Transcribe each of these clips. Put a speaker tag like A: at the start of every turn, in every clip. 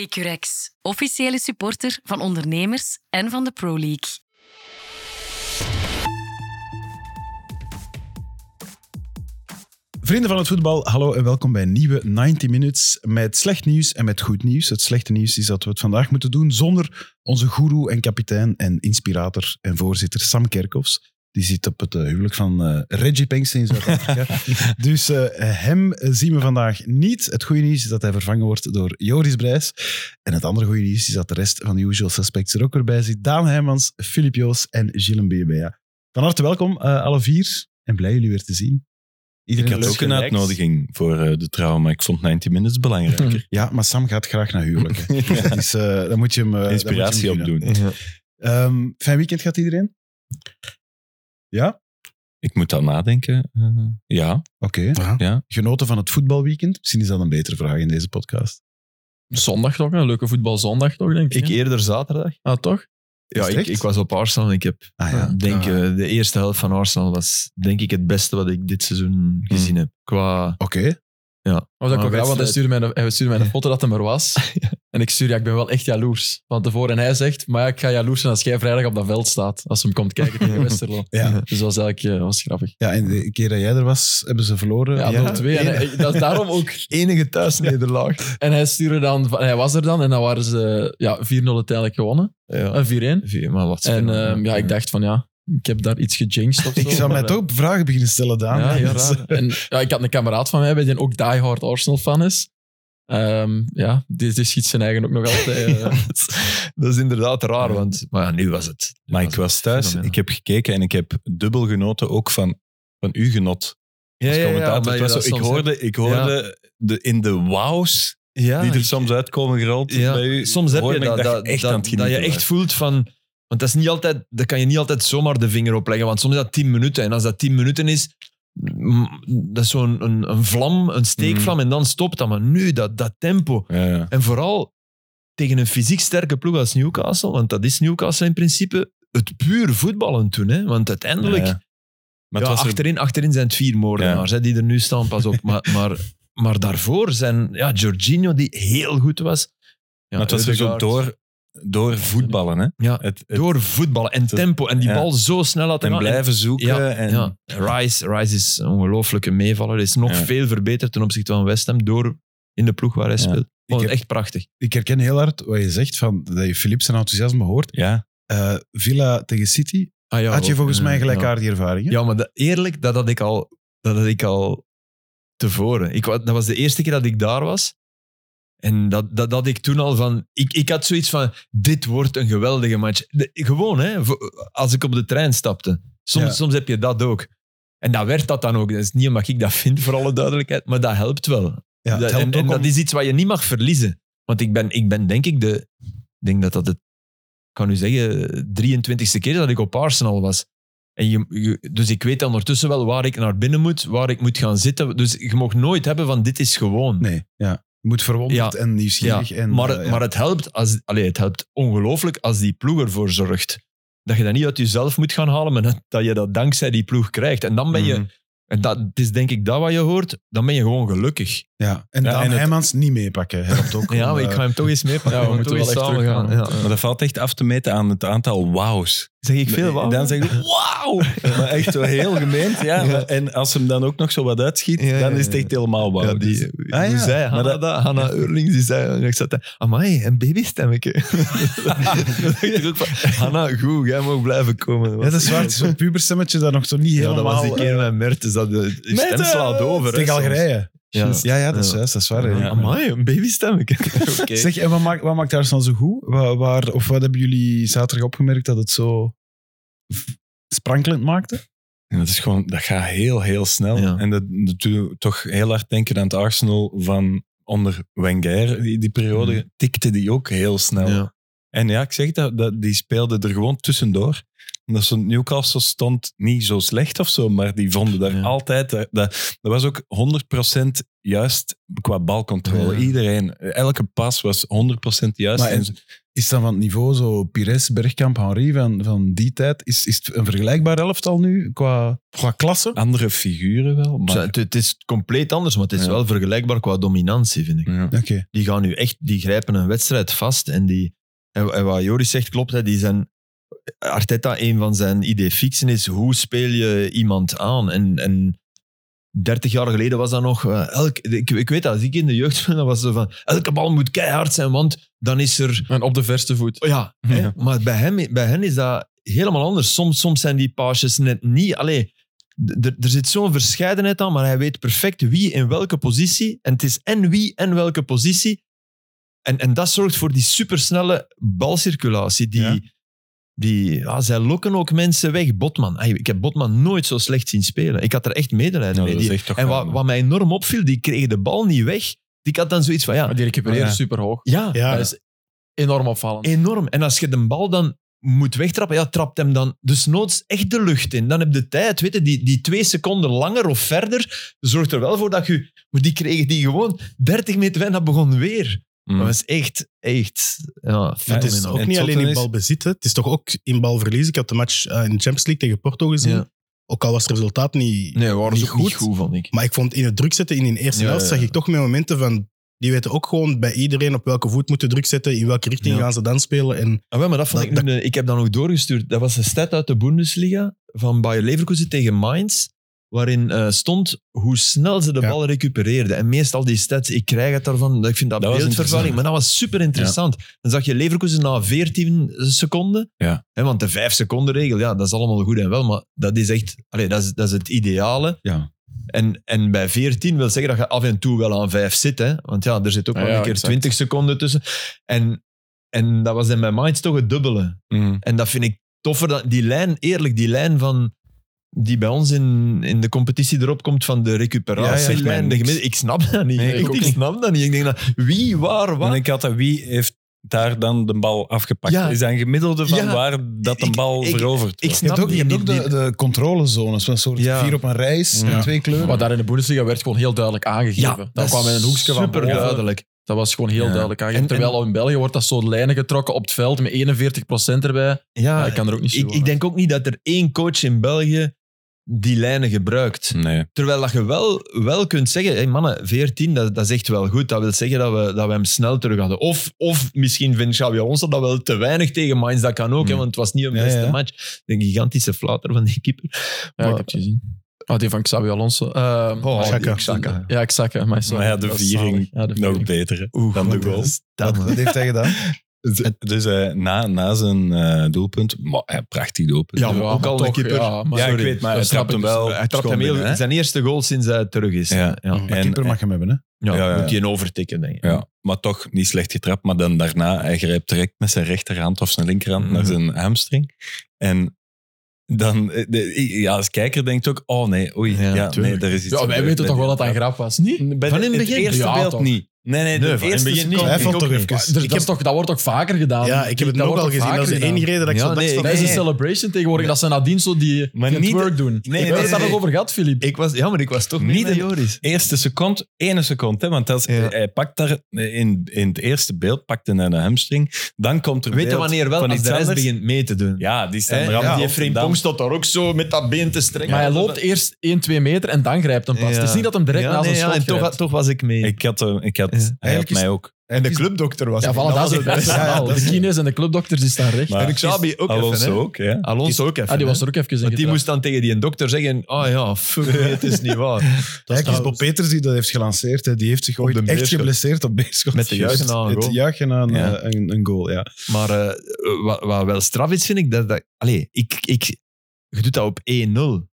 A: Securex, officiële supporter van ondernemers en van de Pro League.
B: Vrienden van het voetbal, hallo en welkom bij een nieuwe 90 Minutes met slecht nieuws en met goed nieuws. Het slechte nieuws is dat we het vandaag moeten doen zonder onze goeroe en kapitein en inspirator en voorzitter Sam Kerkhoffs. Die zit op het eh, huwelijk van eh, Reggie Pinkston in Zuid-Afrika. dus eh, hem zien we vandaag niet. Het goede nieuws is dat hij vervangen wordt door Joris Brijs. En het andere goede nieuws is dat de rest van de usual suspects er ook weer bij zit. Daan Heijmans, Filip Joos en Gilles Bebea. Van harte welkom, eh, alle vier. En blij jullie weer te zien.
C: Ik
D: Iedereen
C: had
D: is
C: ook een
D: relaxed.
C: uitnodiging voor eh, de trouw, maar ik vond 90 Minutes belangrijker.
B: Ja, maar Sam gaat graag naar huwelijken. Dus eh, dan moet je hem... eh, dan moet je hem
C: Inspiratie
B: gunnen.
C: opdoen.
D: Ja.
B: Ehm, fijn weekend gaat iedereen? Ja? Oké.
C: Ik moet dan nadenken. Eh, ja, ja.
B: Genoten van het voetbalweekend? Misschien is dat een betere vraag in deze podcast.
D: Zondag toch? Een leuke voetbalzondag toch, denk ik.
E: Ik
D: hè?
E: eerder zaterdag.
D: Ah, toch?
E: Ja,
B: het
E: ik,
B: echt?
E: ik was op Arsenal en ik heb,
B: Ah ja.
E: denk
B: Ah,
E: eh, de eerste helft van Arsenal was denk ik het beste wat ik dit seizoen gezien
D: Hmm.
E: heb. Qua,
B: Oké.
E: ja.
D: Oh, dat
E: Maar
D: kwam ja, want hij
E: wedstrijd-
D: stuurde mij, een- hij stuurde mij een foto dat hem er was. En ik stuurde, ja, ik ben wel echt jaloers. Van tevoren. En hij zegt, maar ja, ik ga jaloers zijn als jij vrijdag op dat veld staat. Als ze hem komt kijken tegen Westerlo.
B: Ja.
D: Dus dat was eigenlijk eh, was grappig.
B: ja, en de keer dat jij er was, hebben ze verloren.
D: Ja, 0-2. En hij- dat is daarom ook.
E: Enige thuisnederlaag.
D: En hij stuurde dan, van- hij was er dan en dan waren ze ja, 4-0 uiteindelijk gewonnen.
E: ja.
D: Eh, 4-1.
E: Vier, maar wat
D: En
E: veel,
D: ehm, ja, ik dacht van ja, ik heb daar iets gejinxed of zo.
B: Ik zou mij
D: maar, eh,
B: toch vragen beginnen stellen, Daan.
D: Ja, heel
B: Dat is-
D: raar. En, ja, ik had een kameraad van mij bij die ook diehard Arsenal-fan is. Ehm, ja, die, die schiet zijn eigen ook nog altijd. eh.
E: Dat is inderdaad raar, want maar ja, nu was het. Nu
C: Maar ik was thuis,
E: fenomenaal.
C: ik heb gekeken en ik heb dubbel genoten ook van, van uw genot.
E: ja,
C: als
E: ja, ja,
C: commentator.
E: omdat
C: Het
E: je
C: was
E: dat
C: zo, ik
E: soms
C: hoorde, ik hoorde de, in de wows
E: hebt. Ja,
C: die er
E: Ah, ik-
C: soms uitkomen gerold
E: ja,
C: bij u.
E: soms heb je
C: hoorde ik
E: dat,
C: je
E: dat,
C: echt
E: dat,
C: aan het
E: dat
C: genieten
E: je echt
C: was.
E: voelt van... Want dat, is niet altijd, dat kan je niet altijd zomaar de vinger op leggen, want soms is dat tien minuten. En als dat tien minuten is, mm, dat is zo'n een, een vlam, een steekvlam,
D: Mm.
E: en dan stopt dat. Maar nu, dat, dat tempo.
C: Ja, ja.
E: En vooral tegen een fysiek sterke ploeg als Newcastle, want dat is Newcastle in principe het puur voetballen toen. Hè? Want uiteindelijk,
C: Ja, ja. Maar
E: ja,
C: het was er-
E: achterin, achterin zijn het vier moordenaars hè, die er nu staan, pas op. Maar, maar, maar daarvoor zijn ja, Jorginho, die heel goed was. Ja,
C: maar het was er zo
E: Ødegaard.
C: door, door voetballen. Hè.
E: Ja,
C: Het, het-
E: door voetballen en
C: was-
E: tempo. En die
C: ja.
E: bal zo snel laten
C: en
E: gaan.
C: blijven zoeken.
E: ja,
C: en,
E: ja. Rice, Rice is een ongelooflijke meevaller. Hij is nog
C: Ja.
E: veel verbeterd ten opzichte van West Ham door in de ploeg waar hij
C: Ja.
E: speelt. Ik vond het
B: heb-
E: echt prachtig.
B: Ik herken heel hard wat je zegt, van, dat je Philips zijn enthousiasme hoort.
C: ja.
B: Eh, Villa tegen City,
E: Ah, ja,
B: had je
E: wel.
B: volgens mij
E: Ja,
B: gelijkaardige
E: Ja,
B: ervaringen.
E: ja maar dat- eerlijk, dat had ik al, dat had ik al tevoren. Ik, wa- dat was de eerste keer dat ik daar was. En dat, dat had ik toen al van... Ik, ik had zoiets van, dit wordt een geweldige match. De- gewoon, hè, voor- als ik op de trein stapte. Soms,
B: Ja.
E: soms heb je dat ook. En dat werd dat dan ook. Dat is niet omdat ik dat vind, voor alle duidelijkheid. Maar dat helpt wel.
B: Ja, het
E: Dat-
B: helpt
E: en
B: ook
E: en
B: om-
E: dat is iets wat je niet mag verliezen. Want ik ben, ik ben denk ik de... Ik denk dat dat het... Ik kan nu zeggen, 23e keer dat ik op Arsenal was. En je, je- dus ik weet ondertussen wel waar ik naar binnen moet, waar ik moet gaan zitten. Dus je mag nooit hebben van dit is gewoon.
B: Nee, ja. Je moet verwonderd en nieuwsgierig. En,
E: maar,
B: eh, ja.
E: maar het helpt, als, allee, het helpt ongelooflijk als die ploeg ervoor zorgt. Dat je dat niet uit jezelf moet gaan halen, maar dat, dat je dat dankzij die ploeg krijgt. En dan ben je,
B: Mhm.
E: en dat het is denk ik dat wat je hoort, dan ben je gewoon gelukkig.
B: ja. en
C: Ja,
B: Daan
C: en het-
B: Heijmans niet meepakken. Helpt ook
E: Ja,
B: om,
E: maar ik
B: eh,
E: ga hem toch eens meepakken.
D: Ja, we
E: gaan
D: moeten
E: toch
D: wel
E: eens
D: echt
E: samen
D: teruggaan,
E: gaan.
C: Maar dat valt echt af te meten aan het aantal wows.
E: Zeg ik veel
C: En
E: wat?
C: Dan zeg ik, wauw! maar echt zo heel gemeend. Ja.
E: Ja.
C: En als hem dan ook nog zo wat uitschiet,
E: Ja, ja,
C: dan is het
E: ja.
C: echt helemaal wauw.
E: Ja, die,
C: Dus-
E: hoe
B: Ah, ja.
C: Maar
E: zei Hanna
C: dat-
E: dat? Hanna Eurlings, die zei... Ik zat daar, amai, een babystemmetje. Dat dacht ik ook van, Hanna, goed, jij mag blijven komen.
B: Ja, dat is waar. Het is zo'n puberstemmetje dat nog zo niet
E: Ja,
B: helemaal...
E: dat was die keer met Mertens, dat de je stem
C: Mertens!
E: slaat over. hè,
B: Tegen
E: soms.
B: Algerije.
E: Ja.
B: Ja, ja, dat is
E: Ja.
B: juist. Dat is waar. hè.
C: Ja.
E: Amai, een babystemmetje. Oké.
B: Zeg, en wat maakt, wat maakt Arsenal zo goed? Waar, waar, of wat hebben jullie zaterdag opgemerkt dat het zo v- sprankelend maakte?
C: En dat is gewoon, dat gaat heel, heel snel.
E: Ja.
C: En dat, dat doet toch heel hard denken aan het Arsenal van onder Wenger. Die, die periode
E: Mhm.
C: tikte die ook heel snel.
E: Ja.
C: En ja, ik zeg dat, dat die speelden er gewoon tussendoor. En Dat zo'n Newcastle stond niet zo slecht of zo, maar die vonden daar
E: Ja.
C: altijd... Dat, dat, dat was ook 100% juist qua balcontrole.
E: Ja.
C: Iedereen, elke pas was 100% juist.
B: Maar
C: En
B: en- Is dan van het niveau zo Pires, Bergkamp, Henri van, van die tijd? Is, is het een vergelijkbaar elftal nu qua, qua klasse?
C: andere figuren wel, maar... Nou,
E: Zo, Het, het is compleet anders, maar het is
C: Ja.
E: wel vergelijkbaar qua dominantie, vind ik.
C: Ja.
B: Oké.
E: Die gaan nu echt, die grijpen een wedstrijd vast. En, die, en, en wat Joris zegt klopt, hè, die zijn, Arteta, een van zijn idee fixen is hoe speel je iemand aan? En, en 30 jaar geleden was dat nog, eh, elk, ik, ik weet dat, als ik in de jeugd was, dan was zo van, elke bal moet keihard zijn, want dan is er
D: En op de verste voet.
E: Oh Ja, hè?
C: Ja.
E: maar bij, hem, bij hen is dat helemaal anders. Soms, soms zijn die paasjes net niet. Allee, d- d- er zit zo'n verscheidenheid aan, maar hij weet perfect wie in welke positie. En het is en wie en welke positie. En, en dat zorgt voor die supersnelle balcirculatie. Die,
B: Ja.
E: die, ja, zij lokken ook mensen weg. Botman. Ay, ik heb Botman nooit zo slecht zien spelen. Ik had er echt medelijden
C: Ja,
E: mee.
C: dat
E: Die-
C: is echt toch
E: en
C: wel-
E: wat, wat mij enorm opviel, die kreeg de bal niet weg. Die had dan zoiets van, ja,
D: Maar die recupereren
C: Oh
B: Ja.
D: super hoog.
E: ja,
D: Dat is enorm opvallend.
E: Enorm. En als je de bal dan moet wegtrappen, ja, trapt hem dan dus noods echt de lucht in. Dan heb je tijd, weet je, die, die twee seconden langer of verder zorgt er wel voor dat je... Maar die kregen die gewoon 30 meter weg en dat begon weer.
C: Mm.
E: Dat was echt, echt... Ja,
C: Ja,
F: Het is
E: fenomenaal.
F: ook
C: En
F: niet alleen
C: Tottenham
F: in
C: is-
F: balbezit, hè. het is toch ook in balverlies. Ik had de match eh, in de Champions League tegen Porto gezien.
E: Ja.
F: Ook al was het resultaat niet...
E: Nee, waren ze
F: Niet
E: ook niet
F: goed.
E: goed, vond ik.
F: Maar ik vond in het druk zetten in hun eerste
E: Ja,
F: helft
E: ja,
F: zag
E: ja.
F: ik toch mijn momenten van... Die weten ook gewoon bij iedereen op welke voet moeten druk zetten, in welke richting
E: Ja.
F: gaan ze dan spelen. En
E: Ah, wel, maar dat vond
F: Dat-
E: ik, nu- ik heb dan ook doorgestuurd. Dat was een stat uit de Bundesliga van Bayer Leverkusen tegen Mainz, waarin eh, stond hoe snel ze de
F: Ja.
E: bal recupereerden. En meestal die stats, ik krijg het daarvan, ik vind dat,
C: Dat was
E: beeldvervalling,
C: interessant.
E: maar dat was super interessant. Dan zag je Leverkusen na 14 seconden,
C: Ja.
E: hè, want de 5 seconden regel, ja, dat is allemaal goed en wel, maar dat is echt, allee, dat, is, dat is het ideale.
B: Ja.
E: En, en bij 14 wil zeggen dat je af en toe wel aan 5 zit, hè, want ja, er zit ook
D: Ja,
E: wel
D: ja,
E: een keer
D: exact.
E: 20 seconden tussen. En, en dat was in mijn mind toch het dubbele.
C: Mm.
E: En dat vind ik toffer. Dan, die lijn, eerlijk, die lijn van... Die bij ons in, in de competitie erop komt van de
C: Ja, ja, zegt mij
E: recuperatielijn. de
C: niks.
E: gemiddelde- ik snap dat niet.
C: Nee, ik
E: ik
C: ook niet.
E: snap dat niet. Ik denk dat wie, waar,
C: En
E: wat.
C: ik had dat, wie heeft daar dan de bal afgepakt?
E: Ja.
C: Is dat een gemiddelde van
E: Ja.
C: waar dat de
E: Ik-
C: bal
E: ik-
C: veroverd
E: Ik
C: wordt?
B: Je
E: snap
B: hebt ook, je
E: die,
B: hebt
E: die,
B: ook de, de controlezones, van een soort
E: Ja.
B: vier op een reis,
C: Ja.
B: in twee kleuren.
D: Maar daar in de Bundesliga werd gewoon heel duidelijk aangegeven.
E: ja,
D: dat, kwam in een hoekje van
E: super
D: boven.
E: duidelijk.
D: Dat was gewoon heel
E: Ja.
D: duidelijk aangegeven.
E: En- en-
D: Terwijl in België wordt dat soort lijnen getrokken op het veld met 41% erbij.
E: Ja,
D: Ja,
C: Ah,
D: ik kan er ook niet zo
E: ik, ik denk ook niet dat er één coach in België die lijnen gebruikt.
C: Nee.
E: Terwijl dat je wel, wel kunt zeggen, hey mannen, 14, dat, dat is echt wel goed. Dat wil zeggen dat we, dat we hem snel terug hadden. Of, of misschien vindt Xabi Alonso dat wel te weinig tegen Mainz. Dat kan ook, hè,
C: Mm.
E: want het was niet een
B: Ja,
E: beste
B: ja.
E: match. De gigantische flater van die keeper.
D: Ja, ik
E: Maar-
D: heb het gezien. Ah, die van Xabi Alonso. Eh,
E: Oh,
D: maar-
F: Xhaka.
E: die Xhaka.
D: Ja, Xhaka. Maar, sorry.
C: Maar ja, de
D: Dat is
C: viering
D: zalig. Ja, de
C: Nog
D: viering.
C: beter hè, Nou,
E: Oeh,
C: dan de
E: wat
C: goal.
E: is dat, man?
B: Wat heeft hij gedaan?
C: Dus eh, na, na zijn eh, doelpunt, maar, eh, prachtig doelpunt.
E: Ja, maar ook al een
D: toch,
E: keeper.
D: Ja, maar
C: Ja, ik
D: sorry.
C: weet, maar hij
D: Dat snap
C: trapt hem
D: ik.
C: wel.
E: Hij trapt hem heel,
C: Schoonbinnen, hè?
E: zijn eerste goal sinds hij terug is.
C: Ja.
E: ja.
B: Maar
C: En-
B: keeper mag hem hebben, hè?
E: Ja,
C: Ja, ja.
E: moet hij een overtikken, denk ik.
C: Ja, maar toch niet slecht getrapt. Maar dan daarna, hij grijpt direct met zijn rechterhand of zijn linkerhand naar
E: Mhm.
C: zijn hamstring. En dan, eh, de- i- ja, als kijker denkt ook, oh nee, oei,
E: Ja,
C: ja, nee,
E: tuurlijk.
C: er is iets
D: Ja, wij
C: gebeurd
D: weten
C: bij
D: toch wel
C: die
D: dat dat een grap was, niet?
C: trap. Bij
E: Van
C: de-
E: in het
C: het
E: begin?
C: eerste
D: Ja,
C: beeld
D: toch.
C: niet. Nee, nee, de
E: Nee, van in het
C: eerste
E: begin niet.
C: seconde
B: Hij valt toch even.
C: ook
D: Maar Ah, er- dat, is toch, dat wordt toch vaker gedaan?
F: ja, ik heb het
D: Dat
F: ook
D: wordt
F: al
D: toch
F: gezien. Dat is
D: vaker
F: de enige
D: gedaan?
F: reden dat
E: Ja,
F: ik zo dacht
E: nee,
F: van...
D: Dat is een
E: Nee.
D: celebration tegenwoordig. Dat zijn nadien zo die,
C: Maar
D: die
C: niet-
D: het work doen.
C: nee,
D: ik heb het
C: nee,
D: daar nog
C: nee.
D: over gehad, Filip.
E: Ik was, ja, maar ik was toch
C: Niet
E: niet
C: een-
E: met Joris.
C: Eerste seconde, ene seconde. Hè, want dat is,
E: Ja.
C: hij pakt daar eh, in, in het eerste beeld, pakte hij een hamstring. Dan komt er
E: Weet je
C: beeld
E: wanneer wel?
C: van
E: Als
C: iets
E: de rest
C: anders.
E: begint mee te doen.
C: Ja, die staan
E: Hè?
C: er
E: Ja,
C: allemaal
E: die
C: op en
E: Efraim
C: dan-
E: Pong staat daar ook zo met dat been te strekken.
D: maar hij
E: Ja,
D: loopt eerst 1, 2 meter en dan grijpt hem pas.
E: Ja.
D: Het is niet dat hem direct
E: Ja,
D: na zijn
E: nee, ja, en
D: schot
E: toch,
D: grijpt.
E: toch was ik mee.
C: Ik had, hem- ik had,
E: Ja.
C: hij had
B: Eigenlijk is-
C: mij ook.
E: en de clubdokter was
D: Ja, voilà, dat is het beste
B: Ja, ja,
D: verhaal.
B: dat
D: De
B: is-
D: kines en de clubdokters die staan recht.
C: Maar
E: En ik Xabi ook even,
C: Alonso
E: hè.
C: ook, ja.
E: Alonso ook even.
D: Ah, die was
E: hè.
D: er ook even in
E: Want die
D: getrapt.
E: moest dan tegen die dokter zeggen, ah ja, fuck, nee, het is niet waar.
B: Kijk, is Bob Peters die dat heeft gelanceerd. Hè. Die heeft zich ooit
E: de
B: echt
E: Beerschot.
B: geblesseerd op Beerschot.
E: Met de juichen aan een
B: Het
E: goal.
B: juichen aan
C: Ja.
B: eh, een, een goal, ja.
E: Maar eh, wat, wat wel straf is, vind ik, dat... dat allee, ik, ik, je doet dat op 1-0.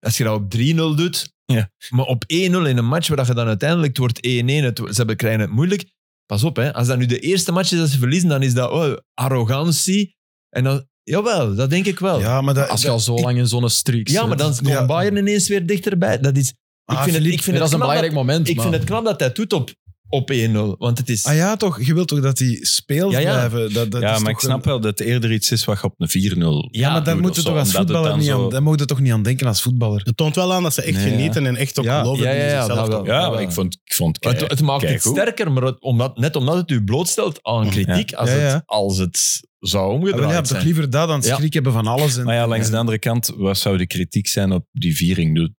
E: Als je dat op 3-0 doet,
C: Ja.
E: maar op 1-0 in een match waar dat je dan uiteindelijk het wordt 1-1, het, ze hebben- krijgen het moeilijk. Pas op, hè. als dat nu de eerste match is dat ze verliezen, dan is dat oh, arrogantie. En dan, jawel, dat denk ik wel.
B: Ja, maar dat,
D: Als je al zo lang in zo'n streak
E: Ja,
D: zit.
E: maar dan komt
B: Ja.
E: Bayern ineens weer dichterbij. Dat is, ik
B: Ah,
E: vind het,
B: Philippe,
E: ik vind
D: dat
E: het knap
D: is een belangrijk moment.
E: Ik
D: maar-
E: vind het knap dat hij het doet op op 1-0. Want het is...
B: Ah ja, toch? Je wilt toch dat die speels
E: Ja, ja.
B: blijven? Dat, dat
C: ja,
B: is
C: maar ik
B: toch
C: snap
B: een-
C: wel dat het eerder iets is wat je op een 4-0
B: Ja, maar daar
C: doet
B: moet je
C: of zo,
B: toch als
C: omdat het
B: voetballer
C: dan
B: niet
C: zo-
B: aan... Daar moet je toch niet aan denken als voetballer? Ah,
F: Het toont wel aan dat ze echt
C: Nee, ja.
F: genieten en echt ook
B: Ja.
F: geloven
E: Ja,
F: in
E: ja, ja,
F: zichzelf.
E: dat wel.
F: toch?
C: Ja,
E: Ja.
C: maar ik vond, ik vond
E: het, het maakt het
C: keigoed.
E: sterker, maar het- omdat, net omdat het u blootstelt aan kritiek als,
B: Ja, ja.
E: Het, als het zou
B: Ja,
E: omgedraaid
B: wel, ja, toch
E: zijn.
B: liever dat dan het
E: Ja.
B: schrik hebben van alles. En,
C: Maar ja, langs
B: en-
C: de andere kant, wat zou de kritiek zijn op die viering? Doe-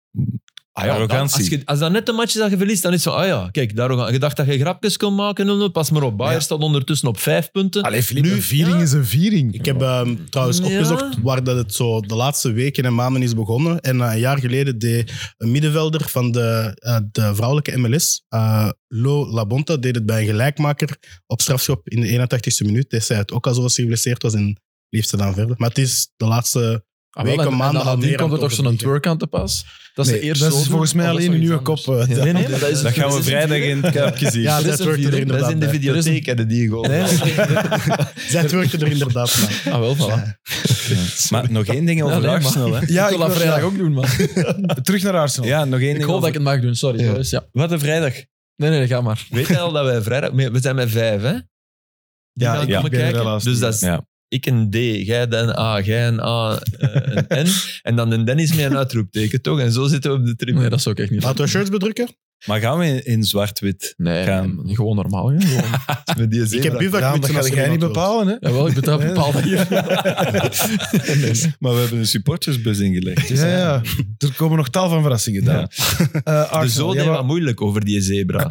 E: Ah ja, dan,
C: Arrogantie.
E: als, je, als dat net een match is dat je verliest, dan is het van, ah ja, kijk, daar, je dacht dat je grapjes kon maken, 0-0, pas maar op, Bayern
B: Ja.
E: staat ondertussen op vijf punten.
B: Allee, Filip, een viering
E: ja.
B: is een viering.
F: Ik heb ehm, trouwens
E: Ja.
F: opgezocht waar dat het zo de laatste weken en maanden is begonnen. En eh, een jaar geleden deed een middenvelder van de, eh, de vrouwelijke MLS, eh, Lo Labonta, deed het bij een gelijkmaker op strafschop in de 81ste minuut. Deed zij het ook al zoals ze geblesseerd was en liep ze dan verder. Maar het is de laatste...
D: Ah, wel,
F: Weken,
D: en- en
F: maanden
D: nadien
F: al meer
D: komt
F: aan
D: er toch
F: het
D: zo'n
F: overbruggen.
D: twerk aan te pas? Dat
B: Nee,
D: ze eerst
B: dat
D: zo
B: is
D: doen,
B: volgens mij
D: of dat is
B: alleen in uw
D: zoiets
B: kop.
D: anders?
B: eh, dat-
E: Nee, nee, maar dat is
C: Dat gaan we
E: is een
C: vrijdag
E: viering.
C: in het kuipje zien.
F: Ja,
E: Ja,
F: zij
E: dat is een
F: twerkt er
E: viering. Dat is
F: inderdaad
E: in de
F: bij.
E: videotheek, hè, die goal.
F: Zij twerkte er inderdaad van.
D: Ah, wel, voilà.
C: Maar nog één ding over
D: Ja, nee,
C: Arsenal. Hè.
B: Ja,
D: ik wil dat
B: was-
D: vrijdag ook doen, man.
B: Terug naar Arsenal.
C: Ja, nog één
D: Ik
C: ding
D: hoop dat
C: over-
D: ik het mag doen, sorry.
E: Ja.
D: boys, Ja.
C: Wat een vrijdag.
D: Nee, nee, ga maar.
E: Weet jij al dat wij vrijdag... We zijn met vijf, hè?
B: Ja,
E: gaan
B: ik
E: komen
B: ben er
E: kijken.
B: helaas
E: Dus
B: niet.
E: dat is
C: Ja.
E: ik een D, jij dan A, jij een A, eh, een N. En dan een Dennis met een uitroepteken, toch? En zo zitten we op de tribune.
D: Nee, dat zou ik echt niet doen.
F: Laten we shirts bedrukken?
C: Maar gaan we in, in zwart-wit?
D: Nee,
C: Gaan.
D: man, gewoon normaal. Ja. Gewoon.
E: Met die
F: Ik heb
E: zeven.
B: Ja,
F: bivakmutsen
B: dat
F: als
B: ga
F: er
B: jij niet
F: iemand wil.
B: bepalen, hè?
D: Jawel, ik betaal
B: Nee.
D: bepaalde hier.
C: Maar we hebben een supportersbus ingelegd.
B: Ja, ja. Er komen nog tal van verrassingen daar. Eh,
E: De
B: Arsenal,
E: zoo
B: ja,
E: deed
B: maar-
E: wat moeilijk over die zebra.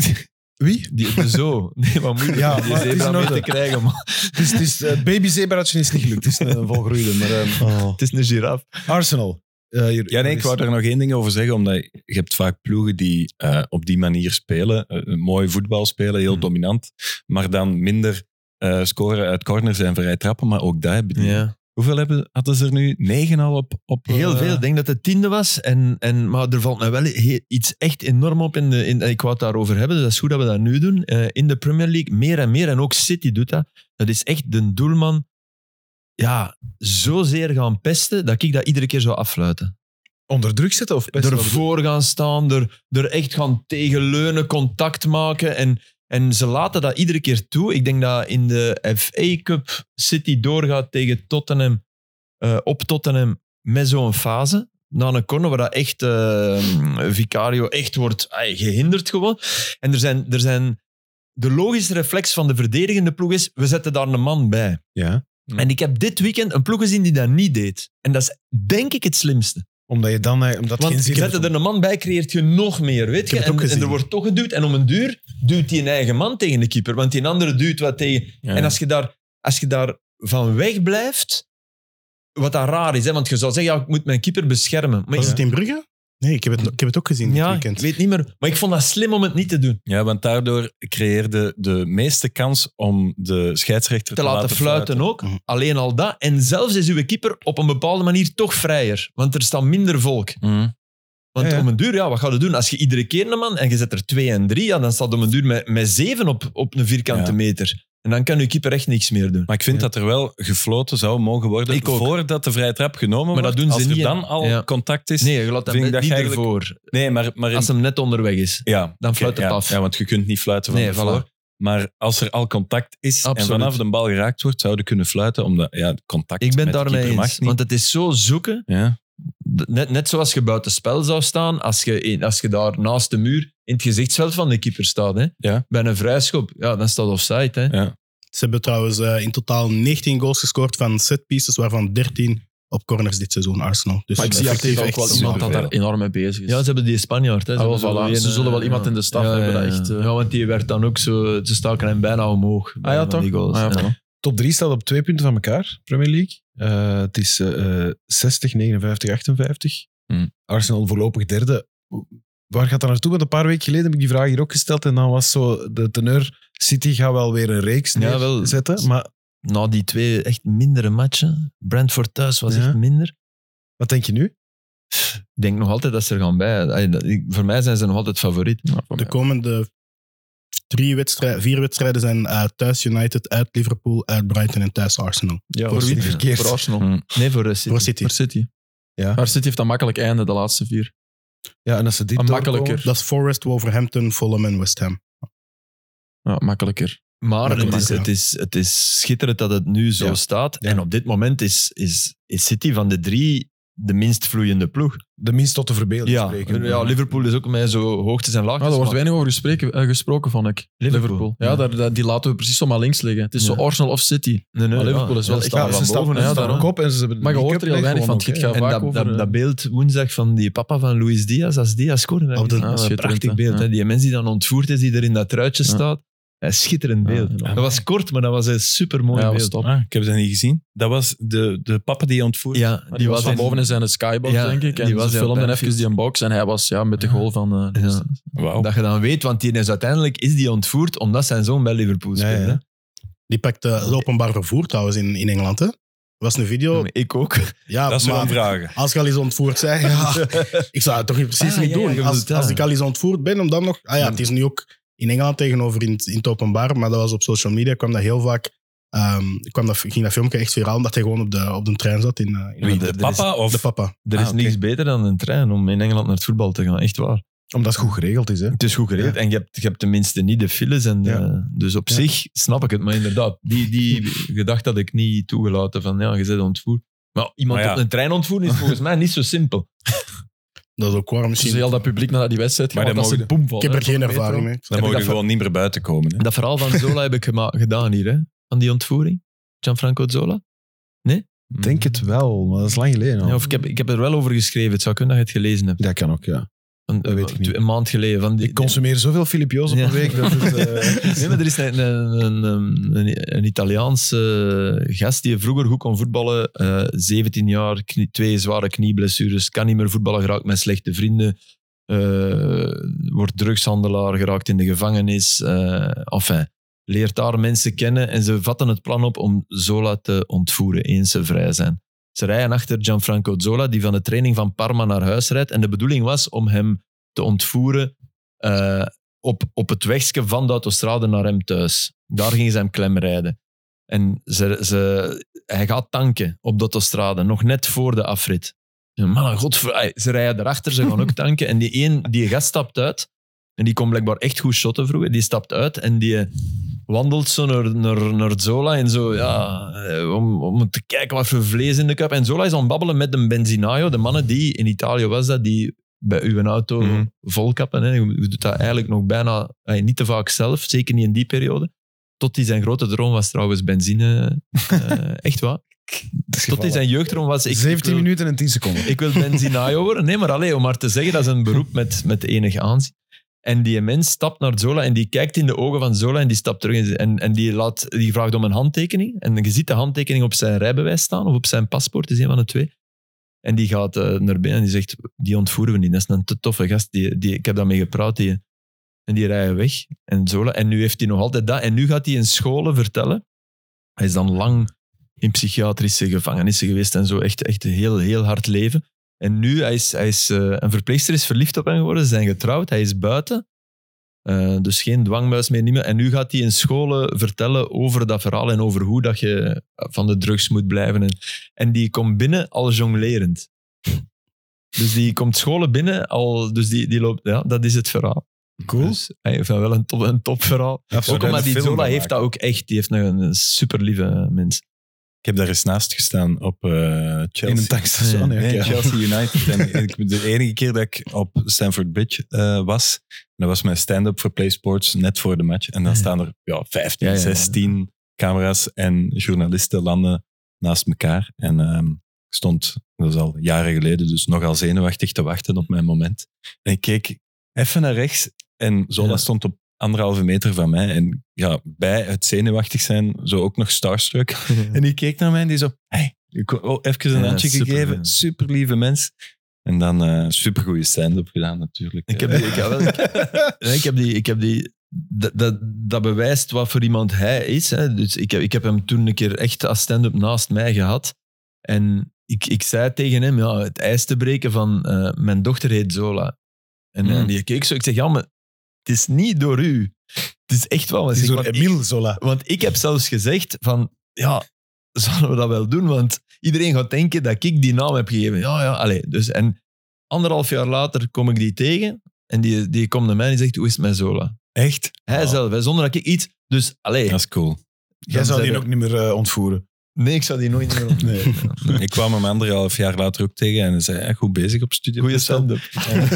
B: Wie?
E: Die, de zoo deed wat moeilijk
B: Ja,
E: om die
B: maar het is
E: zebra
B: in
E: mee
B: orde.
E: te krijgen. man.
B: Het is, het is, eh, het babyzebraatje is niet gelukt. Het is een volgroeide. Maar, ehm,
E: Het is een giraf.
B: Arsenal. Eh, hier-
C: Ja, nee,
E: Dus-
C: ik
B: is-
C: wou er nog één ding over zeggen, omdat je hebt vaak ploegen die eh, op die manier spelen, eh, mooi voetbal spelen,
E: Mhm.
C: heel dominant, maar dan minder eh, scoren uit corners en vrij trappen, maar ook daar hebben die. Hoeveel hebben, hadden ze er nu? Negen al op? op
E: Heel
C: eh,
E: veel. Ik denk dat het tiende was. En, en, maar er valt mij wel he- iets echt enorm op. In de, in, ik wou het daarover hebben, dus dat is goed dat we dat nu doen. Eh, in de Premier League meer en meer. En ook City doet dat. Dat is echt de doelman ja, zozeer gaan pesten dat ik dat iedere keer zou affluiten.
B: Onder druk zetten of pesten?
E: Ervoor gaan staan, er, er echt gaan tegenleunen, contact maken. En, en ze laten dat iedere keer toe. Ik denk dat in de FA Cup City doorgaat tegen Tottenham, eh, op Tottenham, met zo'n fase. Na een corner waar dat echt eh, Vicario echt wordt ai, gehinderd gewoon. En er zijn, er zijn... De logische reflex van de verdedigende ploeg is, we zetten daar een man bij.
B: Ja,
E: En ik heb dit weekend een ploeg gezien die dat niet deed. En dat is denk ik het slimste.
B: omdat je dan... eh, Omdat
E: Want
B: geen
E: je
B: zin
E: zet er een man bij, creëert je nog meer, weet
F: Ik
E: je.
F: heb het ook
E: En, en
F: gezien.
E: er wordt toch geduwd. En om een duur duwt hij een eigen man tegen de keeper. Want die andere duwt wat tegen. En als je, daar, als je daar van weg blijft... Wat dan raar is, hè? want je zou zeggen, ja, ik moet mijn keeper beschermen. Maar
F: Was
E: ik,
B: Oh.
F: het in Brugge? Nee, ik heb het, ik heb het ook gezien dit
E: ja, ik
F: weekend.
E: weet niet meer. Maar ik vond dat slim om het niet te doen.
C: Ja, want daardoor creëerde de meeste kans om de scheidsrechter
E: Te,
C: te,
E: laten, fluiten, ook.
F: Mhm.
E: Alleen al dat. En zelfs is uw keeper op een bepaalde manier toch vrijer. Want er staat minder volk.
C: Mhm.
E: Want
B: Ja, ja.
E: om een duur, ja, wat ga je doen? Als je iedere keer een man en je zet er twee en drie, ja, dan staat om een duur met, met zeven op, op een vierkante
C: Ja.
E: meter. En dan kan je keeper echt niks meer doen.
C: Maar ik vind dat er wel gefloten zou mogen worden
E: Ik ook.
C: voordat de vrije trap genomen wordt.
E: dat doen ze
C: Als er
E: niet, hè?
C: dan al
E: Ja.
C: contact is. Nee,
E: Nee, je laat hem
C: Vind ik
E: net
C: dat
E: niet
C: je eigenlijk-
E: ervoor.
C: maar, maar in-
E: Als hem net onderweg is.
C: ja,
E: Dan fluit
C: Oké,
E: het
C: ja,
E: af.
C: Ja, want je kunt niet fluiten van
E: Nee,
C: tevoren.
E: voilà.
C: Maar als er al contact is
E: Absoluut.
C: en vanaf de bal geraakt wordt, zouden kunnen fluiten. Omdat ja, contact
E: Ik ben
C: met
E: het
C: de
E: daarmee
C: keeper
E: eens.
C: mag niet.
E: Want het is zo zoeken.
C: ja.
E: Net, net zoals je buiten spel zou staan, als je, in- als je daar naast de muur in het gezichtsveld van de keeper staat. Hè.
C: Ja.
E: Bij een vrijschop, ja, dan staat offside. Hè.
C: Ja.
F: Ze hebben trouwens eh, in totaal 19 goals gescoord van setpieces, waarvan 13 op corners dit seizoen, Arsenal. Dus
D: Maar ik zie
F: effectief
D: actief ook
F: echt
D: wel iemand dat
F: superveel.
D: daar enorm mee bezig is.
E: Ja, ze hebben die Spanjaard. Hè.
D: Dus- Ah, wel,
E: hebben zo
D: voilà.
E: die
D: Ze
E: ene-
D: zullen wel iemand in de staf hebben dat
E: ja,
D: echt, eh.
E: Ja, want die werd dan ook zo... Ze staken hem bijna omhoog.
D: Ah ja,
E: Van
D: toch?
E: die goals.
D: Ah, ja, voilà.
B: Top 3 staat op twee punten van elkaar, Premier League. Eh, het is eh, eh, 60, 59, 58.
C: Hmm.
B: Arsenal voorlopig derde. Waar gaat dat naartoe? Want een paar weken geleden heb ik die vraag hier ook gesteld. En dan was zo de teneur: City gaat wel weer een reeks
E: Ja, wel.
B: zetten. Maar
E: Na die twee echt mindere matchen. Brentford thuis was
B: Ja.
E: echt minder.
B: wat denk je nu?
E: Ik denk nog altijd dat ze er gaan bij. Ay, dat- ik- Voor mij zijn ze nog altijd favoriet.
F: De komende drie wedstrijden, vier wedstrijden zijn eh, thuis United, uit Liverpool, uit Brighton en thuis Arsenal.
D: Ja,
F: Voor wie?
D: City.
B: Verkeerd.
D: Voor Arsenal.
E: Nee, voor eh, City.
F: Voor City.
D: Voor City.
B: Ja.
D: Maar City heeft een makkelijk einde, de laatste vier.
B: Ja, en als ze dit
D: Een
B: doorkomen-
D: makkelijker.
F: Dat is Forest, Wolverhampton, Fulham en West Ham.
D: Ja, makkelijker.
E: Maar
F: Makkelijk,
E: het is,
F: ja.
E: het, is, het is schitterend dat het nu zo
B: Ja.
E: staat. En op dit moment is, is, is City van de drie de minst vloeiende ploeg.
B: De minst tot de verbeelding
E: Ja,
B: spreken.
E: ja, Liverpool is ook met zo hoogtes en laagtes.
D: Nou, daar wordt
E: maar-
D: weinig over gespreken, eh, gesproken, vond ik.
E: Liverpool.
D: Ja,
E: Ja.
D: Daar, daar- die laten we precies zomaar links liggen. Het is
E: Ja.
D: zo Arsenal of City.
E: Nee, nee,
D: Maar Liverpool is wel
E: Ja,
D: echt
E: staan
D: aan-
E: van
B: ze staan
E: boven,
B: boven,
E: hè,
B: ja,
E: daarom.
B: op en ze hebben
D: Maar je
B: de
D: hoort
B: cup
D: er heel weinig van.
B: gewonnen
D: Het
B: ook,
D: gaat
B: hè.
D: vaak
E: En dat,
D: over...
E: dat,
D: eh,
E: dat beeld woensdag van die papa van Luis Diaz, als Diaz scoorde, dat
F: Op de-
E: is een
D: schitterend,
E: prachtig
D: hè.
E: beeld.
D: Ja.
E: hè. Die mens die dan ontvoerd is, die er in dat truitje
D: Ja.
E: staat. Een schitterend
D: Ja,
E: beeld.
D: ja.
E: dat was kort, maar dat was een supermooi
D: ja, was
E: beeld.
D: top.
C: Ah, ik heb ze niet gezien. Dat was de, de papa die ontvoerd
E: Ja,
D: Maar die, was van
E: in-
D: boven in zijn skybox,
E: Ja,
D: denk ik. En
E: die
D: die
E: was
D: was ze
E: heel
D: filmden
E: perfect.
D: even die een box en hij was ja, met de goal van... eh,
E: Ja.
C: Wauw.
E: Dat je dan weet, want die is uiteindelijk is die ontvoerd omdat zijn zoon bij Liverpool
B: Ja,
E: speelde.
B: ja.
F: Die pakte het openbaar vervoer trouwens in, in Engeland. Hè? Was een
D: Oh.
F: video.
E: Ik ook.
F: Ja,
C: dat is wel een
F: maar
C: vraag.
F: als je al eens ontvoerd bent, ja, ik zou het toch precies
E: Ah,
F: niet
E: ja,
F: doen.
E: ja, je bedoelt
F: als,
E: dat.
F: als ik al eens ontvoerd ben, om dan nog. Ah ja,
E: Ja.
F: het is nu ook in Engeland tegenover in, het- in het openbaar, maar dat was op social media, kwam dat heel vaak. ehm, kwam dat, ging dat filmpje echt viraal omdat hij gewoon op de, op de trein zat in, eh, in
C: Wie,
E: er-
C: de
E: er
C: papa of...
F: de papa.
E: Er is
C: Ah, oké.
E: niks beter dan een trein om in Engeland naar het voetbal te gaan. Echt waar.
B: Omdat het goed geregeld is, hè.
E: Het is goed geregeld en je hebt, je hebt tenminste niet de files. En,
B: Ja.
E: eh, dus op
B: Ja.
E: zich snap ik het. Maar inderdaad, die, die gedachte had ik niet toegelaten van ja, je bent ontvoerd. Maar iemand
C: Maar ja.
E: op een trein ontvoeren is volgens mij niet zo simpel.
F: Dat is ook waar,
D: Dus
F: misschien.
D: heel dat publiek naar die wedstrijd
C: Maar
D: gaat,
C: dat
D: dat ze
C: mogen-
D: boem
F: ik
D: vallen.
F: heb er
D: hè,
F: geen
D: van de
F: ervaring
D: metro.
F: mee.
C: Dan mogen
E: dat
C: we gewoon niet meer buiten komen. Hè.
E: Dat verhaal van Zola heb ik gema- gedaan hier, hè? van die ontvoering. Gianfranco Zola.
B: Ik denk het wel, maar dat is lang geleden al.
E: Ja, of ik, heb, ik heb er wel over geschreven. Het zou kunnen dat je het gelezen hebt.
B: Dat kan ook, ja.
E: Van, eh,
B: Dat weet ik niet.
E: Een maand geleden. Van die,
B: Ik consumeer zoveel Filip Joos op
E: Ja.
B: een week dat het... eh,
E: Nee, maar er is een, een, een, een, een Italiaanse gast die vroeger goed kon voetballen. eh, 17 jaar, knie- twee zware knieblessures, kan niet meer voetballen, geraakt met slechte vrienden. eh, wordt drugshandelaar, geraakt in de gevangenis. eh enfin, leert daar mensen kennen en ze vatten het plan op om Zola te ontvoeren eens ze vrij zijn. Ze rijden achter Gianfranco Zola, die van de training van Parma naar huis rijdt. En de bedoeling was om hem te ontvoeren eh, op, op het wegje van de autostrade naar hem thuis. Daar gingen ze hem klemrijden. En ze, ze, hij gaat tanken op de autostrade, nog net voor de afrit. En Man, godver- ey, ze rijden erachter, ze gaan ook tanken. En die, een, die gast stapt uit. En die kon blijkbaar echt goed shotten vroeger. Die stapt uit en die wandelt zo naar, naar, naar Zola. En zo, ja, eh, om, om te kijken wat voor vlees in de cup. En Zola is aan het babbelen met een Benzinaio. De mannen die, in Italië was dat, die bij uw auto
C: Mhm.
E: volkappen. Hè. Je doet dat eigenlijk nog bijna eh, niet te vaak zelf. Zeker niet in die periode. Tot die zijn grote droom was trouwens benzine. eh, echt waar. Tot die
B: gevallen.
E: zijn jeugddroom was... ik- ik
B: 17
E: wil-
B: minuten en 10 seconden.
E: ik wil Benzinaio worden. Nee, maar alleen om maar te zeggen, dat is een beroep met, met enig aanzien. En die mens stapt naar Zola en die kijkt in de ogen van Zola en die stapt terug. en- En, en die, laat, die vraagt om een handtekening. En je ziet de handtekening op zijn rijbewijs staan of op zijn paspoort, is een van de twee. En die gaat eh, naar binnen en die zegt, die ontvoeren we niet. Dat is een te toffe gast. Die, die, ik heb daarmee gepraat. Die, en die rijden weg. En, Zola, en nu heeft hij nog altijd dat. En nu gaat hij in scholen vertellen. Hij is dan lang in psychiatrische gevangenissen geweest en zo. Echt, echt een heel, heel hard leven. En nu, hij is, hij is, eh, een verpleegster is verliefd op hem geworden. Ze zijn getrouwd. Hij is buiten. Eh, dus geen dwangbuis meer, niet meer. En nu gaat hij in scholen vertellen over dat verhaal en over hoe dat je van de drugs moet blijven. En, en die komt binnen al jonglerend. Dus die komt scholen binnen al... Dus die, die loopt... Ja, dat is het verhaal.
B: Cool.
E: Dus, hij heeft wel een top, een top verhaal. Ook omdat die Zola heeft dat ook echt. Die heeft een, een super lieve mens.
C: Ik heb daar eens naast gestaan op eh, Chelsea.
B: In een tankstation,
E: Ja,
B: ja.
C: Nee,
B: ja.
C: Chelsea United. En ik, de enige keer dat ik op Stamford Bridge eh, was, en dat was mijn stand-up voor PlaySports net voor de match. En dan staan er ja, 15,
E: Ja, ja, ja.
C: 16 camera's en journalisten landen naast elkaar. En ehm, ik stond, dat is al jaren geleden, dus nogal zenuwachtig te wachten op mijn moment. En ik keek even naar rechts en Zola
E: Ja.
C: stond op anderhalve meter van mij. En ja, bij het zenuwachtig zijn, zo ook nog starstruck. En die keek naar mij en die zo... Hey, ik wou- oh, even een
E: Ja,
C: handje
E: super,
C: gegeven.
E: ja.
C: Super lieve mens. En dan eh supergoeie stand-up gedaan natuurlijk.
E: Ik heb, die, ik, heb wel- Nee, ik heb die... Ik heb die dat, dat, dat bewijst wat voor iemand hij is. Hè. Dus ik, heb, ik heb hem toen een keer echt als stand-up naast mij gehad. En ik, ik zei tegen hem, ja, het ijs te breken van... eh, mijn dochter heet Zola. En,
C: Mm.
B: Hmm.
E: en die keek zo. Ik zeg, ja, maar het is niet door u. Het is echt wel...
B: Het is door Emile Zola.
E: Want ik heb zelfs gezegd van, ja, zullen we dat wel doen? Want iedereen gaat denken dat ik die naam heb gegeven. Ja, ja, allee. Dus, en anderhalf jaar later kom ik die tegen en die, die komt naar mij en die zegt, hoe is het met Zola?
C: Echt?
E: Hij
C: Oh.
E: zelf, hè, zonder dat ik iets... Dus, allee.
C: Dat is cool.
B: Jij zou die ook niet meer eh, ontvoeren.
E: Nee, ik zou die nooit meer... nee.
C: Ik kwam hem anderhalf jaar later ook tegen en hij zei, "Eh, goed bezig op studie.
E: Goeie stand-up.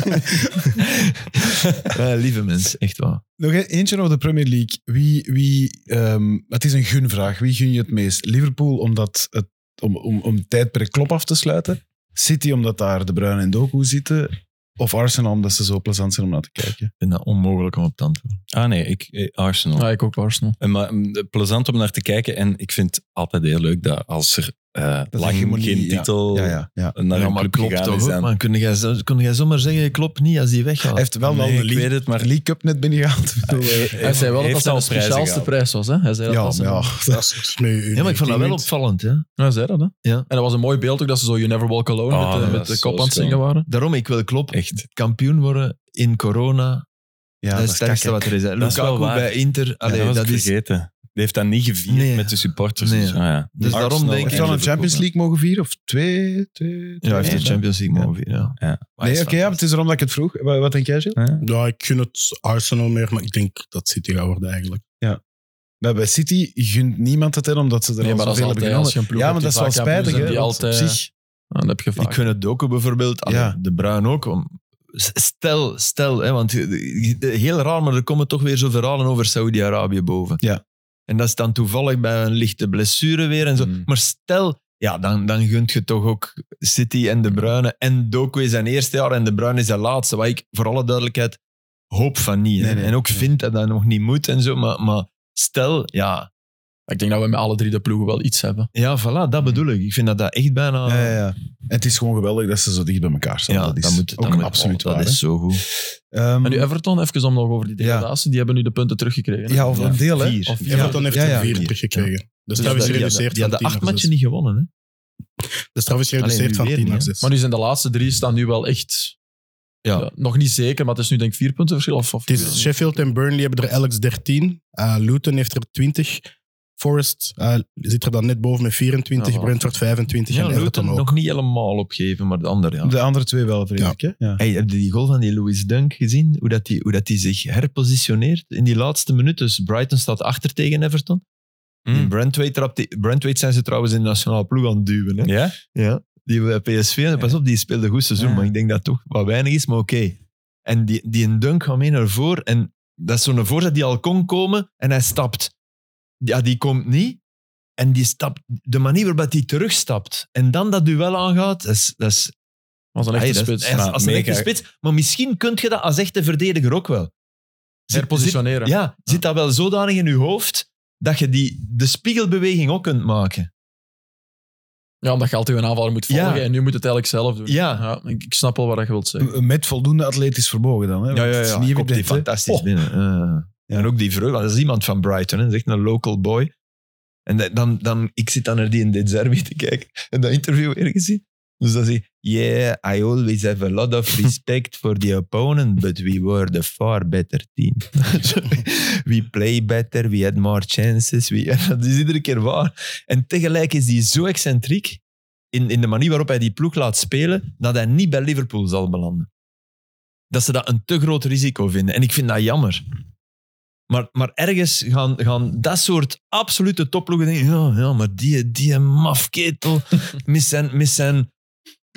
E: Eh, lieve mens, echt waar.
B: Nog e- eentje over de Premier League. Wie, wie, ehm, het is een gunvraag. Wie gun je het meest? Liverpool omdat het, om, om, om het tijdperk klop af te sluiten? City omdat daar De Bruyne en Doku zitten? Of Arsenal omdat ze zo plezant zijn om naar te kijken?
E: Ik vind dat onmogelijk om op te antwoorden.
C: Ah nee, ik, eh, Arsenal.
D: Ja, ik ook Arsenal.
C: En Maar mm, plezant om naar te kijken. En ik vind het altijd heel leuk dat als er eh,
B: is
C: lang
B: hegemonie,
C: geen
B: ja.
E: Oh.
C: titel
B: Ja, ja, ja.
C: naar
E: Ja,
C: een
E: maar
C: club
E: klopt
C: gegaan
E: toch
C: is.
E: ook,
C: dan-
E: man. Kun jij, zo- kun jij zomaar zeggen, klopt niet als die weggaat?
B: Hij heeft wel
C: Nee,
B: al de
C: ik weet
B: League,
C: het, maar
B: League Cup net binnengehaald. Ik bedoel, eh,
D: Hij zei wel dat dat
C: heeft
D: zijn
C: al prijzen
D: speciaalste
C: gehaald.
D: prijs was. Hè? Hij zei dat
B: ja,
D: dat
B: maar
D: zijn-
B: ja,
F: Dat is, dat is nu
E: ja, maar ik vond dat wel
F: op.
E: opvallend. Hè?
D: Ja, hij zei dat. Hè?
E: Ja.
D: En dat was een mooi beeld ook, dat ze zo You Never Walk Alone
C: Ah,
D: met, de-
C: dat
D: met
C: is
D: de
C: zo
D: kop aan het
C: schoon.
D: zingen waren.
E: Daarom, ik wil klopt
C: Echt.
E: kampioen worden in corona.
B: ja,
E: dat is het sterkste
B: kak,
E: wat er is. Hè.
C: Dat is wel
E: Lukaku
C: waar.
E: bij Inter.
C: Ja,
E: Allee,
C: dat was
E: dat
C: ik
E: is,
C: vergeten. Die heeft dat niet gevierd
E: Nee.
C: met de supporters.
E: Nee.
C: Dus, ah ja.
E: Dus daarom denk ik-
B: Heeft hij al een Champions League mogen vieren? Of twee? twee,
E: ja, hij heeft
B: twee?
E: de Champions League
B: Ja.
E: mogen winnen, ja.
C: Ja.
E: Maar hij
B: Nee,
E: is
B: oké, ja, het is erom dat ik het vroeg. Wat, wat denk jij, Gilles?
F: Ja, ik gun het Arsenal meer, maar ik denk dat City gaat worden eigenlijk.
B: Bij, bij City gunt niemand het in, omdat ze er
D: Nee,
B: al
D: maar dat is
B: zoveel hebben genomen.
D: altijd als je een ploeg
B: Ja,
D: hebt
B: maar
D: die
B: dat is wel
D: vaak kampioen
B: spijtig,
E: dus
B: hè,
D: zijn, Die
B: want
D: altijd...
B: op zich-
D: Ja, dat heb je
E: Ik
D: vaak.
E: gun het Doku bijvoorbeeld, Allee,
B: Ja.
E: De Bruin ook. om- s- Stel, stel, hè, want je- je- de- heel raar, maar er komen toch weer zo verhalen over Saudi-Arabië boven.
B: Ja.
E: En dat is dan toevallig bij een lichte blessure weer en zo.
C: Mm.
E: Maar stel, ja, dan, dan gunt je toch ook City en De Bruyne. En Doku is zijn eerste jaar en De Bruyne is zijn laatste. Wat ik voor alle duidelijkheid hoop van niet. hè.
B: Nee, nee.
E: en ook vind dat dat nog niet moet en zo. Maar, maar stel, ja,
D: Ik denk dat we met alle drie de ploegen wel iets hebben.
E: ja, voilà, dat bedoel ik. Ik vind dat dat echt bijna...
B: Mm. Ja, ja, ja. En het is gewoon geweldig dat ze zo dicht bij elkaar staan.
E: eh, Ja,
B: dat is
E: dat moet,
B: ook
E: dat moet-
B: absoluut
E: oh,
B: waar.
E: Dat is zo goed.
B: hè. Ehm,
D: En nu Everton, even om nog over die degradatie, die hebben nu de punten teruggekregen. hè?
B: ja, of een deel, hè.
E: Vier.
D: Of vier.
F: Everton heeft
B: ja, ja.
F: er vier teruggekregen. Dus,
E: Dus
F: dat is
E: dat-
F: gereduceerd
E: die hadden- Die hadden
F: van 10
E: acht
F: naar
E: matchen
F: 6.
E: niet gewonnen, hè?
F: De straf is
E: Alleen
F: gereduceerd
E: nu
F: van
E: weer
F: 10 naar
E: niet, hè.
F: 6.
D: Maar nu zijn de laatste drie staan nu wel echt...
E: Ja.
D: ja, nog niet zeker, maar het is nu denk ik vier punten verschil. Of, of,
F: Het is Sheffield en Burnley hebben er elk 13. Eh, Luton heeft er 20. Forest eh, zit er dan net boven met 24.
D: Ja, voilà.
F: Brentford 25.
E: Ja,
F: en Everton
E: Luton
F: ook.
E: nog niet helemaal opgeven, maar de andere, ja.
B: De andere twee wel, vrees
F: Ja.
B: ik. Hè? Ja.
E: Hey, heb je die goal van die Louis Dunk gezien? Hoe, dat die, hoe dat die zich herpositioneert in die laatste minuut. Dus Brighton staat achter tegen Everton.
C: Hmm.
E: Die Brentwaite, trapt die- Brentwaite zijn ze trouwens in de nationale ploeg aan het duwen. Hè?
C: Ja?
E: Ja. Die eh, bij PSV, pas op, die speelde goed seizoen,
C: Ja.
E: maar ik denk dat toch wat weinig is, maar oké. En die, die een dunk gaat mee naar voren en dat is zo'n voorzet die al kon komen en hij stapt. Ja, die komt niet en die stapt, de manier waarop hij terugstapt en dan dat duel aangaat, dat is, dat is,
D: was een echte
E: hey, dat is-
D: spits.
E: als-
C: Maar
E: als een echte
C: mega.
E: spits. Maar misschien kun je dat als echte verdediger ook wel. Zit-
D: Herpositioneren.
E: zit- ja, zit dat wel zodanig in je hoofd dat je die, de spiegelbeweging ook kunt maken.
D: Ja, omdat je altijd een aanvaller moet volgen
E: Ja.
D: en nu moet het eigenlijk zelf doen. Nou,
E: Ja.
D: ik, ik snap wel wat je wilt zeggen.
B: Met voldoende atletisch vermogen dan. Hè?
E: Ja, ja,
B: Het is
E: ja.
B: niet
E: Komt die
B: evident, hè.
E: fantastisch
B: Oh.
E: binnen. Eh, En ook die vreugde. want Dat is iemand van Brighton. Hè. Dat is echt een local boy. En dat- dan, dan, ik zit dan naar die in dit derby te kijken. En dat interview weer gezien. Dus dan zeg je, yeah, I always have a lot of respect for the opponent, but we were the far better team. we play better, we had more chances. We, en dat is iedere keer waar. En tegelijk is hij zo excentriek in, in de manier waarop hij die ploeg laat spelen, dat hij niet bij Liverpool zal belanden dat ze dat een te groot risico vinden. En ik vind dat jammer. Maar, maar ergens gaan, gaan dat soort absolute topploegen denken, ja, ja maar die, die mafketel, mis zijn, mis zijn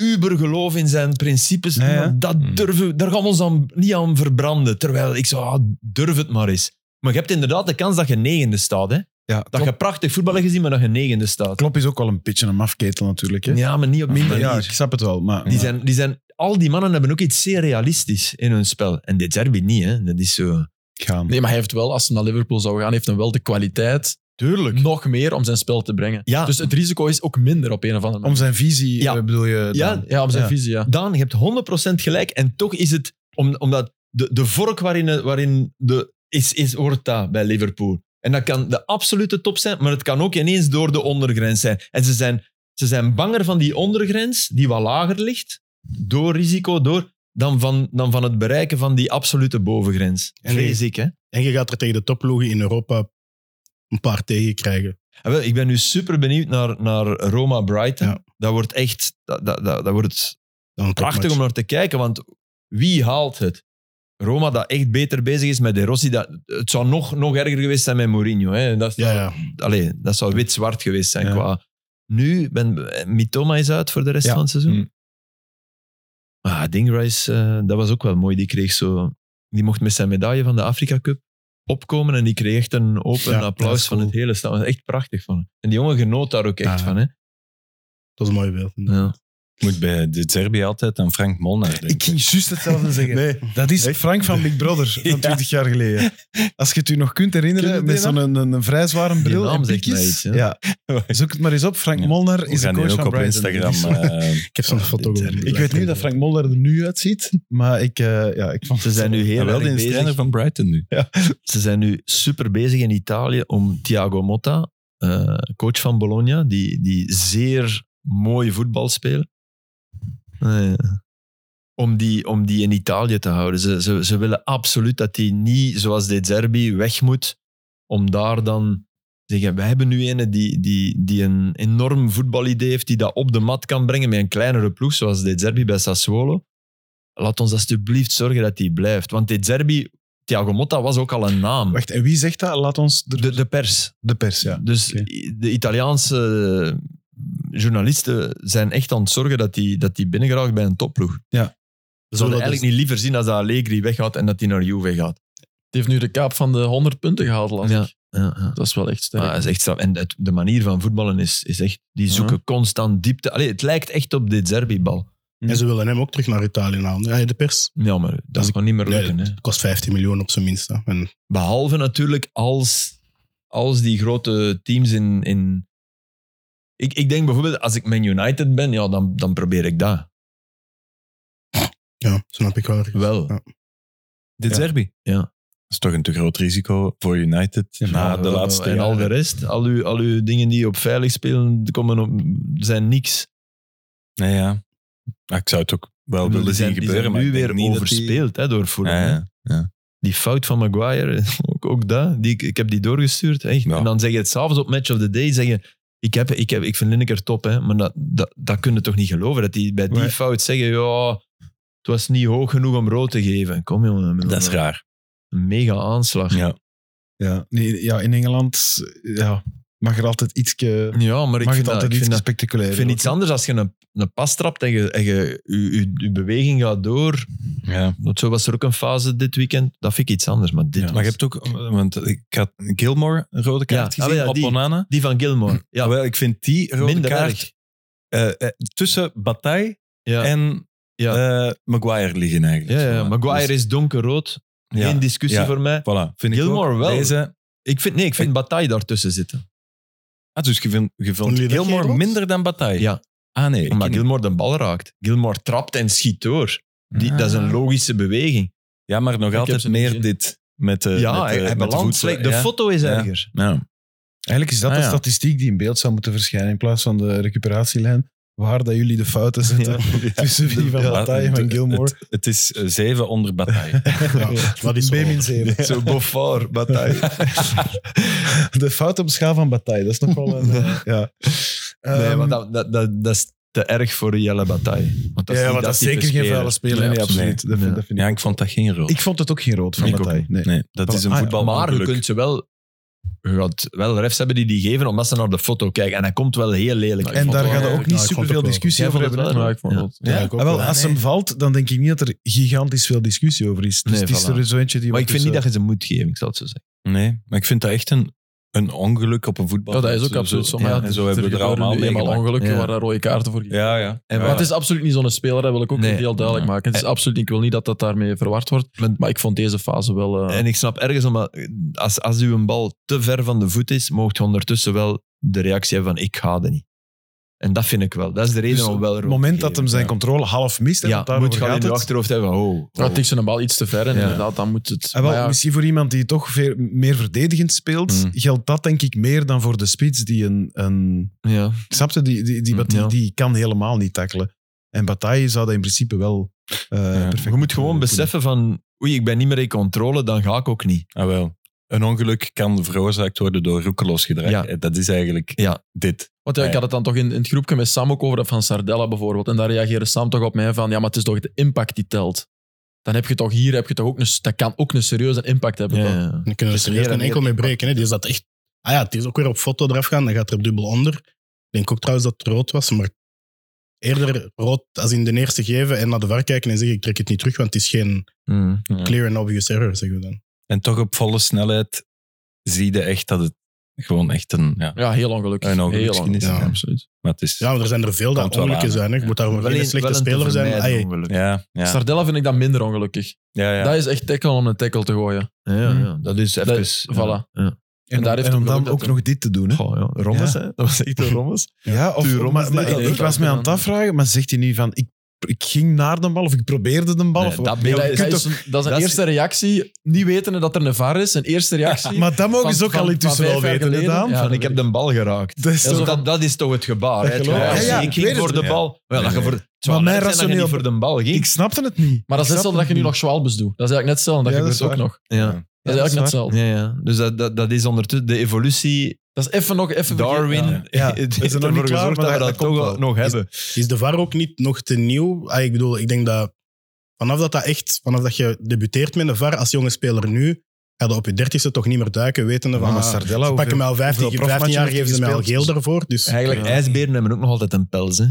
E: ubergeloof in zijn principes,
B: Ja, ja.
E: ja, dat durven, we- daar gaan we ons aan, niet aan verbranden. Terwijl ik zo, ah, durf het maar eens. Maar je hebt inderdaad de kans dat je negende staat. Hè?
B: Ja,
E: Dat je prachtig voetbal hebt gezien, maar dat je negende staat.
B: Klop is ook wel een beetje een mafketel natuurlijk. Hè?
E: Ja, maar niet op die
B: Maar
E: manier.
B: ja, ik snap het wel. Maar,
E: Die zijn, die zijn, al die mannen hebben ook iets zeer realistisch in hun spel. En dit derby niet, hè. Dat is zo...
B: gaan.
D: Nee, maar hij heeft wel, als hij naar Liverpool zou gaan, heeft hij wel de kwaliteit
E: Tuurlijk.
D: nog meer om zijn spel te brengen.
E: Ja.
D: Dus het risico is ook minder op een of andere
B: Om
D: manier.
B: zijn visie
E: Ja.
B: eh, bedoel je.
E: Ja,
B: dan?
D: ja, om zijn
B: Ja.
D: visie, ja.
E: Daan, je hebt 100% gelijk. En toch is het... om- omdat de, de vork waarin, eh, waarin de, is, is, wordt dat bij Liverpool. En dat kan de absolute top zijn, maar het kan ook ineens door de ondergrens zijn. En ze zijn, ze zijn banger van die ondergrens, die wat lager ligt, door risico, door, dan van, dan van het bereiken van die absolute bovengrens.
F: En-
E: Vrees ik, hè.
F: En je gaat er tegen de topploegen in Europa een paar tegen krijgen.
E: Ah, wel, ik ben nu super benieuwd naar, naar Roma Brighton.
F: Ja.
E: Dat wordt echt dat, dat, dat, dat wordt
F: Dan een
E: prachtig
F: topmatch.
E: om naar te kijken, want wie haalt het? Roma dat echt beter bezig is met De Rossi. Dat, het zou nog, nog erger geweest zijn met Mourinho. Hè. Dat,
F: Ja, ja.
E: allee, dat zou wit-zwart geweest zijn.
B: Ja.
E: Qua, nu, ben, Mitoma is uit voor de rest
B: Ja.
E: van het seizoen.
C: Mm.
E: Ah, Dingrice, eh, dat was ook wel mooi. Die kreeg zo... Die mocht met zijn medaille van de Afrika Cup opkomen en die kreeg echt een open
F: Ja, dat
E: applaus
F: is
E: van
F: cool.
E: het hele stad. Echt prachtig van hem. En die jongen genoot daar ook echt
F: Ja.
E: van. Hè?
F: Dat is een mooi beeld.
E: Ja.
C: Ik moet bij de Zerbi altijd aan Frank Molnar denken.
B: Ik ging juist hetzelfde zeggen.
F: Nee,
B: Dat is Frank van Big Brother van 20 jaar geleden. Als je het u nog kunt herinneren,
E: Kunnen we
B: met
E: die
B: zo'n een, een vrij zware bril
E: naam
B: en
E: zegt mij
B: piekjes.
E: iets, hè?
B: ja. Zoek het maar eens op. Frank
C: Ja.
B: Molnar
C: We
B: is de
C: gaan
B: coach
C: die ook
B: van
C: op
B: Brighton.
C: Instagram. eh,
F: ik heb zo'n foto
E: dit-
F: gemaakt.
B: Ik weet nu dat Frank Molnar er nu uitziet, maar ik, eh, ja, ik vond
E: Ze zijn nu heel
C: ja, wel
E: erg
C: de trainer
E: bezig.
C: van Brighton nu.
E: Ze zijn nu super bezig in Italië om Thiago Motta, eh, coach van Bologna, die, die zeer mooi voetbal speelt, eh, om, die, om die in Italië te houden. Ze, ze, ze willen absoluut dat hij niet, zoals De Zerbi, weg moet, om daar dan te zeggen, wij hebben nu een die, die, die een enorm voetbalidee heeft, die dat op de mat kan brengen met een kleinere ploeg, zoals De Zerbi bij Sassuolo. Laat ons alsjeblieft zorgen dat hij blijft. Want De Zerbi, Thiago Motta was ook al een naam.
B: Wacht, en wie zegt dat? Laat ons... De,
E: De, de pers.
B: de pers, ja.
E: Dus
B: Oké.
E: i- de Italiaanse journalisten zijn echt aan het zorgen dat die, dat die binnengeraakt bij een topploeg. Ze zouden eigenlijk niet liever zien als dat Allegri weggaat en dat hij naar Juve gaat.
D: Die heeft nu de kaap van de 100 punten gehaald, las ik.
E: Ja, ja.
D: Dat is wel echt sterk.
E: Maar dat is echt straf. En het- de manier van voetballen is, is echt... Die zoeken constant diepte. Allee, het lijkt echt op dit Zerbi-bal.
F: En ze willen hem ook terug naar Italië halen. Ja, de pers
E: Ja, maar dat
F: Dus
E: is gewoon niet meer
F: Nee,
E: lukken. hè.
F: kost 15 miljoen op zijn minst. hè. En
E: Behalve natuurlijk als, als die grote teams in... in ik, ik denk bijvoorbeeld, als ik Man United ben, ja, dan, dan probeer ik dat.
F: ja, snap ik wel.
E: Wel.
C: Dit Zerbi?
E: Ja.
C: Dat is toch een te groot risico voor United na de laatste
E: En al de
C: jaren.
E: rest, al uw, al uw dingen die op veilig spelen, die komen op, zijn niks.
C: Ja, ja. Maar ik zou het ook wel
E: Die
C: willen zien
E: zijn, die
C: gebeuren,
E: zijn
C: maar
E: nu
C: ik denk
E: weer
C: niet dat die-
E: overspeeld hè, door Fulham.
C: Ja,
E: hè.
C: ja.
E: Die fout van Maguire, ook, ook dat. Die, ik, ik heb die doorgestuurd. Echt.
C: Ja.
E: En dan zeg je het s'avonds op Match of the Day, zeg je, ik, heb, ik, heb, ik vind Lineker top, hè, maar dat, dat, dat kun je toch niet geloven, dat die bij die
C: Nee.
E: fout zeggen, ja, het was niet hoog genoeg om rood te geven. Kom jongen.
C: Dat is raar.
E: Een mega aanslag.
C: Ja.
B: Ja, nee, ja in Engeland ja, mag er altijd iets... Mag
E: Ja, maar ik
B: het
E: vind, dat, ik
B: altijd iets
E: vind dat
B: spectaculair.
E: Ik vind iets anders als je een, een pas trapt en je, en je, je, je- je beweging gaat door.
C: Ja.
E: Want zo was er ook een fase dit weekend. Dat vind ik iets anders. Maar dit
B: Ja.
E: was-
C: Maar je hebt ook, want ik had Gilmore een rode kaart
E: Ja, ah,
C: gezien
E: ja,
C: op
E: die.
C: Onana.
E: Die van Gilmore.
C: Ja,
E: Ja,
C: wel, ik vind die rode
E: minder
C: kaart
E: erg.
C: eh, eh, tussen Bataille
E: Ja,
C: en
E: Ja.
C: eh, Maguire liggen eigenlijk.
E: ja, ja. Maguire is donkerrood.
C: is
E: Geen discussie
C: Dus- Ja.
E: voor mij.
C: Voilà, vind
E: Gilmore
C: ik ook.
E: wel.
C: Deze,
E: Ik vind, nee, ik vind Bataille daartussen zitten.
C: ah, dus je vindt, je
F: Vonden
C: vond
F: jullie dat
C: Gilmore
F: geen rood?
C: minder dan Bataille?
E: Ja.
C: Ah nee. ik
E: Omdat
C: niet.
E: Gilmore de bal raakt. Gilmore trapt en schiet door. Die,
C: Ah.
E: Dat is een logische beweging.
C: Ja, maar nog
E: heb
C: altijd
E: ze niet
C: meer
E: gezien.
C: dit met de
E: ja,
C: met, de-
E: hij, hij
C: met de
E: belandt
C: voeten,
E: slecht. De
C: ja.
E: foto is
C: Ja.
E: erger.
C: Ja.
B: Eigenlijk is dat
C: Ah,
B: de
C: ja.
B: statistiek die in beeld zou moeten verschijnen in plaats van de recuperatielijn, waar dat jullie de fouten zetten tussen wie van
C: Ja,
B: Bataille en
C: het-
B: Gilmore.
C: Het, het is eh, zeven onder Bataille.
F: Ja, dat is wel-
B: B-min 7.
E: Zo Beaufort, Bataille.
B: De fout op schaal van Bataille, dat is nog wel een... eh, ja.
E: Nee,
B: Ehm,
E: want dat, dat, dat, dat is te erg voor Jelle Bataille. Want dat is
B: ja,
E: niet
B: want dat is zeker
E: type
B: geen
E: speler.
B: vuile speler.
E: Nee,
B: Nee, absoluut. Dat vind-
E: Nee.
B: dat vind ik.
C: Ja, ik vond dat geen rood.
B: Ik vond het ook geen rood van
E: Ik ook
B: Bataille. Nee.
E: niet.
C: nee, dat is een
B: Ah, ja.
C: voetbal.
E: Maar je kunt ze wel... Je gaat wel refs hebben die die geven omdat ze naar de foto kijken. En hij komt wel heel lelijk.
B: En daar
D: wel-
B: gaat er
D: ja,
B: ook
D: ik
B: niet
F: vond het
B: superveel
F: ook wel.
B: discussie
E: Jij
B: over
E: vond het
B: hebben. hè?
E: wel,
D: ja, ik vond
E: Ja.
D: het.
F: Ja,
B: Ja,
F: ik ook
B: ah, wel,
F: wel.
B: als
F: Nee.
B: hem valt, dan denk ik niet dat er gigantisch veel discussie over is. Dus
E: Nee,
B: het is
E: voilà.
B: er zo eentje die...
E: Maar
B: wat
E: ik vind niet dat
B: tussen-
E: je ze moet geven, ik zal het zo zeggen.
C: Nee, maar ik vind dat echt een, een ongeluk op een voetbal.
D: Ja, dat is ook
C: Zo-
D: absoluut zo.
C: zo.
D: Maar ja,
C: ja, en zo hebben we er
D: gebeuren
C: allemaal
D: nu
C: mee
D: eenmaal ongelukken
E: Ja.
D: waar daar rode kaarten voor gegeven
C: Ja, ja.
E: En
D: Maar het is absoluut niet zo'n speler, dat wil ik ook
E: Nee.
D: heel duidelijk
E: Ja.
D: maken. Het is absoluut, ik wil niet dat dat daarmee verward wordt,
E: Maar-
D: maar ik vond deze fase wel... eh,
E: En ik snap ergens, omdat als, als uw bal te ver van de voet is, mocht je ondertussen wel de reactie hebben van ik ga er niet. En dat vind ik wel. Dat is de reden
B: Dus
E: om wel rood
B: het
E: te
B: moment dat
E: geven.
B: hem zijn controle half mist, hè,
E: Ja,
B: want daarover
E: moet je al in
B: gaat
E: je
B: het.
E: achterhoofd hebben. Oh, oh.
D: Ja, tik ze een bal iets te ver en
E: Ja.
D: inderdaad, dan moet het...
B: Ah, wel,
D: maar ja,
B: Misschien voor iemand die toch veel meer verdedigend speelt,
E: Mm.
B: geldt dat denk ik meer dan voor de spits die een... een
E: Ja.
B: snap je? Die, die, die,
E: Mm,
B: die,
E: ja.
B: die kan helemaal niet tackelen. En Bataille zou dat in principe wel eh, perfect
E: Je moet gewoon
B: kunnen.
E: beseffen van oei, ik ben niet meer in controle, dan ga ik ook niet.
C: Ah, wel. Een ongeluk kan veroorzaakt worden door roekeloos gedrag.
E: Ja.
C: Eh, Dat is eigenlijk
E: Ja.
C: dit.
D: Want ja, ik
C: Ja.
D: had het dan toch in, in het groepje met Sam ook over dat van Sardella bijvoorbeeld. En daar reageerde Sam toch op mij van, ja, maar het is toch de impact die telt. dan heb je toch hier heb je toch ook een, dat kan ook een serieuze impact hebben. toch?
E: ja.
F: Dan kunnen we
E: Dus
F: serieus
E: meer en
F: geen enkel
E: meer
F: mee breken. Hè. Die zat echt... Ah ja, het is ook weer op foto eraf gaan, dan gaat er dubbel onder. Ik denk ook trouwens dat het rood was, maar eerder rood als in de eerste geven en naar de VAR kijken en zeggen ik trek het niet terug, want het is geen
E: Mm.
F: clear and obvious error, zeggen we dan.
C: En toch op volle snelheid zie je echt dat het gewoon echt een... Ja,
D: Ja, heel ongelukkig.
C: een
D: heel
C: ongeluk
D: ongelukkig.
C: is.
F: Ja.
C: Ja, absoluut. Maar het is...
F: Ja, maar er zijn er veel
C: Komt
F: dat
C: wel
F: ongelukken
C: aan,
F: zijn. Hè. Je
C: ja.
F: moet daar maar
E: Wel
F: geen
E: een-
F: slechte
E: wel een te
F: speler zijn.
E: vermijden
F: Ah, ja.
E: ongeluk.
C: Ja, ja.
D: Stardella vind ik dan minder ongelukkig.
C: ja, ja.
D: Dat is echt tackle om een tackle te gooien.
E: Ja,
B: Mm.
E: ja, dat is even...
D: Hm. Dat- voilà.
E: Ja.
B: En,
D: daar
B: daar
D: heeft
B: en om
D: hem
B: dan
D: ook
B: ook
D: dat-
B: nog dit te doen. Hè?
E: Goh, ja. Rommes,
B: Ja.
E: hè? Dat was echt een Rommes.
B: Ja, of,
E: Tuur Rommels
B: maar, maar
E: deed dat
B: ik,
E: ook.
B: ik was mij aan het afvragen, maar zegt hij nu van ik, ik ging naar de bal of ik probeerde de bal?
E: Nee,
B: of,
E: dat
B: wat?
E: beeld-
D: dat,
B: je
D: is-
B: kunt
D: dat
B: toch-
D: is een, dat is een
B: dat is-
D: eerste reactie. Niet wetende dat er een VAR is. Een eerste reactie.
B: maar dat mogen
D: van-
B: ze ook
D: van-
B: al
D: van
B: intussen
D: vijf
B: wel
D: jaar
B: weten, hè,
D: geleden.
B: Daan?
D: Ja,
E: van,
D: dat
E: ik heb
D: weet
E: de bal geraakt.
B: Dat is
E: Ja, zo
B: toch-
E: dat, dat is toch het gebaar. hè?
B: Dat
E: Het
B: geloof
E: gebaar
D: ik.
E: is,
D: Ja, ja,
E: ik
B: ik
E: ging
B: weet
E: voor
B: het.
E: de
C: Ja.
E: bal. Wel, dat je
C: Nee,
E: voor,
C: nee.
E: het zou
B: Maar
E: raar
B: mijn
E: zijn dat je niet
B: rationeel-
E: voor de bal ging.
B: Ik snapte het niet.
D: Maar dat is
B: Ik
D: net zo
B: snapte
D: dat je
B: het
D: nu nog
B: niet.
D: Schwalbes doet. Dat is eigenlijk net hetzelfde. Dat
B: Ja, dat
D: gebeurt
B: is
D: ook nog.
E: Ja.
D: Dat is eigenlijk net
B: waar.
D: hetzelfde.
E: Ja, ja. Dus dat, dat, dat is ondertussen de evolutie.
D: Dat is even nog... Even
E: Darwin
D: Ja.
B: Ja.
E: heeft
B: We zijn nog
E: ervoor
B: niet klaar,
E: gezorgd
B: maar
E: dat
B: dat-
E: we dat,
B: dat komt
E: toch
B: wel.
E: nog hebben.
F: Is de VAR ook niet nog te nieuw? Ah, ik bedoel, ik denk dat vanaf dat, dat echt, vanaf dat je debuteert met de VAR als jonge speler nu, ga je op je dertigste toch niet meer duiken, wetende van...
B: Maar
F: ah,
B: Sardella,
F: ze pakken
B: hoeveel-
F: mij al 15,
B: hoeveel
F: 15 jaar,
B: profmatchen
F: geven ze mij al
B: heeft hij
F: geel daarvoor. Dus
E: Eigenlijk,
F: ja.
E: ijsberen hebben ook nog altijd een pels. Hè?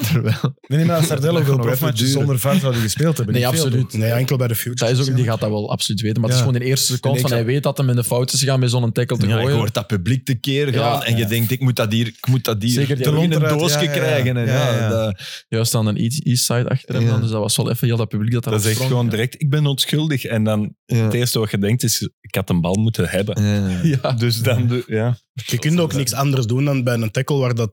E: Terwijl,
B: Nee, nee, maar als Sardello
E: Dat
B: wil
E: gaat nog
B: profmatches
E: even duren.
B: zonder VAR zouden gespeeld hebben.
D: Nee,
B: niet veel,
D: absoluut.
F: Nee, enkel bij de future.
D: Dat is ook, die gaat dat wel absoluut weten. Maar het is
B: Ja.
D: gewoon in de eerste seconde
B: Nee, ik
D: van hij weet dat hem in de fout is gegaan met zo'n tackle te
E: ja, je
D: gooien.
E: hoort dat publiek tekeer gaan
D: Ja.
E: en je denkt, ik moet dat hier, ik moet dat hier
D: Zeker die
E: terug in
B: lont
E: een
B: eruit,
E: doosje
B: ja, ja, ja.
E: krijgen. hè.
B: Ja,
E: Ja,
B: ja.
E: dat-
D: Juist aan een east east side achter hem.
E: Ja.
D: dan, Dus dat was wel even heel dat publiek dat daar
C: Dat is echt
D: opsprong.
C: gewoon direct, ik ben onschuldig. En dan het eerste wat je denkt is, ik had een bal moeten hebben.
E: ja.
D: Ja.
C: Dus dan, doe- ja.
F: Je kunt ook niks anders doen dan bij een tackle waar dat...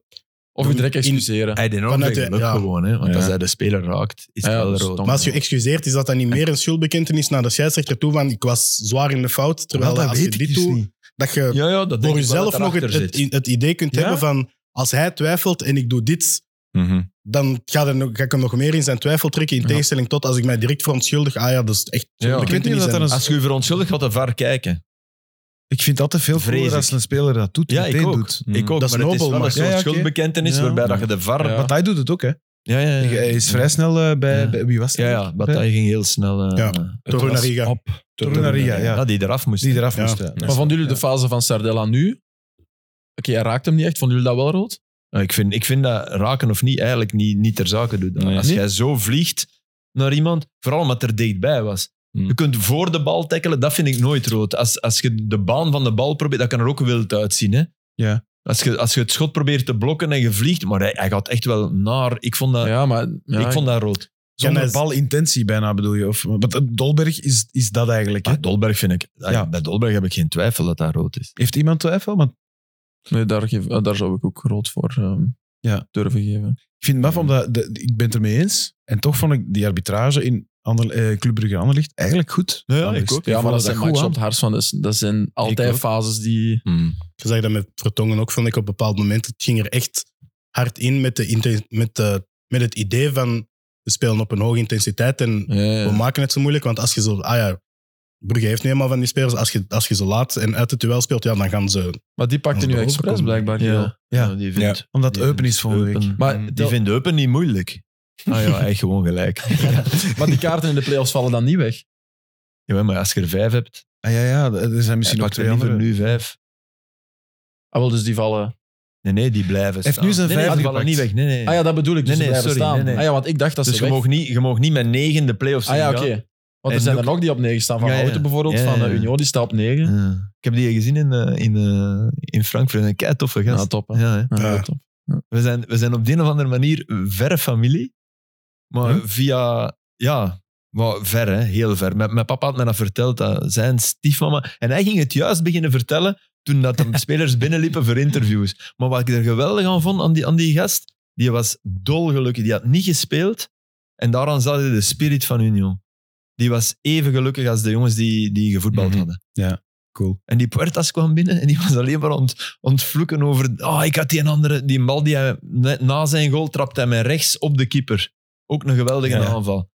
D: Of je direct
F: In-
D: excuseren.
E: Hij deed enorm
F: Vanuit
E: veel
F: de-
E: geluk
F: ja.
E: gewoon, hè? want
C: Ja.
E: als hij de speler raakt, is
D: Ja,
E: het wel
D: dat is
E: rood.
D: dom.
F: Maar als je excuseert, is dat dan niet meer een schuldbekentenis naar de scheidsrechter toe van ik was zwaar in de fout, terwijl
B: Maar dat
F: als je
B: weet ik
F: dit
B: dus
F: doet,
B: niet.
F: dat je
E: ja, ja, dat denk
F: voor
E: ik wel
F: jezelf
E: dat
F: nog het,
E: erachter
F: het,
E: zit.
F: het idee kunt
B: Ja?
F: hebben van als hij twijfelt en ik doe dit,
C: Mhm.
F: dan ga, er nog- ga ik hem nog meer in zijn twijfel trekken. In tegenstelling tot als ik mij direct verontschuldig. Ah ja, dat is echt.
E: Ja.
F: dat
B: Ik weet
F: kunt
B: niet of
F: niet
B: dat
F: zijn.
B: dan een
E: Als je je verontschuldigt, gaat de VAR kijken.
B: Ik vind het altijd veel
E: Vrees
B: cooler
E: ik.
B: als een speler dat doet,
E: Ja, ik
B: meteen
E: ook.
B: doet.
E: Ik ook,
F: Dat is
E: maar het is wel
F: nobel, maar-
E: een soort
B: Ja, ja, oké.
E: schuldbekentenis
B: Ja.
E: waarbij dat je de VAR...
D: Ja.
B: Want hij doet het ook, hè.
E: Ja, ja, ja.
B: Hij is vrij snel eh, bij,
E: Ja.
B: bij- Wie was het?
E: Ja, ja, Bataille ging heel snel... eh,
F: Ja.
C: Het was
F: Torunariga.
C: op.
B: Torunariga, ja.
E: die eraf moest.
B: Die eraf
F: Ja.
B: moest, ja.
D: Maar vonden jullie
B: Ja.
D: de fase van Sardella nu? Oké, hij raakt hem niet echt. Vonden jullie dat wel rood?
E: Ja, Ik vind, ik vind dat raken of niet eigenlijk niet, niet ter zake doet.
C: Nee.
E: Als
D: Nee?
E: jij zo vliegt naar iemand, vooral omdat er dichtbij was.
C: Hmm.
E: Je kunt voor de bal tackelen, dat vind ik nooit rood. Als, als je de baan van de bal probeert, dat kan er ook wild uitzien. Hè?
B: Ja.
E: Als, je, als je het schot probeert te blokken en je vliegt, maar hij, hij gaat echt wel naar. Ik vond dat,
D: Ja, maar... ja,
E: ik vond dat rood.
B: Zonder
F: hij-
B: balintentie bijna bedoel je. Of, want eh, Dolberg is, is dat eigenlijk. Hè?
E: Bij Ah, Dolberg vind ik,
B: Ja.
E: bij Dolberg heb ik geen twijfel dat dat rood is.
B: Heeft iemand twijfel? Want
D: Nee, daar, geef- eh, daar zou ik ook rood voor ehm,
B: Ja.
D: durven geven.
B: ik vind het maf, omdat de- ik ben het ermee eens. En toch vond ik die arbitrage in Ander, eh, Club Brugge Anderlicht eigenlijk goed.
E: Ja,
B: Anderlecht.
E: ik ook.
D: Ja, maar dat
B: vond
D: zijn
B: goed,
D: matchen
B: hè.
D: op het hart van. Dat, is- dat zijn altijd
E: ook.
D: fases die...
F: Je zag dat met Vertongen ook, vond ik op een bepaald moment. Het ging er echt hard in met, de, inten- met, de, met het idee van we spelen op een hoge intensiteit en
D: Ja, ja.
F: we maken het zo moeilijk. Want als je zo. Ah ja, Brugge heeft niet helemaal van die spelers. Als je, als je ze laat en uit het duel speelt, ja, dan gaan ze.
D: Maar die pakte
F: Als
D: nu
F: het
D: expres
F: overkomt.
D: blijkbaar. Ja.
B: Ja.
E: die vindt,
B: Omdat
E: die
B: Eupen is volgende
E: Eupen- Mm.
B: week.
D: Maar
E: die
D: dat-
E: vindt Eupen niet moeilijk. Ah ja, hij heeft gewoon gelijk.
D: Maar die kaarten in de playoffs vallen dan niet weg.
E: Ja, maar als je er vijf hebt,
B: Ah, ja, ja, er zijn
E: misschien
B: misschien nog
E: pakt
B: twee
E: er liever
B: andere.
E: nu vijf.
D: Ah, wel, dus die vallen...
E: Nee, nee, die blijven
B: heeft
E: staan.
B: nu zijn
E: nee, nee,
B: vijf
E: die vallen niet
B: gepakt.
E: weg. Nee, nee.
D: Ah ja, dat bedoel ik. Dus
E: Nee,
D: nee,
E: nee,
D: blijven
E: sorry,
D: staan.
E: nee, nee.
D: Ah ja, want ik dacht dat
E: dus
D: ze
E: je
D: weg
E: mag, niet, je mag niet met negen de play-offs
D: Ah ja,
E: ingaan.
D: oké. Want er
E: En
D: zijn er
E: ook-
D: nog die op 9 staan. Van
E: Ja, ja.
D: Houten bijvoorbeeld,
E: Ja, ja,
D: van eh,
E: ja.
D: Union, die staat op 9.
E: Ja. Ik heb die gezien in, eh, in, eh, in Frankfurt. Een kei toffe
D: Ja,
E: gast.
D: top. Hè.
E: Ja, hè.
D: Ja,
F: Ja.
D: top.
E: we, zijn, we zijn op de een of andere manier verre familie. Maar
B: Hm?
E: via... Ja, maar ver, hè, heel ver. Mijn, mijn papa had mij dat verteld, dat zijn stiefmama... En hij ging het juist beginnen vertellen toen dat de spelers binnenliepen voor interviews. Maar wat ik er geweldig aan vond, aan die, aan die gast, die was dolgelukkig. Die had niet gespeeld. En daaraan zat hij de spirit van Union. Die was even gelukkig als de jongens die, die gevoetbald
B: Mhm.
E: hadden.
B: Cool.
E: En die Puertas kwam binnen en die was alleen maar ont, ontvloeken over... Oh, ik had die een andere... Die bal die hij net na zijn goal trapte hij mij rechts op de keeper. Ook een geweldige
C: Ja.
E: aanval.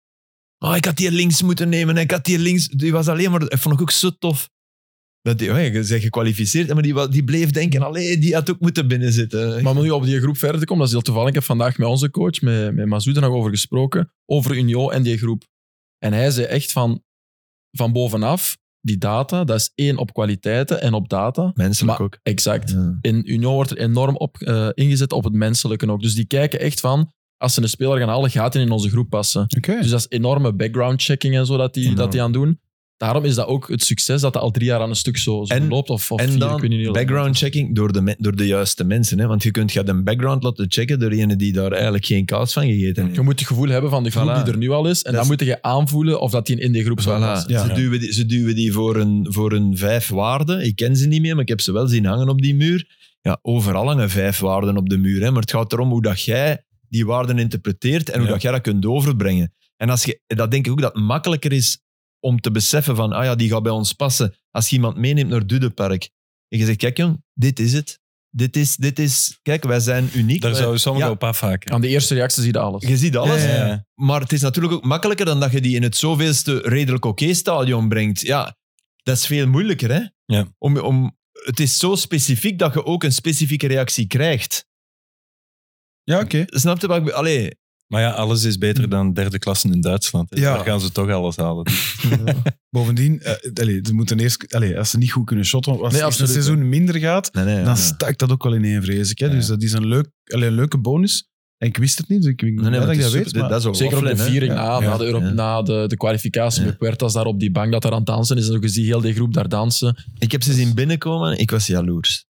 E: Oh, ik had die links moeten nemen. en Ik had die links... Die was alleen maar... Dat vond ik ook zo tof. Dat die, oh ja, je bent gekwalificeerd, maar die, wa- die bleef denken... Allee, die had ook moeten binnenzitten.
D: Maar om nu op die groep verder te komen, dat is heel toevallig. Ik heb vandaag met onze coach, met, met Mazoud, er nog over gesproken. Over Union en die groep. En hij zei echt van, van bovenaf, die data, dat is één op kwaliteiten en op data.
E: Menselijk
D: Maar-
E: ook.
D: Exact.
E: Ja.
D: In Union wordt er enorm op eh, ingezet op het menselijke ook. Dus die kijken echt van, als ze een speler gaan halen, gaat hij in onze groep passen.
B: Oké.
D: Dus dat is enorme background checking en zo dat die,
E: Enorm.
D: dat die aan doen. Daarom is dat ook het succes dat dat al drie jaar aan een stuk zo, zo
E: En-
D: loopt. Of, of
E: En
D: vier, ik weet niet
E: dan
D: hoe-
E: background checking door de, me- door de juiste mensen. Hè? Want je kunt gaat een background laten checken door iemand die daar eigenlijk geen kaas van gegeten heeft.
D: Je moet het gevoel hebben van de groep
E: Voilà.
D: die er nu al is.
E: Dat
D: En dan
E: is-
D: moet je aanvoelen of dat die in die groep zou
E: Voilà.
D: passen.
B: Ja.
E: Ze, duwen die, ze duwen die voor een, voor een vijf waarden. Ik ken ze niet meer, maar ik heb ze wel zien hangen op die muur. Ja, overal hangen vijf waarden op de muur. Hè? Maar het gaat erom hoe dat jij die waarden interpreteert en hoe
C: Ja.
E: dat jij dat kunt overbrengen. En als je, dat denk ik ook dat het makkelijker is om te beseffen van, ah ja, die gaat bij ons passen. Als je iemand meeneemt naar Dudepark en je zegt, kijk jong, dit is het. Dit is, dit is, kijk, wij zijn uniek.
C: Daar
E: Wij-
C: zouden sommigen
E: Ja.
C: op afhaken.
D: Aan de eerste reactie zie je alles.
E: je ziet alles.
C: Ja, ja, ja.
E: Maar het is natuurlijk ook makkelijker dan dat je die in het zoveelste redelijk oké-stadion brengt. Ja, dat is veel moeilijker, hè?
C: Ja.
E: Om, om, het is zo specifiek dat je ook een specifieke reactie krijgt.
B: Ja, oké.
E: Snap je wat ik be- Allee,
C: Maar ja, alles is beter dan derde klasse in Duitsland. hè.
B: Ja.
C: Daar gaan ze toch alles halen.
B: Bovendien, eh, allee, ze moeten eerst, allee, als ze niet goed kunnen shotten, als
D: Nee,
B: als het
D: absoluut,
B: seizoen minder gaat,
E: nee, nee,
B: dan stuikt dat ook wel ineen, vrees ik. Hè?
C: Ja.
B: Dus dat is een, leuk, allee, een leuke bonus. En ik wist het niet, dus ik ben blij dat ik dat weet. maar-
E: dat is ook
D: Zeker op de
E: offline, hè.
D: viering
B: Ja.
D: na,
C: Ja.
D: na, de, Euro-
E: Ja.
D: na de, de kwalificatie
E: Ja.
D: met Puertas daar op die bank dat daar aan het dansen is. En zo gezien heel die groep daar dansen.
E: Ik heb ze zien binnenkomen en ik was jaloers.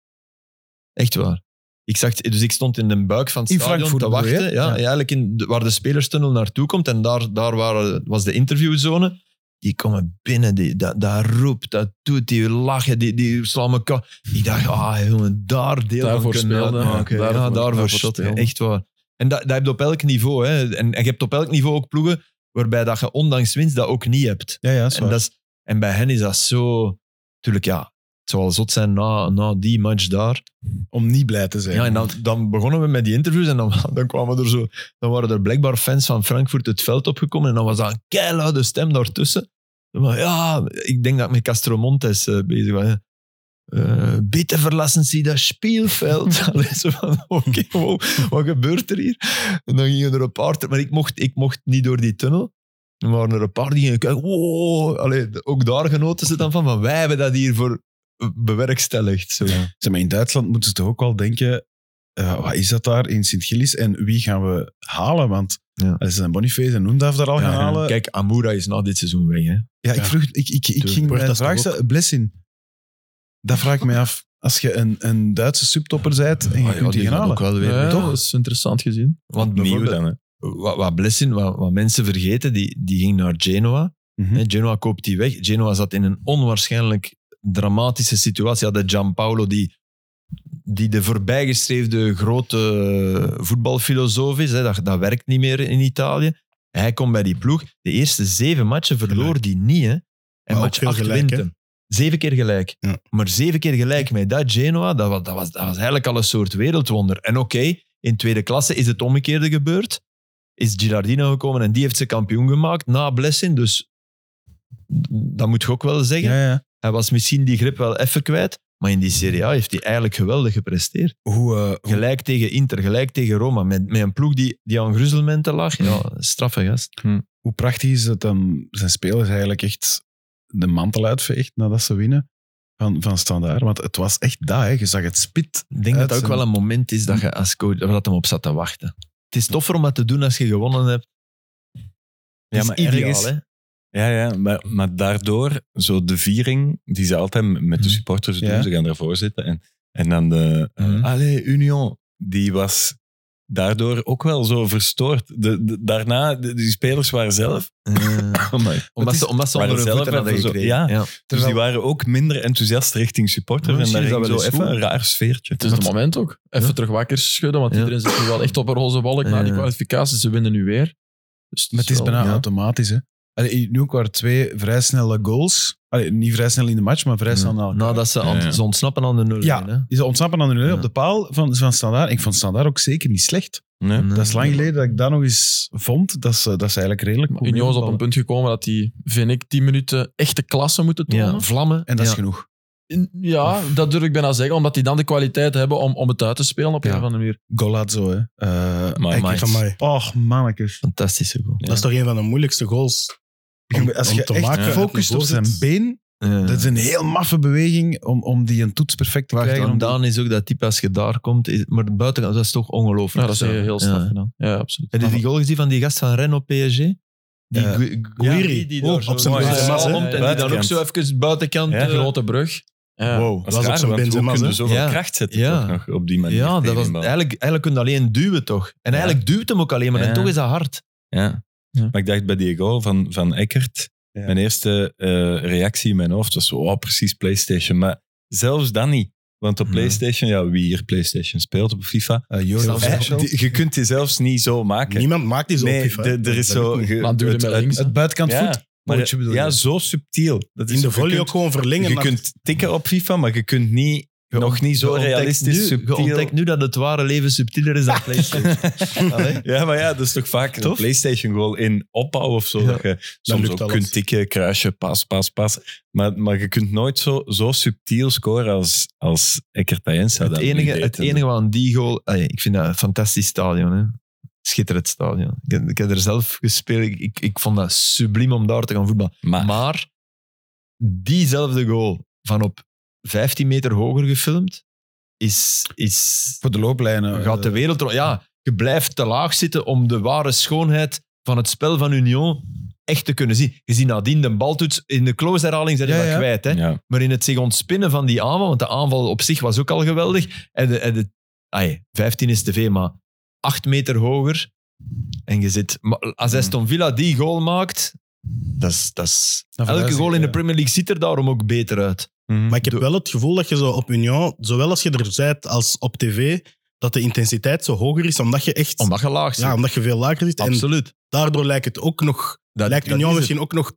E: Echt waar. Ik zag, dus ik stond in de buik van het
B: In
E: stadion
B: Frankfurt
E: te
B: bedoel je,
E: wachten.
B: hè?
E: Ja,
B: Ja.
E: Eigenlijk in de- waar de spelerstunnel naartoe komt. En daar, daar waren, was de interviewzone. Die komen binnen, die, dat, dat roept, dat doet, die lachen, die, die slaan elkaar. Ik dacht, ah jongen, daar deel
D: Daarvoor
E: van kunnen
D: speelden.
E: uitmaken.
D: Ja,
E: Ja,
D: daarvoor-
E: daarvoor,
D: daarvoor
E: shotten,
D: speelden.
E: echt waar. En dat, dat heb je op elk niveau. Hè. En, en je hebt op elk niveau ook ploegen waarbij dat je ondanks winst dat ook niet hebt.
B: Ja, ja, is
E: En,
B: waar.
E: dat is, en bij hen is dat zo... Tuurlijk, ja, het zou wel zot zijn na, na die match daar.
B: Om niet blij te zijn.
E: Ja, en dan, dan begonnen we met die interviews en dan, dan kwamen er zo... Dan waren er blijkbaar fans van Frankfurt het veld opgekomen en dan was dat een keiluide stem daartussen. Maar ja, ik denk dat ik met Castromontes eh, bezig was. Eh bitte verlassen Sie dat speelveld. Allee, zo van, oké, wow, wat gebeurt er hier? En dan gingen er een paar... ter- Maar ik mocht, ik mocht niet door die tunnel. Er waren er een paar die gingen kijken. Wow, allee, ook daar genoten ze dan van. van wij hebben dat hier voor eh, bewerkstelligd. Zo.
B: Zeg maar, in Duitsland moeten ze toch ook wel denken, eh, wat is dat daar in Sint-Gillis en wie gaan we halen? Want
E: Ja.
B: als ze een Boniface en Noendaf daar al gaan
E: Ja,
B: halen...
E: Kijk, Amoura is na dit seizoen weg. Hè.
B: Ja, ik
F: Ja.
B: vroeg, ik, ik, ik
E: Tuurlijk.
B: ging
F: Wordt
B: mijn
F: dat
B: vraag
F: toch ook?
B: stellen, Blessin. Dat vraag ik mij af. Als je een, een Duitse subtopper bent en je
E: Ah ja,
B: kunt die
E: die
B: gaan
E: gaan
B: halen.
E: ook wel weer-
D: Ja,
B: toch?
D: Dat is interessant gezien.
E: Want
C: Opnieuw
E: bijvoorbeeld,
C: dan. Hè.
E: wat, wat Blessin, wat, wat mensen vergeten, die, die ging naar Genoa.
B: Mhm.
E: Hè, Genoa koopt die weg. Genoa zat in een onwaarschijnlijk dramatische situatie. Hadden Gianpaolo, die, die de voorbijgestreefde grote voetbalfilosoof is. Hè, dat, dat werkt niet meer in Italië. Hij komt bij die ploeg. De eerste zeven matchen verloor die niet. Hè. En
F: ook
E: match
F: veel
E: acht
F: gelijk,
E: wint
F: hè.
E: hem. Zeven keer gelijk.
F: Ja.
E: Maar zeven keer gelijk met dat Genoa, dat was, dat, was, dat was eigenlijk al een soort wereldwonder. En oké, in tweede klasse is het omgekeerde gebeurd. Is Girardino gekomen en die heeft ze kampioen gemaakt na Blessing. Dus dat moet je ook wel zeggen.
B: Ja, ja.
E: Hij was misschien die grip wel even kwijt. Maar in die Serie A heeft hij eigenlijk geweldig gepresteerd.
B: Hoe, eh, hoe-
E: Gelijk tegen Inter, gelijk tegen Roma. Met, met een ploeg die, die aan gruzelmenten lag. Ja, straffe gast.
B: hoe prachtig is het dan zijn spelers eigenlijk echt de mantel uitveegt nadat ze winnen van, van standaard? Want het was echt dat, hè. je zag het spit.
E: Ik denk dat dat ook
B: Uitzend-
E: wel een moment is dat je als coach dat hem op zat te wachten. Het is toffer om dat te doen als je gewonnen hebt. Het
C: Ja,
E: is
C: maar
E: ideaal,
C: ergens-
E: hè?
C: Ja, ja maar, maar daardoor, zo de viering die ze altijd met de
E: Mhm.
C: supporters doen,
B: Ja.
C: ze gaan daarvoor zitten. En, en dan de eh,
E: Mhm.
C: Allee, Union, die was daardoor ook wel zo verstoord. De, de- daarna, de- die spelers waren zelf...
E: Eh,
C: Oh my.
E: omdat,
C: is-
E: ze, omdat ze
C: maar
E: onder hun
C: zelf
E: voeten hadden
C: even zo-
E: gekregen.
C: ja.
E: ja.
C: Dus die waren ook minder enthousiast richting supporters.
E: Ja,
C: en daar
E: misschien
C: ging
E: is dat wel
C: zo
E: eens
C: even
E: goed.
C: een raar sfeertje.
D: Het is het moment ook. Even
E: Ja.
D: terug wakker schudden, want
E: Ja.
D: iedereen zit nu wel echt op een roze wolk na die
E: Ja.
D: kwalificatie. Ze winnen nu weer. Dus
B: Maar het is
D: wel-
B: bijna
D: ja.
B: automatisch. Hè. Allee, nu ook waren twee vrij snelle goals. Allee, niet vrij snel in de match, maar vrij snel na elkaar.
E: Nadat ze, aan-
C: Ja, ja.
E: ze ontsnappen aan de nul.
B: Ja.
E: hè.
B: Is dat ontsnappen aan de nul
E: Ja.
B: op de paal van, van standaard? Ik vond standaard ook zeker niet slecht.
C: Nee?
E: Nee.
B: Dat is lang geleden dat ik dat nog eens vond. Dat ze, dat ze eigenlijk redelijk goed
D: Union is op een
B: meevallen.
D: punt gekomen dat die, vind ik, 10 minuten echte klasse moeten tonen.
E: Ja, vlammen.
B: En dat is
E: Ja.
B: genoeg.
D: In- Ja, dat durf ik bijna zeggen, omdat die dan de kwaliteit hebben om, om het uit te spelen op
B: Ja.
D: een of andere manier.
B: Golazzo, hè. Eh, ik-
C: Maar amai.
F: Van mij.
B: Och, mannetjes.
E: Fantastische goal.
F: Dat is toch een van de moeilijkste goals
B: Je
F: Om-
B: moet- als
F: om
B: je
F: te
B: echt
F: maken
B: focust op
F: uit de
B: zijn
F: voorzet.
B: been,
E: Ja.
B: dat is een heel maffe beweging om, om die een toets perfect te
E: Wacht,
B: krijgen.
E: en
B: om die-
E: Daan is ook dat type als je daar komt. Is, maar de buitenkant, dat is toch ongelooflijk.
D: Ja, dat is heel, heel
E: snel.
D: straf gedaan. Ja, absoluut.
E: Heb je die goal gezien van die gast van Rennes op PSG? Die
B: Eh,
E: Gu-
F: Guiri.
E: die
F: Oh,
E: daar zo
F: op zijn
E: mooi
F: Benzema's, hè?
E: komt En die dan ook
C: Buitenkant.
E: zo even buitenkant...
C: Ja,
E: eh,
D: grote brug. Ja.
B: Wow.
C: Dat
F: was
C: is
F: ook
C: raar,
F: zo'n
C: want hoe
F: Benzema's,
C: kun
F: hè?
C: je zoveel
E: Ja.
C: kracht zetten
E: Ja.
C: toch nog op die manier?
E: ja, dat
C: tegen
E: was,
C: een bal?
E: eigenlijk, eigenlijk kun je alleen duwen, toch? En
C: Ja.
E: eigenlijk duwt hem ook alleen maar. En
C: Ja.
E: toch is dat hard.
C: Ja.
D: Ja.
C: Maar ik dacht bij die goal van, van Eckert,
B: Ja.
C: mijn eerste eh, reactie in mijn hoofd was, oh, precies PlayStation. Maar zelfs dan niet. Want op
E: Ja.
C: PlayStation, ja, wie hier PlayStation speelt op FIFA,
B: Eh, Joris
D: Zelfs-
C: eh,
B: Official.
C: die- je kunt die zelfs niet zo maken.
F: Niemand maakt die zo op
C: nee,
F: FIFA, hè.
C: de- er is
F: Dat lukt
C: zo...
F: niet.
C: ge-
D: Maar duwde
C: het-
D: met
C: het-
D: links.
B: Het buitenkant
C: Ja,
B: voet.
C: maar
B: Wat je bedoelt,
C: ja,
B: ja.
C: zo subtiel. Dat is
F: In de
C: je
F: volley
C: kunt-
F: ook gewoon verlengen.
C: Je
F: naar-
C: kunt tikken op FIFA, maar je kunt niet, nog niet
E: Je
C: zo
E: ontdekt
C: realistisch
E: nu,
C: subtiel...
E: Je ontdekt nu dat het ware leven subtieler is dan PlayStation. Allee.
C: Ja, maar ja, dat is toch vaak een
E: Tof.
C: PlayStation goal in opbouw of zo.
E: Ja.
C: Dat je soms
F: lukt
C: ook
F: alles.
C: kunt tikken, kruisje, pas, pas, pas. Maar, maar je kunt nooit zo, zo subtiel scoren als, als Eckert Ayensa
E: Het
C: dat nu
E: enige,
C: deed.
E: het
C: En
E: enige wat aan die goal... ah ja, ik vind dat een fantastisch stadion. Hè. Schitterend stadion. Ik, heb- ik heb er zelf gespeeld. Ik, ik, ik vond dat subliem om daar te gaan voetballen.
C: dat- Maar,
E: Maar diezelfde goal van op 15 meter hoger gefilmd is... is
B: Voor de looplijnen.
E: gaat de
B: eh,
E: wereld... rond. Ja, je blijft te laag zitten om de ware schoonheid van het spel van Union echt te kunnen zien. Je ziet nadien de baltoets. In de close herhaling zijn je
B: Ja,
E: dat
B: ja.
E: kwijt. Hè?
C: ja,
E: Maar in het zich ontspinnen van die aanval, want de aanval op zich was ook al geweldig. En de, en de, ai, 15 is te veel, maar 8 meter hoger. En je zit... maar Als Aston Villa die goal maakt, dat is... Dat is
B: Dan
E: elke
B: verhuis
E: goal
B: ik,
E: in de
B: ja.
E: Premier League ziet er daarom ook beter uit.
F: Maar ik heb wel het gevoel dat je zo op Union, zowel als je er bent als op tv, dat de intensiteit zo hoger is, omdat je echt...
E: Omdat je laag zit.
F: ja, omdat je veel lager zit. En
E: Absoluut.
F: daardoor lijkt het ook nog...
E: Dat,
F: lijkt
E: dat
F: Union
E: is het.
F: misschien ook nog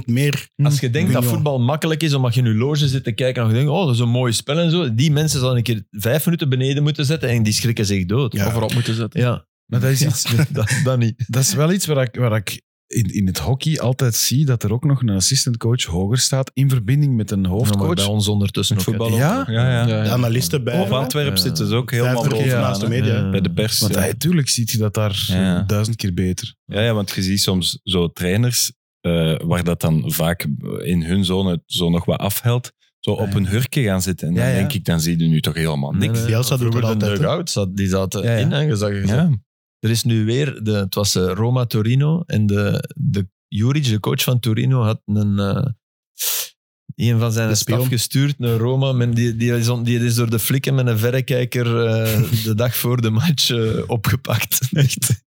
F: 5% meer...
E: Als je denkt dat
F: Union.
E: voetbal makkelijk is, omdat je in je loge zit te kijken en je denkt, oh, dat is een mooi spel en zo. Die mensen zouden een keer vijf minuten beneden moeten zetten en die schrikken zich dood.
F: Ja.
E: Of erop moeten zetten. Ja,
B: Maar dat is
E: Ja.
B: iets...
E: dat, dat niet.
B: Dat is wel iets waar ik, waar ik in, in het hockey altijd zie, dat er ook nog een assistantcoach hoger staat in verbinding met een
E: Ja, maar bij
B: hoofdcoach.
E: ons ondertussen
C: het
E: ook, hè.
C: voetbal
B: Ja?
C: ja, ja.
D: Ja,
F: De
D: ja.
F: analisten bij...
C: Op Antwerpen
E: Ja.
C: zitten ze ook helemaal
F: Vijftig keer
C: bovenaan.
F: naast de
C: hè.
F: media.
E: Ja.
C: Bij de pers.
B: Want
C: ja.
B: natuurlijk ziet je dat daar
C: Ja.
B: duizend keer beter.
C: Ja, ja, want je ziet soms zo trainers eh, waar dat dan vaak in hun zone zo nog wat afhelt, zo op
B: ja.
C: een hurkje gaan zitten. En dan
B: Ja, ja.
C: denk ik, dan zie je nu toch helemaal niks.
F: nee. Bielsa doet
E: Vroeger
F: dat
E: de
F: altijd, hè?
E: dugout zat, die zaten
B: Ja, ja.
E: in. Hè, je zag- je zag-
C: Ja.
E: Er is nu weer, de, het was eh, Roma Torino en de, de Juric, de coach van Torino, had een, eh, een van zijn
F: De
E: staf
F: spion.
E: gestuurd naar Roma. Men, die, die, is on- die is door de flikken met een verrekijker eh, de dag voor de match eh, opgepakt. Echt.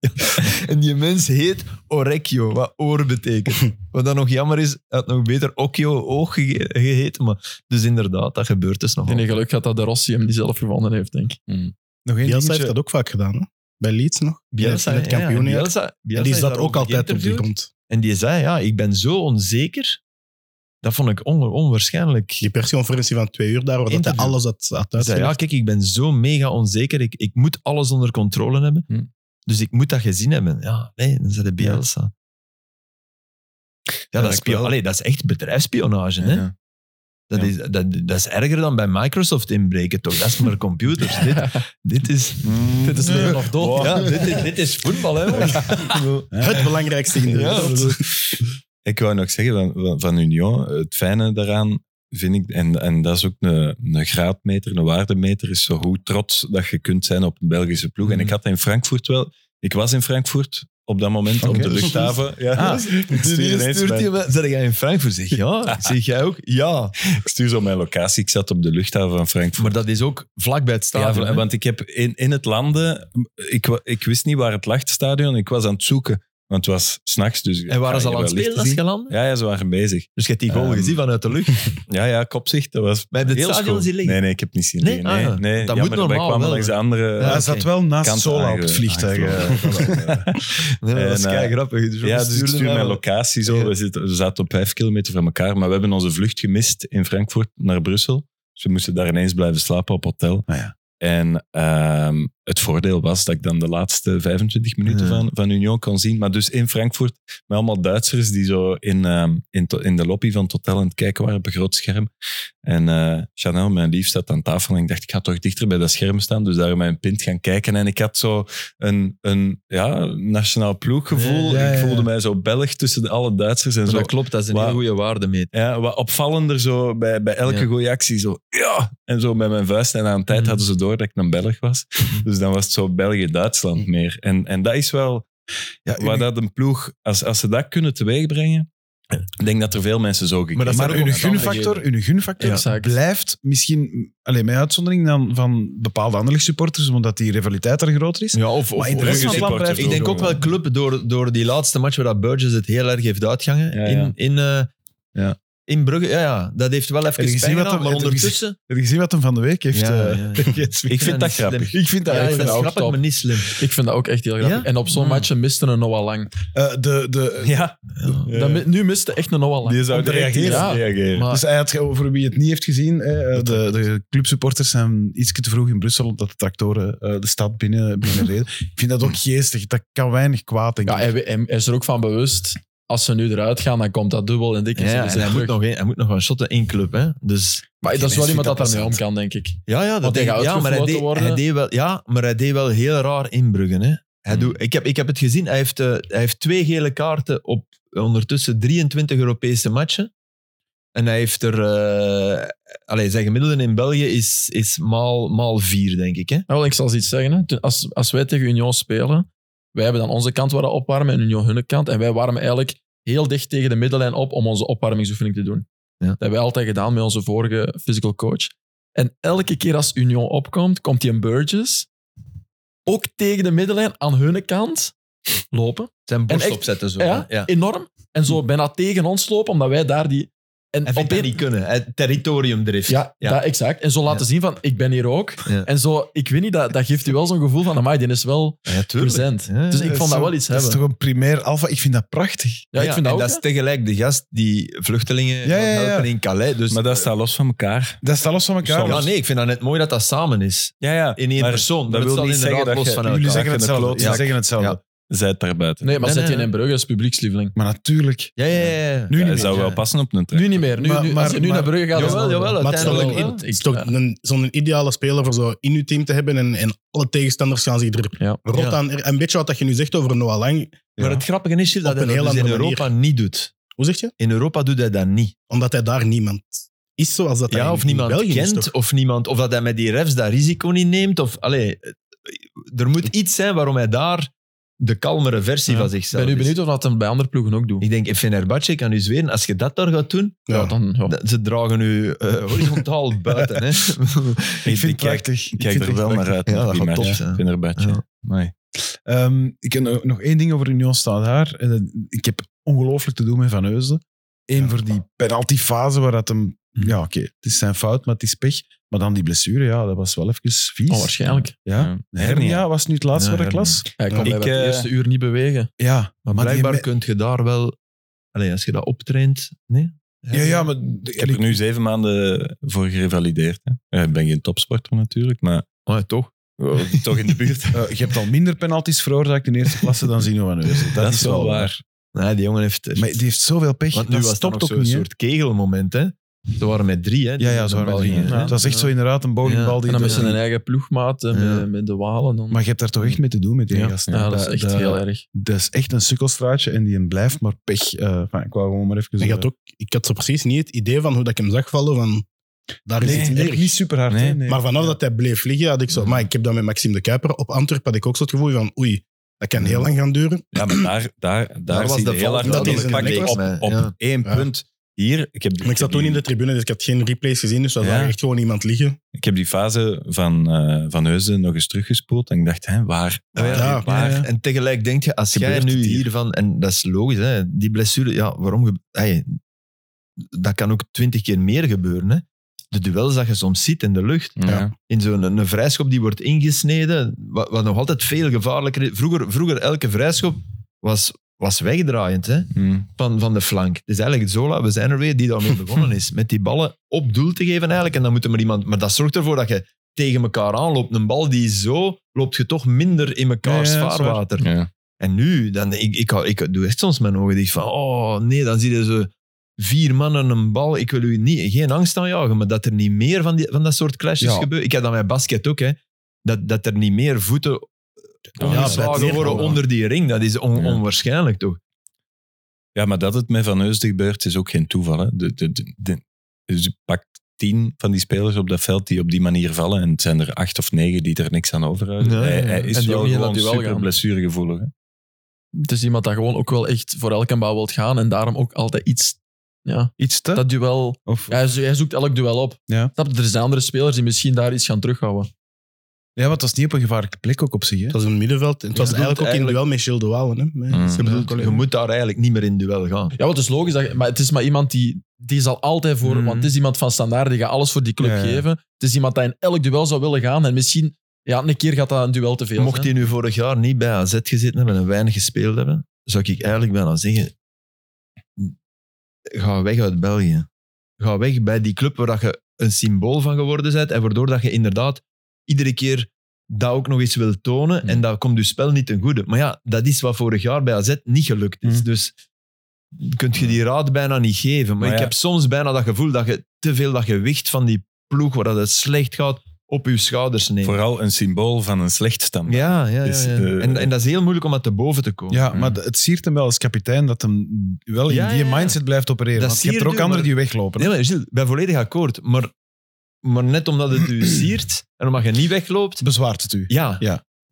E: en die mens heet Orecchio, wat oor betekent. Wat dan nog jammer is, hij had nog beter Occhio oog gege- geheten. Maar, dus inderdaad, dat gebeurt dus
D: En
E: nogal.
D: in geluk gaat dat de Rossi hem die zelf gewonnen heeft, denk ik.
B: Nog één
F: Bielsa heeft
B: dingetje.
F: dat ook vaak gedaan, hè? Bij Leeds nog.
E: Bielsa,
F: In het
E: ja, ja,
F: kampioenjaar.
E: Bielsa,
F: En
E: Bielsa
F: die
E: is
F: zat
E: daarover
F: ook altijd op die
E: geïnterviewd.
F: grond.
E: En die zei, ja, ik ben zo onzeker. Dat vond ik on- onwaarschijnlijk.
F: Die persconferentie van twee uur daar, waar dat hij
E: Interview.
F: alles had, had
E: Hij zei, ja,
F: uitgelegd.
E: kijk, ik ben zo mega onzeker. Ik, ik moet alles onder controle hebben.
C: Hm.
E: Dus ik moet dat gezien hebben. Ja, nee, dan zei de Bielsa. Ja, dat, is
C: ik wel.
E: spio- Allee, dat is echt bedrijfsspionage, hè.
C: Ja.
E: Dat,
C: Ja.
E: is, dat, dat is erger dan bij Microsoft inbreken, toch? Dat is maar computers. dit, dit is...
C: Mm.
E: Dit is leven of dood. Ja, dit, is- dit is voetbal, hè. jongens.
F: Het belangrijkste in de
E: Ja,
F: wereld.
C: Ik wou nog zeggen van- van, van Union, het fijne daaraan vind ik, en, en dat is ook een, een graadmeter, een waardemeter, is zo hoe trots dat je kunt zijn op een Belgische ploeg. En
E: Mhm.
C: ik had dat in Frankfurt wel. Ik was in Frankfurt op dat moment op
B: Oké.
C: de luchthaven. Ja,
B: Ah,
C: ik, stuur ineens mijn-
E: Zeg jij in Frankfurt? Zeg ja. Zeg jij ook? Ja.
C: ik stuur zo mijn locatie. Ik zat op de luchthaven van Frankfurt.
E: Maar dat is ook vlakbij het
C: Ja,
E: stadion. hè.
C: want ik heb in, in het landen, ik, wa- ik wist niet waar het lag, het stadion. Ik was aan het zoeken, want het was s'nachts. Dus
E: en waren ze
C: Ja,
E: al aan
C: wellicht
E: het spelen
C: te
E: als
C: zien.
E: je landde?
C: Ja, ja, ze waren bezig.
E: Dus je hebt die goal
C: Ehm,
E: gezien vanuit de lucht.
C: Ja, ja, kopzicht. Dat was
E: Bij het
C: heel
E: stadion
C: schoon.
E: zien liggen?
C: Nee, nee, ik heb niet zien
E: Nee?
C: liggen. Nee,
E: Ah,
C: nee.
E: dat moet
C: Jammer, wij
E: normaal
C: kwamen
E: wel,
C: langs de
E: hè?
C: andere
E: Ja,
B: Hij
C: eh,
B: zat
E: oké.
B: wel naast
C: kant
B: Sola op het
C: aange-
B: vliegtuig.
C: aangevlogen.
E: Nee, dat is
C: en, eh,
E: kei grappig. Dus
C: ja, dus ik stuur mijn
E: lokaal.
C: locatie zo.
E: Ja.
C: We, zitten, we zaten op vijf kilometer van elkaar, maar we hebben onze vlucht gemist in Frankfurt naar Brussel. Dus we moesten daar ineens blijven slapen op hotel.
B: Ah, ja.
C: En ehm, het voordeel was dat ik dan de laatste 25 minuten
E: Ja.
C: van, van Union kon zien. Maar dus in Frankfurt, met allemaal Duitsers die zo in, ehm, in, to- in de lobby van het hotel aan het kijken waren op een groot scherm. En eh, Chanel, mijn lief, zat aan tafel en ik dacht, ik ga toch dichter bij dat scherm staan. Dus daar mijn pint gaan kijken. En ik had zo een, een ja, nationaal ploeggevoel.
E: Ja, ja, ja,
C: Ik
E: ja.
C: voelde mij zo Belg tussen alle Duitsers. En
E: Maar
C: zo
E: dat klopt, dat is een
C: Waar-
E: hele goede waarde mee.
C: ja, wat opvallender zo bij, bij elke
E: Ja.
C: goede actie. Zo, ja! En zo met mijn vuist. En aan een tijd
E: Mhm.
C: hadden ze door dat ik een Belg was. Dus dan was het zo België-Duitsland meer. En, en dat is wel
B: Ja,
C: waar dat een ploeg... Als, als ze dat kunnen teweegbrengen, ik denk dat er veel mensen zo gekeken
B: Maar, dat maar
C: hebben.
B: hun gunfactor, hun gunfactor
D: Exact.
B: blijft misschien, alleen met uitzondering dan van bepaalde andere supporters, omdat die rivaliteit er groter is.
E: Ja,
C: oh,
E: of,
B: Maar in de rest van het land blijft
E: oh, Ik denk ook wel club door, door die laatste match waar dat Burgess het heel erg heeft uitgangen.
C: Ja, ja.
E: In, in, eh,
C: Ja.
E: in Brugge, ja, ja, dat heeft wel even
B: je
E: pijn
B: gezien wat
E: gedaan,
B: er-
E: maar
B: heb je
E: ondertussen...
B: Heb je gezien wat hem van de week heeft?
E: Ja,
B: eh,
E: ja.
B: gespeeld?
C: Ik vind dat grappig.
B: Ik vind dat
E: Ja,
D: ik
E: dat
D: vind dat ook
E: snap ik,
D: top.
E: maar niet slim.
D: Ik vind dat ook echt heel grappig.
E: Ja?
D: En op zo'n
E: Mm.
D: match miste een Noah Lang.
B: Eh, de, de,
C: Ja,
E: Ja.
D: Dat mi- nu miste echt een Noah Lang.
C: die zou
B: Om te
C: direct
B: reageren.
C: eerst reageren.
D: Maar-
B: Dus hij had, ge- voor wie het niet heeft gezien, eh, eh, de, de clubsupporters zijn iets te vroeg in Brussel omdat de tractoren eh, de stad binnen, binnenreden. Ik vind dat ook geestig. Dat kan weinig kwaad, denk
D: Ja,
B: ik.
D: hij, hij is er ook van bewust. Als ze nu eruit gaan, dan komt dat dubbel en dik. en
E: Ja,
D: zo,
E: ja,
D: dus
E: en hij,
D: dat
E: moet
D: terug.
E: nog, een- hij moet nog gaan shotten in club. Hè? Dus,
D: Maar dat is wel
B: Ineens
D: iemand dat
B: vind
D: daarmee
B: dat
D: om kan, denk ik.
E: ja, ja, denk
D: Want hij
E: ik.
D: gaat
E: ja, maar hij
D: uitgefloten
E: deed,
D: worden.
E: hij deed wel, ja, maar hij deed wel heel raar inbruggen. Hè? Hij
C: Hmm.
E: doet, ik, heb, ik heb het gezien, hij heeft, eh, hij heeft twee gele kaarten op ondertussen 23 Europese matchen. En hij heeft er... eh allee, zijn gemiddelde in België is, is maal, maal vier, denk ik. Hè?
D: Nou, ik zal eens iets zeggen. Hè. Toen- Als, als wij tegen Union spelen, wij hebben dan onze kant waar we opwarmen en Union hun kant. En wij warmen eigenlijk heel dicht tegen de middenlijn op om onze opwarmingsoefening te doen.
E: Ja.
D: Dat hebben wij altijd gedaan met onze vorige physical coach. En elke keer als Union opkomt, komt die een Burgess ook tegen de middenlijn aan hun kant lopen.
E: Zijn borst
D: echt-
E: opzetten, zo.
D: Ja,
E: hè? Ja.
D: enorm. En zo bijna tegen ons lopen, omdat wij daar die... En
E: Hij vindt dat
D: een-
E: niet kunnen. Hij- Territoriumdrift.
D: ja, Dat, exact. En zo laten zien van, ik ben hier ook.
E: Ja.
D: En zo, ik weet niet, dat, dat geeft u wel zo'n gevoel van, amai, die is wel
E: Ja, tuurlijk.
D: present.
E: Ja,
D: Dus
E: ja,
D: ik
B: is
D: vond dat
B: zo-
D: wel iets
B: Dat is
D: hebben.
B: toch een primair alfa? Ik vind dat prachtig.
D: Ja, ik
E: Ja,
D: vind dat
E: en
D: ook.
E: dat is tegelijk de gast die vluchtelingen
B: Ja,
E: gaat
B: ja, ja.
E: helpen in Calais. Dus,
C: Maar dat staat los van elkaar.
B: Dat staat los van elkaar.
E: ja, nee, ik vind dat net mooi dat dat samen is.
C: Ja, ja.
E: In één
C: maar
E: persoon.
C: Dat
E: het
C: wil
E: staat
C: niet zeggen
E: inderdaad
C: dat
E: los
C: je-
E: van
C: jullie
E: elkaar.
B: Jullie zeggen hetzelfde.
E: Ja.
B: Ze zeggen hetzelfde.
E: Ja.
C: Zij daar buiten.
D: Nee, maar
E: Nee,
D: zet je
E: nee,
D: in Brugge als publiekslieveling.
B: Maar natuurlijk.
E: Ja, ja, ja. ja.
B: Nu
C: Ja,
B: niet
C: hij
B: meer.
C: zou wel
E: ja.
C: passen op een trek.
D: Nu niet meer. Nu,
B: Maar-
D: nu,
B: maar-
D: als je nu
B: maar-
D: naar Brugge gaat,
E: Jawel,
D: is
E: jawel,
D: wel-
F: Maar het is toch,
E: uiteindelijk
D: wel.
F: een- het is
D: Ik-
F: toch
D: ja.
F: een- zo'n ideale speler voor zo in je team te hebben en, en alle tegenstanders gaan zich er
D: Ja.
F: rot
E: Ja.
F: aan. Een beetje wat dat je nu zegt over Noah Lang.
E: Maar het grappige is hier dat
F: Op
E: hij
F: een
E: dat
F: heel
E: dus in
F: andere
E: Europa niet doet.
F: Hoe zeg je?
E: In Europa doet hij dat niet.
F: Omdat hij daar niemand is zoals dat hij
E: Ja,
F: in-
E: of
F: in
E: niemand
F: België is.
E: kent,
F: toch?
E: of, niemand, of dat hij met die refs dat risico niet neemt. Of, allee, eh, er moet iets zijn waarom hij daar de kalmere versie
D: Ja.
E: van
D: Ik
E: zichzelf
D: ben nu
E: is.
D: benieuwd of dat hem bij andere ploegen ook doet.
E: Ik denk, in Fenerbahce kan u zweren, als je dat daar gaat doen,
F: Ja.
D: Ja, dan, ja.
E: dat- ze dragen u eh, horizontaal buiten. Hè.
B: Ik vind het
C: kijk-
B: prachtig.
C: Ik kijk
B: vind
C: er
B: het
C: wel
B: echt
C: naar
B: prachtig.
C: uit.
E: Ja,
C: naar die
E: dat gaat
C: match.
E: top zijn.
C: Ik vind er buiten.
E: Ja.
C: Amai.
B: Ehm, ik heb nog- nog één ding over Union staat daar. En dat- Ik heb ongelooflijk te doen met Van Heusden. Eén voor die penaltyfase waar dat hem...
C: Hm.
B: Ja, oké, het is zijn fout, maar het is pech. Maar dan die blessure, ja, dat was wel even vies.
D: Oh, waarschijnlijk.
B: Ja,
C: Ja.
B: hernia was nu het laatste
E: Ja,
B: waar ik
E: hernia.
B: las.
D: Hij kon
C: Ik,
D: bij het
C: eh,
D: eerste uur niet bewegen.
B: Ja,
E: Maar
B: die
E: blijkbaar
B: me-
E: kun je daar wel... Allee, als je dat optraint... Nee?
B: Ja, ja, maar...
C: Ik heb er nu zeven maanden eh, voor gerevalideerd. Hè. Ja, Ik ben geen topsporter natuurlijk, maar
E: Maar toch.
C: toch in de buurt.
B: Eh, je hebt al minder penalties veroorzaakt in eerste klasse dan Zino van Heusden. Dat, is wel waar.
E: Nee, die jongen heeft...
B: Maar die heeft zoveel pech.
E: Want nu
B: dat
E: was het dan
B: stopt
E: ook
B: ook
E: zo'n
B: niet, hè?
E: soort kegelmoment, hè. Ze waren met drie, hè. die
B: Ja, ja,
E: met
B: zo
E: een
B: waren
E: bal
B: we
E: gingen,
B: zien.
E: hè.
B: Het was echt
E: Ja.
B: zo inderdaad een bowlingbal die...
E: Ja,
D: En dan
B: door-
D: met zijn eigen ploegmaat, eh,
E: Ja.
D: met, met de Walen. Dan.
B: Maar je hebt daar toch echt mee te doen met die
D: Ja.
B: gasten.
D: ja, dat is echt heel erg.
B: Dat is echt een sukkelstraatje en die een blijft maar pech. Eh, enfin, ik wou gewoon maar even...
F: En je had ook, ik had zo precies niet het idee van hoe dat ik hem zag vallen. Van, daar is
B: Nee,
F: iets
B: nee,
F: erg.
B: niet super hard.
C: Nee.
B: hè, nee.
F: Maar vanaf dat hij bleef liggen, had ik zo... Maar ik heb dat met Maxime de Kuiper. Op Antwerpen had ik ook zo het gevoel van... Oei, dat kan heel lang gaan duren.
C: Ja, maar daar, daar, daar,
E: was
C: zie je
E: de
C: heel
E: val
C: hard
F: niet
C: dat
F: dat
C: hij
F: hij
C: pakt
F: zijn
E: nek was,
C: op, op
E: ja.
C: één
F: Ja.
C: punt. Hier, ik heb,
F: Maar ik zat
C: heb
F: toen in
C: die-
F: de tribune, dus ik had geen replays gezien. Dus dat
C: Ja.
F: zag echt gewoon iemand liggen.
C: Ik heb die fase van, eh van Heusden nog eens teruggespoeld en ik dacht, hè, waar?
E: Ah, ja,
F: ja.
C: waar?
B: Ja, ja.
E: En tegelijk denk je, als jij
C: Gebeurt
E: nu
C: het hier?
E: hiervan... En dat is logisch, hè. Die blessure, ja, waarom... ge- Hey, dat kan ook twintig keer meer gebeuren, hè. De duels dat je soms ziet in de lucht.
C: Ja. Ja.
E: in zo'n een vrijschop die wordt ingesneden, wat, wat nog altijd veel gevaarlijker is. Vroeger, vroeger elke vrijschop was, was wegdraaiend hè,
C: Hm.
E: van, van de flank. Dus eigenlijk Zola, we zijn er weer, die daarmee begonnen is. Met die ballen op doel te geven eigenlijk. En dan moet er maar iemand... Maar dat zorgt ervoor dat je tegen elkaar aanloopt. Een bal die zo, loopt je toch minder in mekaars
B: Ja, ja, dat is waar.
E: vaarwater.
C: Ja.
E: En nu, dan, ik, ik, hou- ik doe echt soms mijn ogen dicht van, oh nee, dan zie je zo vier mannen een bal. Ik wil u niet, geen angst aanjagen, maar dat er niet meer van, die, van dat soort clashes
B: Ja.
E: gebeuren. Ik had dat bij basket ook, hè. Dat, dat er niet meer voeten
F: dat
E: omgeslagen
F: is-
E: worden onder die ring. Dat is on-
C: Ja.
E: onwaarschijnlijk, toch?
C: Ja, maar dat het met Van Heusden gebeurt, is ook geen toeval. Hè? De, de, de, de- dus je pakt tien van die spelers op dat veld die op die manier vallen. En het zijn er acht of negen die er niks aan overhouden.
E: Ja, ja, ja.
C: Hij, hij
E: En
C: is
D: die
C: wel
D: ook niet dat
C: gewoon
D: die wel
C: super
D: gaan.
C: blessuregevoelig. hè.
D: Het is iemand dat gewoon ook wel echt voor elke bal wilt gaan en daarom ook altijd iets... Ja,
B: Iets te?
D: dat duel...
B: Of,
D: Ja, hij zo- hij zoekt elk duel op.
B: Ja.
D: Snap je? Er zijn andere spelers die misschien daar iets gaan terughouden.
B: ja, want dat is niet op een gevaarlijke plek ook op zich. Hè?
F: Het was een middenveld. En het
E: Ja,
F: was
E: dat
F: eigenlijk ook
E: doet
F: in duel met Gilles de Wouwen. Hè? Met
C: Mm.
F: zijn
E: Je
F: collega.
E: moet daar eigenlijk niet meer in duel gaan.
D: Ja, wat is logisch. Dat, je- maar het is maar iemand die... Die zal altijd voor...
E: Mm.
B: Mhm.
D: Want het is iemand van standaard, die gaat alles voor die club
B: Ja, ja.
D: geven. Het is iemand die in elk duel zou willen gaan. En misschien... Ja, een keer gaat dat een duel te veel
E: Mocht hij nu vorig jaar niet bij AZ gezeten hebben en weinig gespeeld hebben, zou ik eigenlijk bijna zeggen, ga weg uit België. Ga weg bij die club waar dat je een symbool van geworden bent en waardoor dat je inderdaad iedere keer dat ook nog eens wil tonen en dat komt je spel niet ten goede. Maar ja, dat is wat vorig jaar bij AZ niet gelukt is.
B: Mm.
E: Dus kun je die raad bijna niet geven. Maar,
C: Maar
E: ik
C: ja.
E: heb soms bijna dat gevoel dat je te veel dat gewicht van die ploeg waar dat het slecht gaat, op je schouders neemt.
C: Vooral een symbool van een slecht standaard.
E: Ja, ja, ja,
C: Dus,
E: ja.
C: eh,
E: en, en dat is heel moeilijk om dat te boven te komen.
B: Ja, maar d- het siert hem wel als kapitein dat hem wel in
E: Ja,
B: die
E: ja, ja.
B: mindset blijft opereren.
E: Dat
B: want je hebt er
E: siert
B: ook
E: u,
B: anderen
E: maar-
B: die weglopen.
E: Nee, maar Gilles, ik ben volledig akkoord. Maar, maar net omdat het u siert en omdat je niet wegloopt,
B: Bezwaart het u?
E: ja,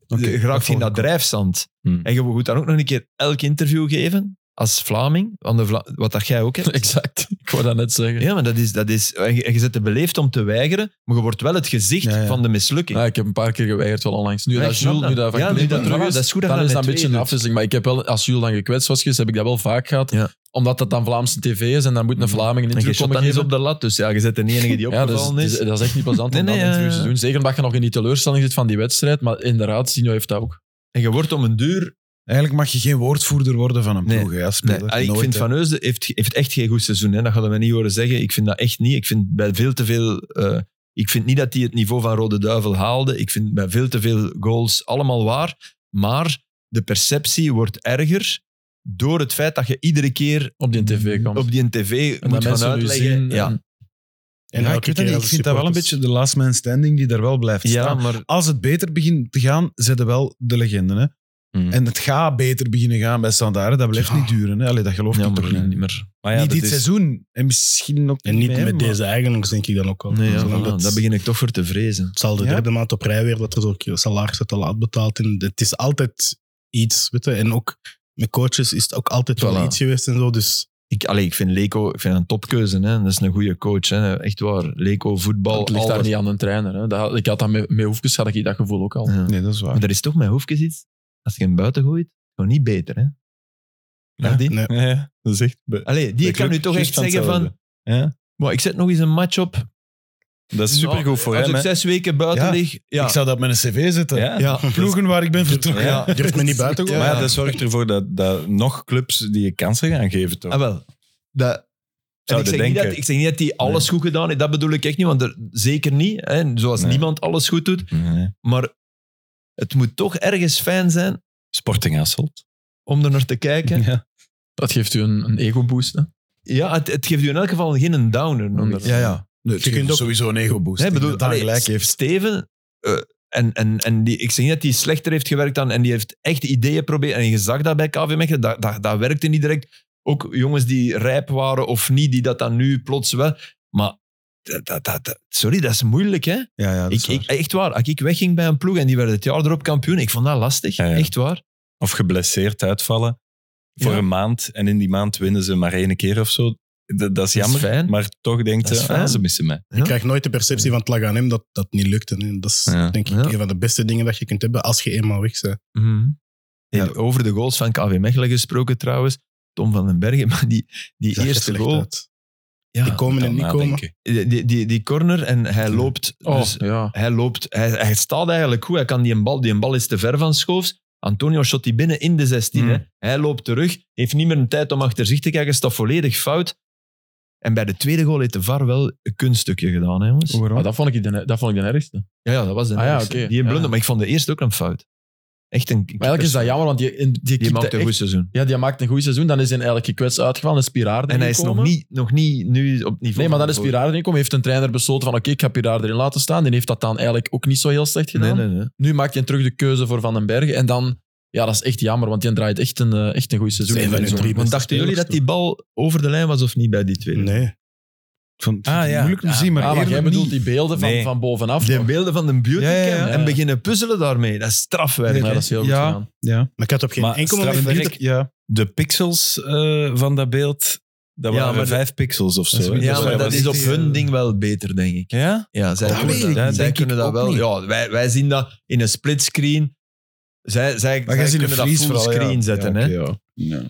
B: Oké,
E: je raakt
B: volg
E: in dat
B: ik.
E: drijfstand.
C: Hmm.
E: En je moet dan ook nog een keer elk interview geven als Vlaming, van de Vla- wat dat jij ook hebt.
D: Exact. Ik wou dat net zeggen.
E: Ja, maar dat is, dat is, en je, en je zet de beleefd om te weigeren, maar je wordt wel het gezicht
B: Ja, ja.
E: van de mislukking.
D: Ja, ik heb een paar keer geweigerd, wel onlangs. Nu
E: Ja, ik
D: dat
E: snap
D: Jules, nu
E: dat.
D: dat Van
E: Ja, nu
D: Klinken
E: dat-
D: terug
E: voilà,
D: is,
E: dat is goed dat
D: dan
E: dat
D: is dat
E: met
D: een beetje
E: twee doet.
D: een afwisseling. Maar ik heb wel, als Jules dan gekwetst was geweest, heb ik dat wel vaak gehad.
E: Ja.
D: Omdat dat dan Vlaamse tv is en dan moet een Vlaming
E: en
D: een
E: je
D: interview
E: shot
D: komen
E: dan eens
D: geven.
E: op de lat, dus ja, je zet de enige die
D: ja, dus,
E: opgevallen
D: het
E: is.
D: is- dat is echt niet plezant
E: Nee,
D: om
E: nee, eh,
D: dan interviews
E: ja.
D: te doen. Zeker omdat je nog in die teleurstelling zit van die wedstrijd. Maar inderdaad, Sino heeft dat ook.
E: En je wordt om een duur
B: Eigenlijk mag je geen woordvoerder worden van een
E: Nee.
B: ploeg. hè, als
E: Nee,
B: speler.
E: ah, ik
B: Nooit,
E: vind
B: hè.
E: Van Heusden heeft, heeft echt geen goed seizoen. Hè. Dat gaan we niet horen zeggen. Ik vind dat echt niet. Ik vind bij veel te veel... eh, ik vind niet dat hij het niveau van Rode Duivel haalde. Ik vind bij veel te veel goals allemaal waar. Maar de perceptie wordt erger door het feit dat je iedere keer
D: Op die tv komt.
E: Mm-hmm. op die tv
D: en dat
E: moet gaan
D: mensen nu
E: uitleggen.
D: zien. eh,
E: ja,
D: en-
F: En
B: ja,
F: elke
B: ik, weet
F: keer
B: dat niet.
F: als
B: ik
F: de
B: vind dat wel een
F: supporters-
B: beetje de last man standing die daar wel blijft
E: ja,
B: staan.
E: maar...
B: Als het beter begint te gaan, zitten wel de legenden. Hè?
E: Mhm.
C: Mm.
B: En het gaat beter beginnen gaan bij Standaard. Dat blijft
F: Ja.
B: niet duren. Hè? Allee, dat geloof ik
E: Ja,
B: toch
E: maar
B: niet.
E: niet meer.
C: Maar ja,
B: niet
C: dat
B: dit
C: is-
B: seizoen. En misschien ook
F: En niet
B: meer,
F: met
B: maar-
F: deze eigenaars, denk ik dan ook al.
E: Nee, ja,
F: Zolang
E: voilà,
F: dat-
E: dat begin ik toch voor te vrezen.
F: Het zal de
B: Ja?
F: derde maand op rij weer dat er zo salarissen te laat betaald. En het is altijd iets, weet je. En ook met coaches is het ook altijd wel
E: Voilà.
F: iets geweest en zo. Dus
E: Ik, allee, ik vind Leko ik vind dat een topkeuze. Hè. Dat is een goede coach. Hè. Echt waar. Leko, voetbal,
D: het ligt daar
E: alles.
D: niet aan een trainer. Hè. Dat, ik had dat met, met Hoefkes had ik dat gevoel ook al.
E: Ja.
B: Nee, dat is waar.
E: Maar er is toch met hoefjes iets. Als je hem buiten gooit, gewoon niet beter, hè? Nadien.
F: nee.
C: Ja, ja, dat is echt... be-
E: Allee, die
C: de
E: kan
C: club
E: nu toch
C: kiest
E: echt zeggen van...
C: hetzelfde. Ja, Oh,
E: Maar ik zet nog eens een match op.
C: dat is supergoed voor
E: Als
C: hem.
E: ik
C: hè.
E: zes weken buiten
B: Ja.
E: lig... Ja.
B: Ik zou dat op mijn cv zetten.
C: Ja.
E: ja.
B: Ploegen waar ik ben vertrokken.
C: Ja.
F: durft me niet buiten te
E: Ja.
F: gooien.
C: Maar ja, dat zorgt ervoor dat, dat nog clubs die je kansen gaan geven, toch?
E: Ah, wel. Dat... En
C: Zouden
E: ik, zeg niet
C: denken.
E: dat, ik zeg niet dat hij alles goed gedaan heeft. Dat bedoel ik echt niet, want er, zeker niet. Hè, zoals
C: Nee.
E: niemand alles goed doet.
C: Nee.
E: Maar het moet toch ergens fijn zijn
C: Sporting Hasselt.
E: om er naar te kijken.
C: Ja.
D: Dat geeft u een, een ego-boost. hè.
E: Ja, het, het geeft u in elk geval geen downer. noem ik het.
D: Ja,
B: Nee, het
F: Je kunt
B: geeft
F: ook-
B: sowieso een ego-boost.
E: Nee,
B: Ik
E: bedoel,
B: denk dat
E: allee,
B: gelijk heeft.
E: Steven, eh, en, en, en die, ik zeg niet dat hij slechter heeft gewerkt dan, en die heeft echt ideeën proberen. En je zag dat bij KV Mechelen, dat, dat, dat werkte niet direct. Ook jongens die rijp waren of niet, die dat dan nu plots wel. Maar dat, dat, dat, dat- sorry, dat is moeilijk, hè?
B: Ja, ja, dat is
E: Ik,
B: waar.
E: ik, echt waar, als ik wegging bij een ploeg en die werden het jaar erop kampioen, ik vond dat lastig,
C: Ja, ja.
E: echt waar.
C: Of geblesseerd uitvallen voor
E: Ja.
C: een maand. En in die maand winnen ze maar één keer of zo. Dat, dat is
E: Dat is
C: jammer.
E: fijn.
C: Maar toch denkt
E: Dat is
C: ze,
E: fijn.
C: ah, ze missen mij.
F: Je krijgt nooit de perceptie van het lag aan hem dat dat niet lukt. En dat is
C: Ja.
F: denk ik
E: Ja.
F: een van de beste dingen dat je kunt hebben als je eenmaal weg bent.
D: Mhm.
E: Hey,
B: Ja.
E: Over de goals van KV Mechelen gesproken trouwens, Tom van den Bergen, maar die, die
F: Zag er
E: eerste
F: slecht
E: goal...
F: uit.
E: Ja,
F: Die komen en
C: Dan
F: niet komen.
C: nadenken.
E: die, die, die, die corner en hij loopt.
D: Oh,
E: Dus
D: ja.
E: hij, loopt hij, hij staat eigenlijk goed. Hij kan die een bal, die een bal is te ver van Schoofs. Antonio shot die binnen in de 16.
B: Mm.
E: Hè. Hij loopt terug, heeft niet meer een tijd om achter zich te kijken, staat volledig fout. En bij de tweede goal heeft de VAR wel een kunststukje gedaan, hè, jongens.
D: Maar dat vond ik de, dat vond ik de ergste.
E: Ja, ja, dat was de
D: Ah ja,
E: eerste.
D: oké.
E: Die een blunder,
D: Ja.
E: maar ik vond de eerste ook een fout. Echt een
D: Maar eigenlijk is dat jammer, want die, in- die,
E: Die
D: keepte
E: maakt een
D: echt-
E: goed seizoen.
D: Ja, die maakt een goed seizoen. Dan is hij eigenlijk gekwetst uitgevallen. Is Piraar
E: En hij is nog niet, nog niet nu op het niveau
D: Nee, maar dan is
E: van-
D: Piraar erin gekomen. Heeft een trainer besloten van oké, ik ga Piraar erin laten staan. Die heeft dat dan eigenlijk ook niet zo heel slecht gedaan.
E: Nee, nee, nee.
D: Nu maakt hij terug de keuze voor Van den Bergen. En dan, ja, dat is echt jammer, want die draait echt een, eh, echt een goed seizoen.
F: Zijn van hun drie
E: Want
F: beste
E: dachten jullie
F: spelers,
E: dat die bal over de lijn was of niet bij die tweede?
F: Nee.
B: Ik vond het
E: Ah, ja.
B: moeilijk om te zien, maar,
D: Ah, maar
B: eerder
D: jij bedoelt
B: niet.
D: die beelden van,
E: Nee.
D: van bovenaf.
E: De
D: toch?
E: beelden van de beautycam
B: Ja, ja, ja.
E: en
D: Ja.
E: beginnen puzzelen daarmee. Dat is strafwerk.
D: Ja, dat is heel goed
B: Ja.
D: gedaan.
B: Ja.
F: Maar ik had op geen
C: Maar
F: enkel moment...
C: strafwerk-
F: niet-
B: Ja.
C: De pixels eh, van dat beeld, dat
E: Ja,
C: waren
E: maar de-
C: vijf pixels of zo.
B: Ja,
C: hè.
E: Ja,
C: Dus
E: maar
C: wij
E: dat
C: waren
E: is op
C: echt,
E: hun
C: eh,
E: ding wel beter, denk ik.
C: Ja?
E: Ja, zij
B: Dat
E: kunnen
B: weet
E: dat,
B: ik niet.
E: zij
B: Denk
E: kunnen
B: ik
E: dat
B: ook
E: wel.
B: niet.
E: Ja, wij, wij zien dat in een splitscreen. Zij, zij,
B: Maar
E: zij
B: jij ziet een
E: kunnen dat
B: vlies
E: full
B: vooral, ja.
E: screen zetten.
B: Ja,
E: hè.
B: oké, ja. Ja.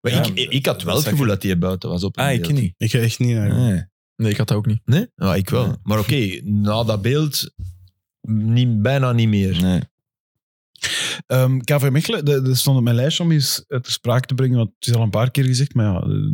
E: Maar
C: Ja,
E: ik, ik, ik had wel
C: dat
E: het
C: zeg
E: gevoel
C: ik.
E: dat hij buiten was. Op een
C: Ah, ik
E: beeld.
C: niet.
F: Ik ga echt niet naar...
C: Nee.
D: Nee, ik had dat ook niet.
E: Nee? Ja, ik wel. Maar oké, na dat beeld niet, bijna niet meer.
C: Nee.
B: Ehm, KV Mechelen, dat dat stond op mijn lijstje om eens eh, te sprake te brengen, want het is al een paar keer gezegd, maar ja, eh,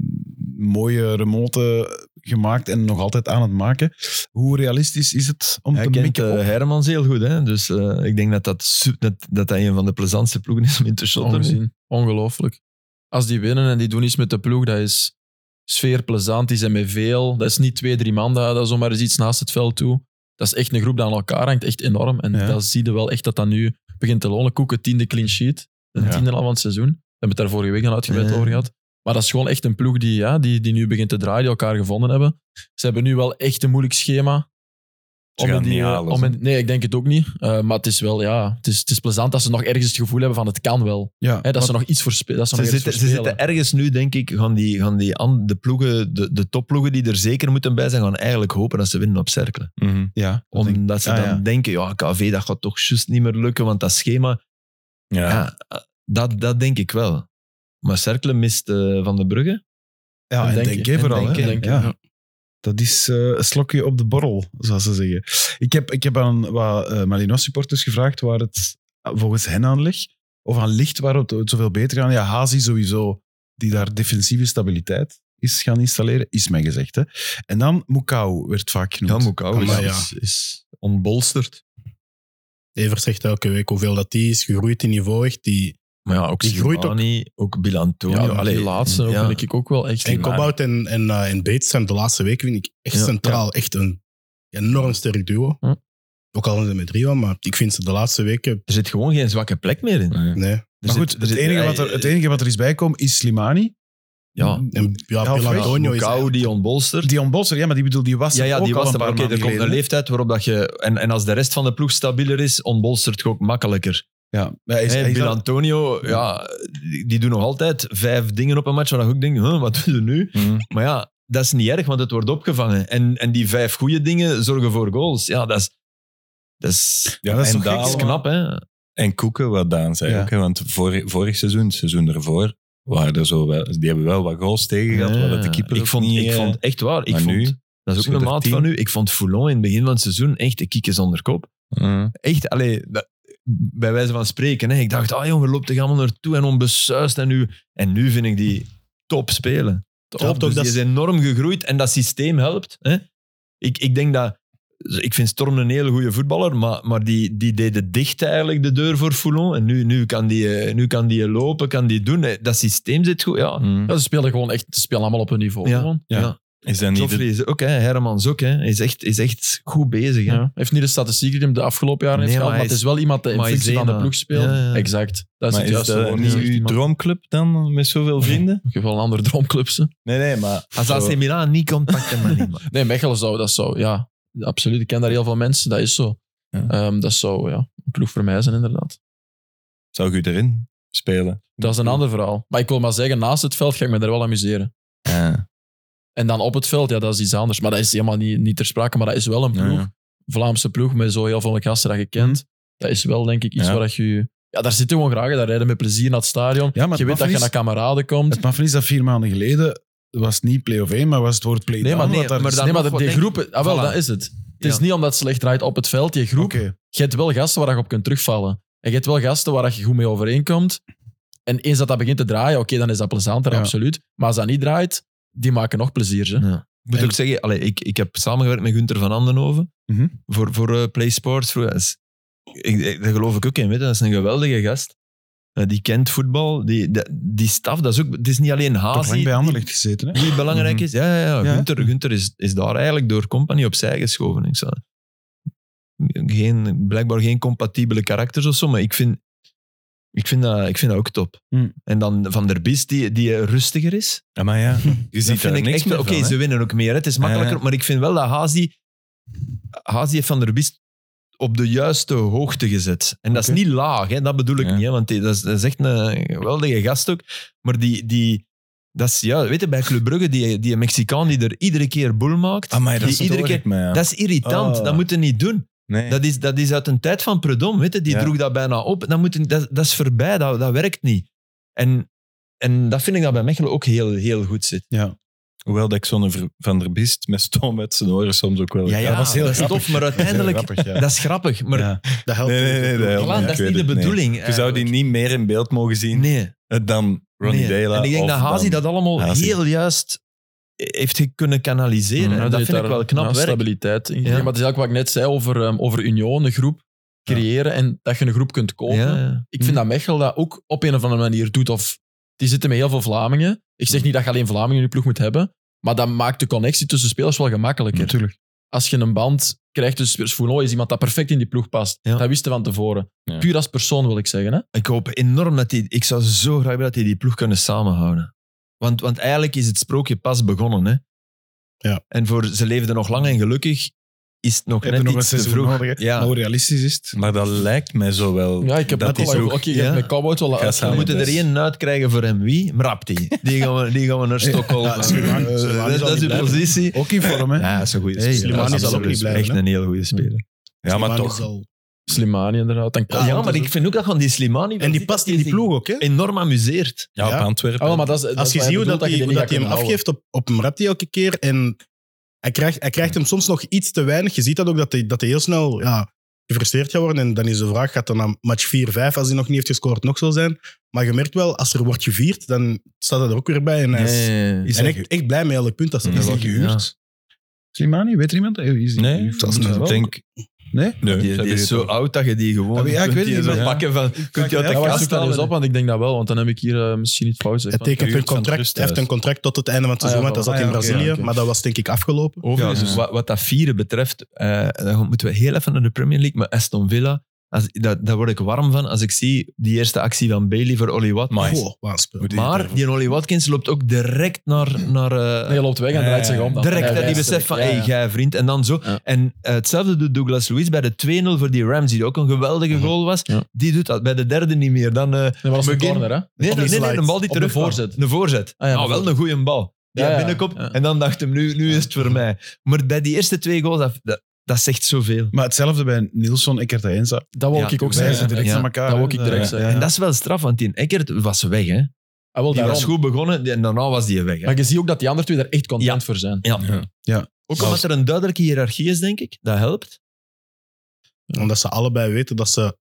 B: mooie remote gemaakt en nog altijd aan het maken. Hoe realistisch is het om
E: Hij
B: te
E: kent
B: mikken
E: eh,
B: op-
E: Hermans heel goed, hè? dus eh, ik denk dat dat, su- dat dat dat een van de plezantste ploegen is om in te shotten.
D: Ongezien. Ongelooflijk. Als die winnen en die doen iets met de ploeg, dat is sfeerplezant. Die zijn met veel. Dat is niet twee, drie man dat, dat zomaar eens iets naast het veld toe. Dat is echt een groep die aan elkaar hangt. Echt enorm. En
B: Ja.
D: dat zie je wel echt dat dat nu begint te lonen. Koeken, tiende clean sheet. De
B: Ja.
D: tiende al van het seizoen. We hebben het daar vorige week al uitgebreid
E: Ja.
D: over gehad. Maar dat is gewoon echt een ploeg die, ja, die, die nu begint te draaien, die elkaar gevonden hebben. Ze hebben nu wel echt een moeilijk schema.
C: Ze gaan
D: in
C: het
D: die,
C: niet
D: eh,
C: halen,
D: om
C: zo.
D: in- nee, ik denk het ook niet. Eh, maar het is wel, ja, het is, het is plezant dat ze nog ergens het gevoel hebben van het kan wel.
B: Ja,
D: Hè, dat
B: maar-
D: ze nog iets voor spe- dat ze
E: Ze
D: nog iets
E: zitten, ze
D: voor spelen.
E: zitten ergens nu, denk ik, gaan die, gaan die an- de ploegen, de, de topploegen die er zeker moeten bij zijn, gaan eigenlijk hopen dat ze winnen op cerkelen.
C: Mhm.
B: ja, dat denk ik.
E: Omdat ze
B: Ah,
E: dan
B: ja.
E: denken, ja, KV, dat gaat toch juist niet meer lukken, want dat schema,
C: Ja.
E: ja. dat, dat denk ik wel. Maar cerkelen mist eh, Van de Brugge.
B: ja, en
D: denk
B: denk,
D: je.
B: je,
D: En
B: vooral.
D: denk
B: hè.
D: je, denk je,
B: ja.
D: ja.
B: Dat is eh, een slokje op de borrel, zoals ze zeggen. Ik heb, ik heb aan wat eh Malinois-supporters gevraagd waar het volgens hen aan ligt. Of aan licht waar het, het zoveel beter gaat. Ja, Hazi sowieso, die daar defensieve stabiliteit is gaan installeren, is mij gezegd. Hè. En dan Mukau werd vaak genoemd.
E: Mokau
F: Maar ja.
E: is, is ontbolsterd.
F: Evers zegt elke week hoeveel dat die is. Gegroeid in niveau echt. Die,
E: Maar ja, ook
F: Die groeit
E: Slimani, ook Bilantonio.
D: Ja,
E: Allee,
D: die laatste ook,
E: ja.
D: vind ik ook wel echt.
F: en Kobout en, en, eh, en Bates zijn de laatste weken vind ik echt
E: Ja,
F: centraal. Echt een enorm sterk duo.
D: Hm.
F: Ook al zijn ze met drie, maar ik vind ze de laatste weken...
E: Er zit gewoon geen zwakke plek meer in.
C: Nee.
F: Nee.
E: Er
B: Maar
E: zit-
B: goed,
E: er
B: het,
E: zit- eh,
B: enige wat er, het enige wat er is bijkomen is Slimani.
E: Ja,
F: En, ja,
B: Ja, of
F: Pilantonio is...
E: Mokau die ontbolsterd.
B: Dion Bosser, ja, maar die bedoel, die was
E: Ja,
B: er
E: ja,
B: ook
E: die
B: al
E: was
B: een
E: er.
B: paar
E: Maar oké,
B: maanden
E: er komt een
B: geleden, hè.
E: leeftijd waarop dat je... En, en als de rest van de ploeg stabieler is, ontbolstert je ook makkelijker.
B: Ja, maar hij is,
E: Hey,
B: hij is
E: Bill
B: al-
E: Antonio, ja, die, die doen nog altijd vijf dingen op een match waar je ook denkt, huh, wat doen ze nu?
C: Mhm.
E: Maar ja, dat is niet erg, want het wordt opgevangen. En, en die vijf goede dingen zorgen voor goals. Ja, dat is... Dat is,
C: Ja, dat is
E: en
C: toch gek,
E: dat is
C: hè?
E: knap, hè?
C: En Koeken, wat Daan zei
B: Ja.
C: ook. Hè, want vorig, vorig seizoen, het seizoen ervoor, waren er zo wel, die hebben wel wat goals tegen gehad. waar dat de keeper
E: ik
C: ook
E: vond,
C: niet,
E: ik
C: eh,
E: vond echt waar. Ik
C: maar
E: vond,
C: nu,
E: dat is
C: zit
E: ook een
C: er
E: maat
C: tien.
E: van nu. Ik vond Foulon in het begin van het seizoen echt een kiekje zonder kop.
C: mhm.
E: Echt, allee, dat- bij wijze van spreken. Hè. Ik dacht, ah jongen, loopt er allemaal naartoe en onbesuist. En nu, en nu vind ik die top spelen.
F: Ja,
E: Top,
F: ook
E: dus
F: dat
E: die is
F: ze-
E: enorm gegroeid en dat systeem helpt. Hè. Ik, ik denk dat... Ik vind Storm een hele goede voetballer, maar, maar die, die deden dicht eigenlijk de deur voor Foulon. En nu, nu, kan die, eh, nu kan die lopen, kan die doen. Hè. Dat systeem zit goed, ja.
C: Mhm.
D: Ja, ze spelen gewoon echt, ze spelen allemaal op hun niveau.
E: Ja.
D: Gewoon.
E: ja.
C: Is dat niet de-
E: Joffrey is ook, hè. Hermans ook. Hè. Hij is echt, is echt goed bezig. Hè.
D: Ja. Heeft niet de statistiek die hem de afgelopen jaren
E: Nee,
D: heeft gehaald,
E: maar hij
D: maar het is wel iemand die in
E: maar hij
D: functie
E: is
D: van de
E: één,
D: ploeg
E: hè.
D: speelt.
E: Ja, ja.
D: Exact. Dat is eh,
C: maar is
D: het juiste
C: dat
D: woord.
C: niet
D: Dat is echt
C: uw
D: iemand-
C: droomclub dan, met zoveel vrienden?
D: Ik heb wel een andere droomclub. ze.
C: Nee, nee, maar...
E: Als AC
C: zo-
E: Milan niet komt, pakt hij maar niet. man.
D: Nee, Mechelen zou, dat zou, ja, absoluut. Ik ken daar heel veel mensen, dat is zo.
C: Ja.
D: Ehm, dat zou, ja, een ploeg voor mij zijn inderdaad.
C: zou je erin spelen?
D: Dat is een ander verhaal. Maar ik wil maar zeggen, naast het veld ga ik me daar wel amuseren.
C: Ja.
D: En dan op het veld, ja, dat is iets anders. Maar dat is helemaal niet, niet ter sprake. Maar dat is wel een ploeg,
C: Ja.
D: Vlaamse ploeg, met zo heel veel gasten dat je kent.
E: Hm.
D: Dat is wel, denk ik, iets
C: Ja.
D: waar dat je... Ja, daar zitten gewoon graag. in. Daar rijden met plezier naar het stadion.
B: Ja, maar
D: je
B: het
D: weet dat
B: maffe
D: je naar
B: is-
D: kameraden komt.
B: Het maf is dat vier maanden geleden was het niet play-off 1, maar was het woord play-down.
D: Nee, maar
E: nee,
B: wat daar dus
E: maar
B: is-
E: Dus dan
D: nee, maar
E: nog
D: de,
E: wat
D: die
E: denk-
D: groepen... Ah, wel,
E: Voilà.
D: dat is het. Het is
E: Ja.
D: niet omdat het slecht draait op het veld. Die groep,
B: Oké.
D: je hebt wel gasten waar je op kunt terugvallen. En je hebt wel gasten waar je goed mee overeenkomt. En eens dat dat begint te draaien, oké, dan is dat plezanter,
B: Ja.
D: absoluut. Maar als dat niet draait, die maken nog plezier, ze.
E: Ja. Ik moet
F: En-
E: ook zeggen, allee, ik, ik heb samengewerkt met Gunther van Andenhoven
B: Mhm.
E: voor, voor eh, Play Sports. Vroeger. Dat is- ik, ik- daar geloof ik ook in. Weet je. Dat is een geweldige gast. Eh, die kent voetbal. Die, die, die staf, dat is ook, het is niet alleen
B: Toch lang
E: Hazi
B: bij
E: die,
B: Anderlecht gezeten, hè?
E: die belangrijk
D: Mhm.
E: is. Ja, ja, ja.
B: Ja.
E: Gunther, Gunther is, is daar eigenlijk door Company opzij geschoven. Ik zou, geen, blijkbaar geen compatibele karakters of zo, maar ik vind, ik vind, dat, ik vind dat ook top.
B: Mhm.
E: En dan Van der Bies, die, die eh, rustiger is.
C: Ja, Ah, maar ja, je
E: Dat
C: ziet daar
E: vind ik
C: niks
E: echt
C: meer
E: wel- Oké,
C: van, hè.
E: ze winnen ook meer. hè. Het is makkelijker.
C: Ja.
E: Maar ik vind wel dat Hazi... Hazi heeft Van der Biest op de juiste hoogte gezet. En dat is
B: Oké.
E: niet laag, hè? dat bedoel ik
C: Ja.
E: niet. Hè? Want die- dat is, dat is echt een geweldige gast ook. Maar die... die dat is, ja, weet je, bij Club Brugge, die, die Mexicaan die er iedere keer boel maakt.
C: Amai, Ah, dat
E: die iedere
C: stoor
E: keer,
C: ik me, ja.
E: dat is irritant,
C: Oh.
E: dat moet je niet doen.
C: Nee.
E: Dat is, dat is uit een tijd van Predom, weet je, die
C: Ja.
E: droeg dat bijna op. Dat, moet, je- dat, dat is voorbij, dat, dat werkt niet. En, en dat vind ik dat bij Mechelen ook heel, heel goed zit.
B: Ja.
C: Hoewel dat ik zo'n ver- Van der Biest met stoom uit zijn oren soms ook wel...
E: Ja, ja,
C: Dat was heel
E: dat is
C: grappig.
E: tof, maar uiteindelijk...
B: Grappig, ja.
E: Dat is grappig, maar
B: Ja.
F: Dat helpt.
C: Nee, nee,
F: niet.
C: nee, dat helpt
E: voilà, dat
C: Ik
E: is
C: weet
E: niet de
C: het, nee.
E: bedoeling. eh,
C: Je zou die niet meer in beeld mogen zien
E: Nee,
C: eh, dan Ronnie
E: nee.
C: Dela.
E: En ik denk
C: of
E: dat Hazi
C: dan-
E: dat allemaal
C: Hazi.
E: heel juist heeft ge- kunnen kanaliseren.
D: Ja,
E: En
D: Mm, die
E: dat
D: heeft
E: vind ik
D: daar,
E: wel knap
D: ja,
E: werk.
D: stabiliteit
E: Ja.
D: in. Maar het is eigenlijk wat ik net zei over, ehm, over Union, een groep creëren en dat je een groep kunt kopen.
E: Ja, ja.
D: Ik vind dat Mechel dat ook op een of andere manier doet. Of, die zitten met heel veel Vlamingen. Ik
E: Mm.
D: zeg niet dat je alleen Vlamingen in je ploeg moet hebben, maar dat maakt de connectie tussen spelers wel gemakkelijker.
B: Natuurlijk.
D: Als je een band krijgt tussen spelers, Fouillon is iemand dat perfect in die ploeg past.
E: Ja.
D: Dat wisten we van tevoren.
C: Ja.
D: Puur als persoon wil ik zeggen. Hè?
E: Ik hoop enorm dat die... Ik zou zo graag willen dat die die ploeg kunnen samenhouden. Want, want eigenlijk is het sprookje pas begonnen. Hè?
F: Ja.
E: En voor ze leefden nog lang en gelukkig is het nog
F: Heb je
E: net
F: nog een
E: iets te
F: seizoen
E: vroeg.
F: nodig, hè?
E: Ja.
B: Maar hoe realistisch is het?
C: Maar dat lijkt mij zo wel.
D: Ja, ik heb
C: dat
D: ook
C: is
D: al
C: ook.
D: Oké, je hebt
E: ja.
D: met Cowboys wel
C: Ga
E: We
C: samen.
D: uitgelegd.
E: moeten er
C: Dus-
E: één uitkrijgen voor hem. Wie? Mrapti. Die gaan we, die gaan we naar Stockholm.
F: Ja, Slimani-
E: Eh,
F: Slimani zal
E: dat is
F: niet
E: uw
F: blijven.
E: positie.
B: Ook in vorm, hè?
E: Ja, dat is een goede
B: Hey,
E: speler.
F: Slimani
E: Dat is
F: zal ook
E: absoluut
F: niet blijven,
E: Echt
F: hè?
E: een heel goede speler.
C: Ja, maar
F: Slimani
C: toch.
F: zal-
D: Slimani inderdaad. En
E: Ja,
D: Cowboys
E: maar
D: ook.
E: ik vind ook dat gewoon die Slimani...
F: En die past in die
E: zich
F: ploeg ook, hè?
E: Enorm amuseert.
C: Ja, op
F: Ja.
C: Antwerpen.
D: Ah, wel, maar dat is, dat
F: Als
D: is
F: je
D: wat
F: ziet
D: hij
F: hoe dat hij
D: bedoelt, je
F: hoe dat
D: niet
F: hij hem
D: gaat
F: afgeeft
D: kunnen
F: op, op Mrapti elke keer. En hij krijgt, hij krijgt hem soms nog iets te weinig. Je ziet dat ook, dat hij, dat hij heel snel ja, gefrustreerd gaat worden. En dan is de vraag, gaat dan na match 4, 5, als hij nog niet heeft gescoord, nog zo zijn? Maar je merkt wel, als er wordt gevierd, dan staat hij er ook weer bij. En hij is,
E: Is
F: en
E: hij-
F: echt, echt blij met elk punt dat ze
C: Ja,
F: dat
B: Is
E: wel,
B: die
F: doen.
B: gehuurd? Slimani, weet er iemand? Eh, Is die
C: Nee,
B: gehuurd?
C: dat is
B: Moet
C: ik
B: wel.
C: denk.
B: Nee?
C: Nee,
E: Die, die is zo oud dat je die
B: Ja,
E: gewoon...
B: maar ja, ik
E: kunt
B: weet
E: die
B: het niet,
E: zo
C: maar-
E: pakken van... Kunt je uit
B: Ja,
E: de
D: houden. Ja,
E: kast
D: zoek dat eens
E: halen.
D: op, want ik denk dat wel, want dan heb ik hier eh, misschien iets fout
F: Hij
D: gezegd.
F: tekent
C: Gehuurd
F: een
C: van
F: contract,
C: Rust
F: hij heeft een
C: thuis.
F: contract tot het einde van het
D: Ah, ja,
F: seizoen, want dat
D: voilà.
F: zat in
D: Ah, ja, oké,
F: Brazilië.
D: oké. Oh,
F: Maar dat was denk ik afgelopen.
E: Overigens,
C: Ja.
E: dus wat, wat dat vieren betreft, eh, dan moeten we heel even naar de Premier League. Maar Aston Villa, als, daar, daar word ik warm van als ik zie die eerste actie van Bailey voor Ollie Watkins.
C: Amai.
F: Wow, wat een spel.
C: Moet die-
E: Maar die Ollie Watkins loopt ook direct naar... naar eh,
D: Nee, hij loopt weg en draait zich om. dan.
E: direct
D: Hij
E: dat die
D: wijst
E: besef
D: direct.
E: van,
D: Ja,
E: hey,
D: ja.
E: jij vriend. En dan zo.
D: Ja.
E: En eh, hetzelfde doet Douglas Luiz bij de 2-0 voor die Ramsey, die ook een geweldige goal was.
D: Mhm. Ja.
E: Die doet dat bij de derde niet meer. Dan, eh,
D: Nee, maar dat is een
E: McGinn-
D: corner, hè?
E: nee,
F: Op de
E: nee, nee,
F: slide.
E: een bal die
F: Op de
E: terug
D: voorzet.
E: Een voorzet.
D: Ah, ja,
E: nou,
D: een
E: wel een goede bal. Die
D: Ja,
E: ja,
D: ja,
E: binnenkop.
D: ja.
E: En dan dacht hem, nu, nu is het voor mij. Maar bij die eerste twee goals, dat, dat, dat zegt zoveel.
B: Maar hetzelfde bij Nilsson, Eckert en Enza.
D: Dat wil
E: Ja,
D: ik ook
E: wij
B: Zij
D: zeggen.
B: zijn direct
E: ja.
B: aan elkaar.
D: Dat
B: hè.
D: wou ik direct
B: Ja,
D: zeggen.
B: ja.
E: En dat is wel straf, want die Eckert was weg. Hè.
D: Hij wil
E: Die was
D: daarom.
E: goed begonnen die- en daarna was die weg. Hè.
D: Maar je ziet ook dat die andere twee daar echt content
E: Ja.
D: voor zijn.
E: Ja.
C: Ja.
B: Ja.
E: Ook omdat er een duidelijke hiërarchie is, denk ik. Dat helpt.
F: Omdat ze allebei weten dat ze...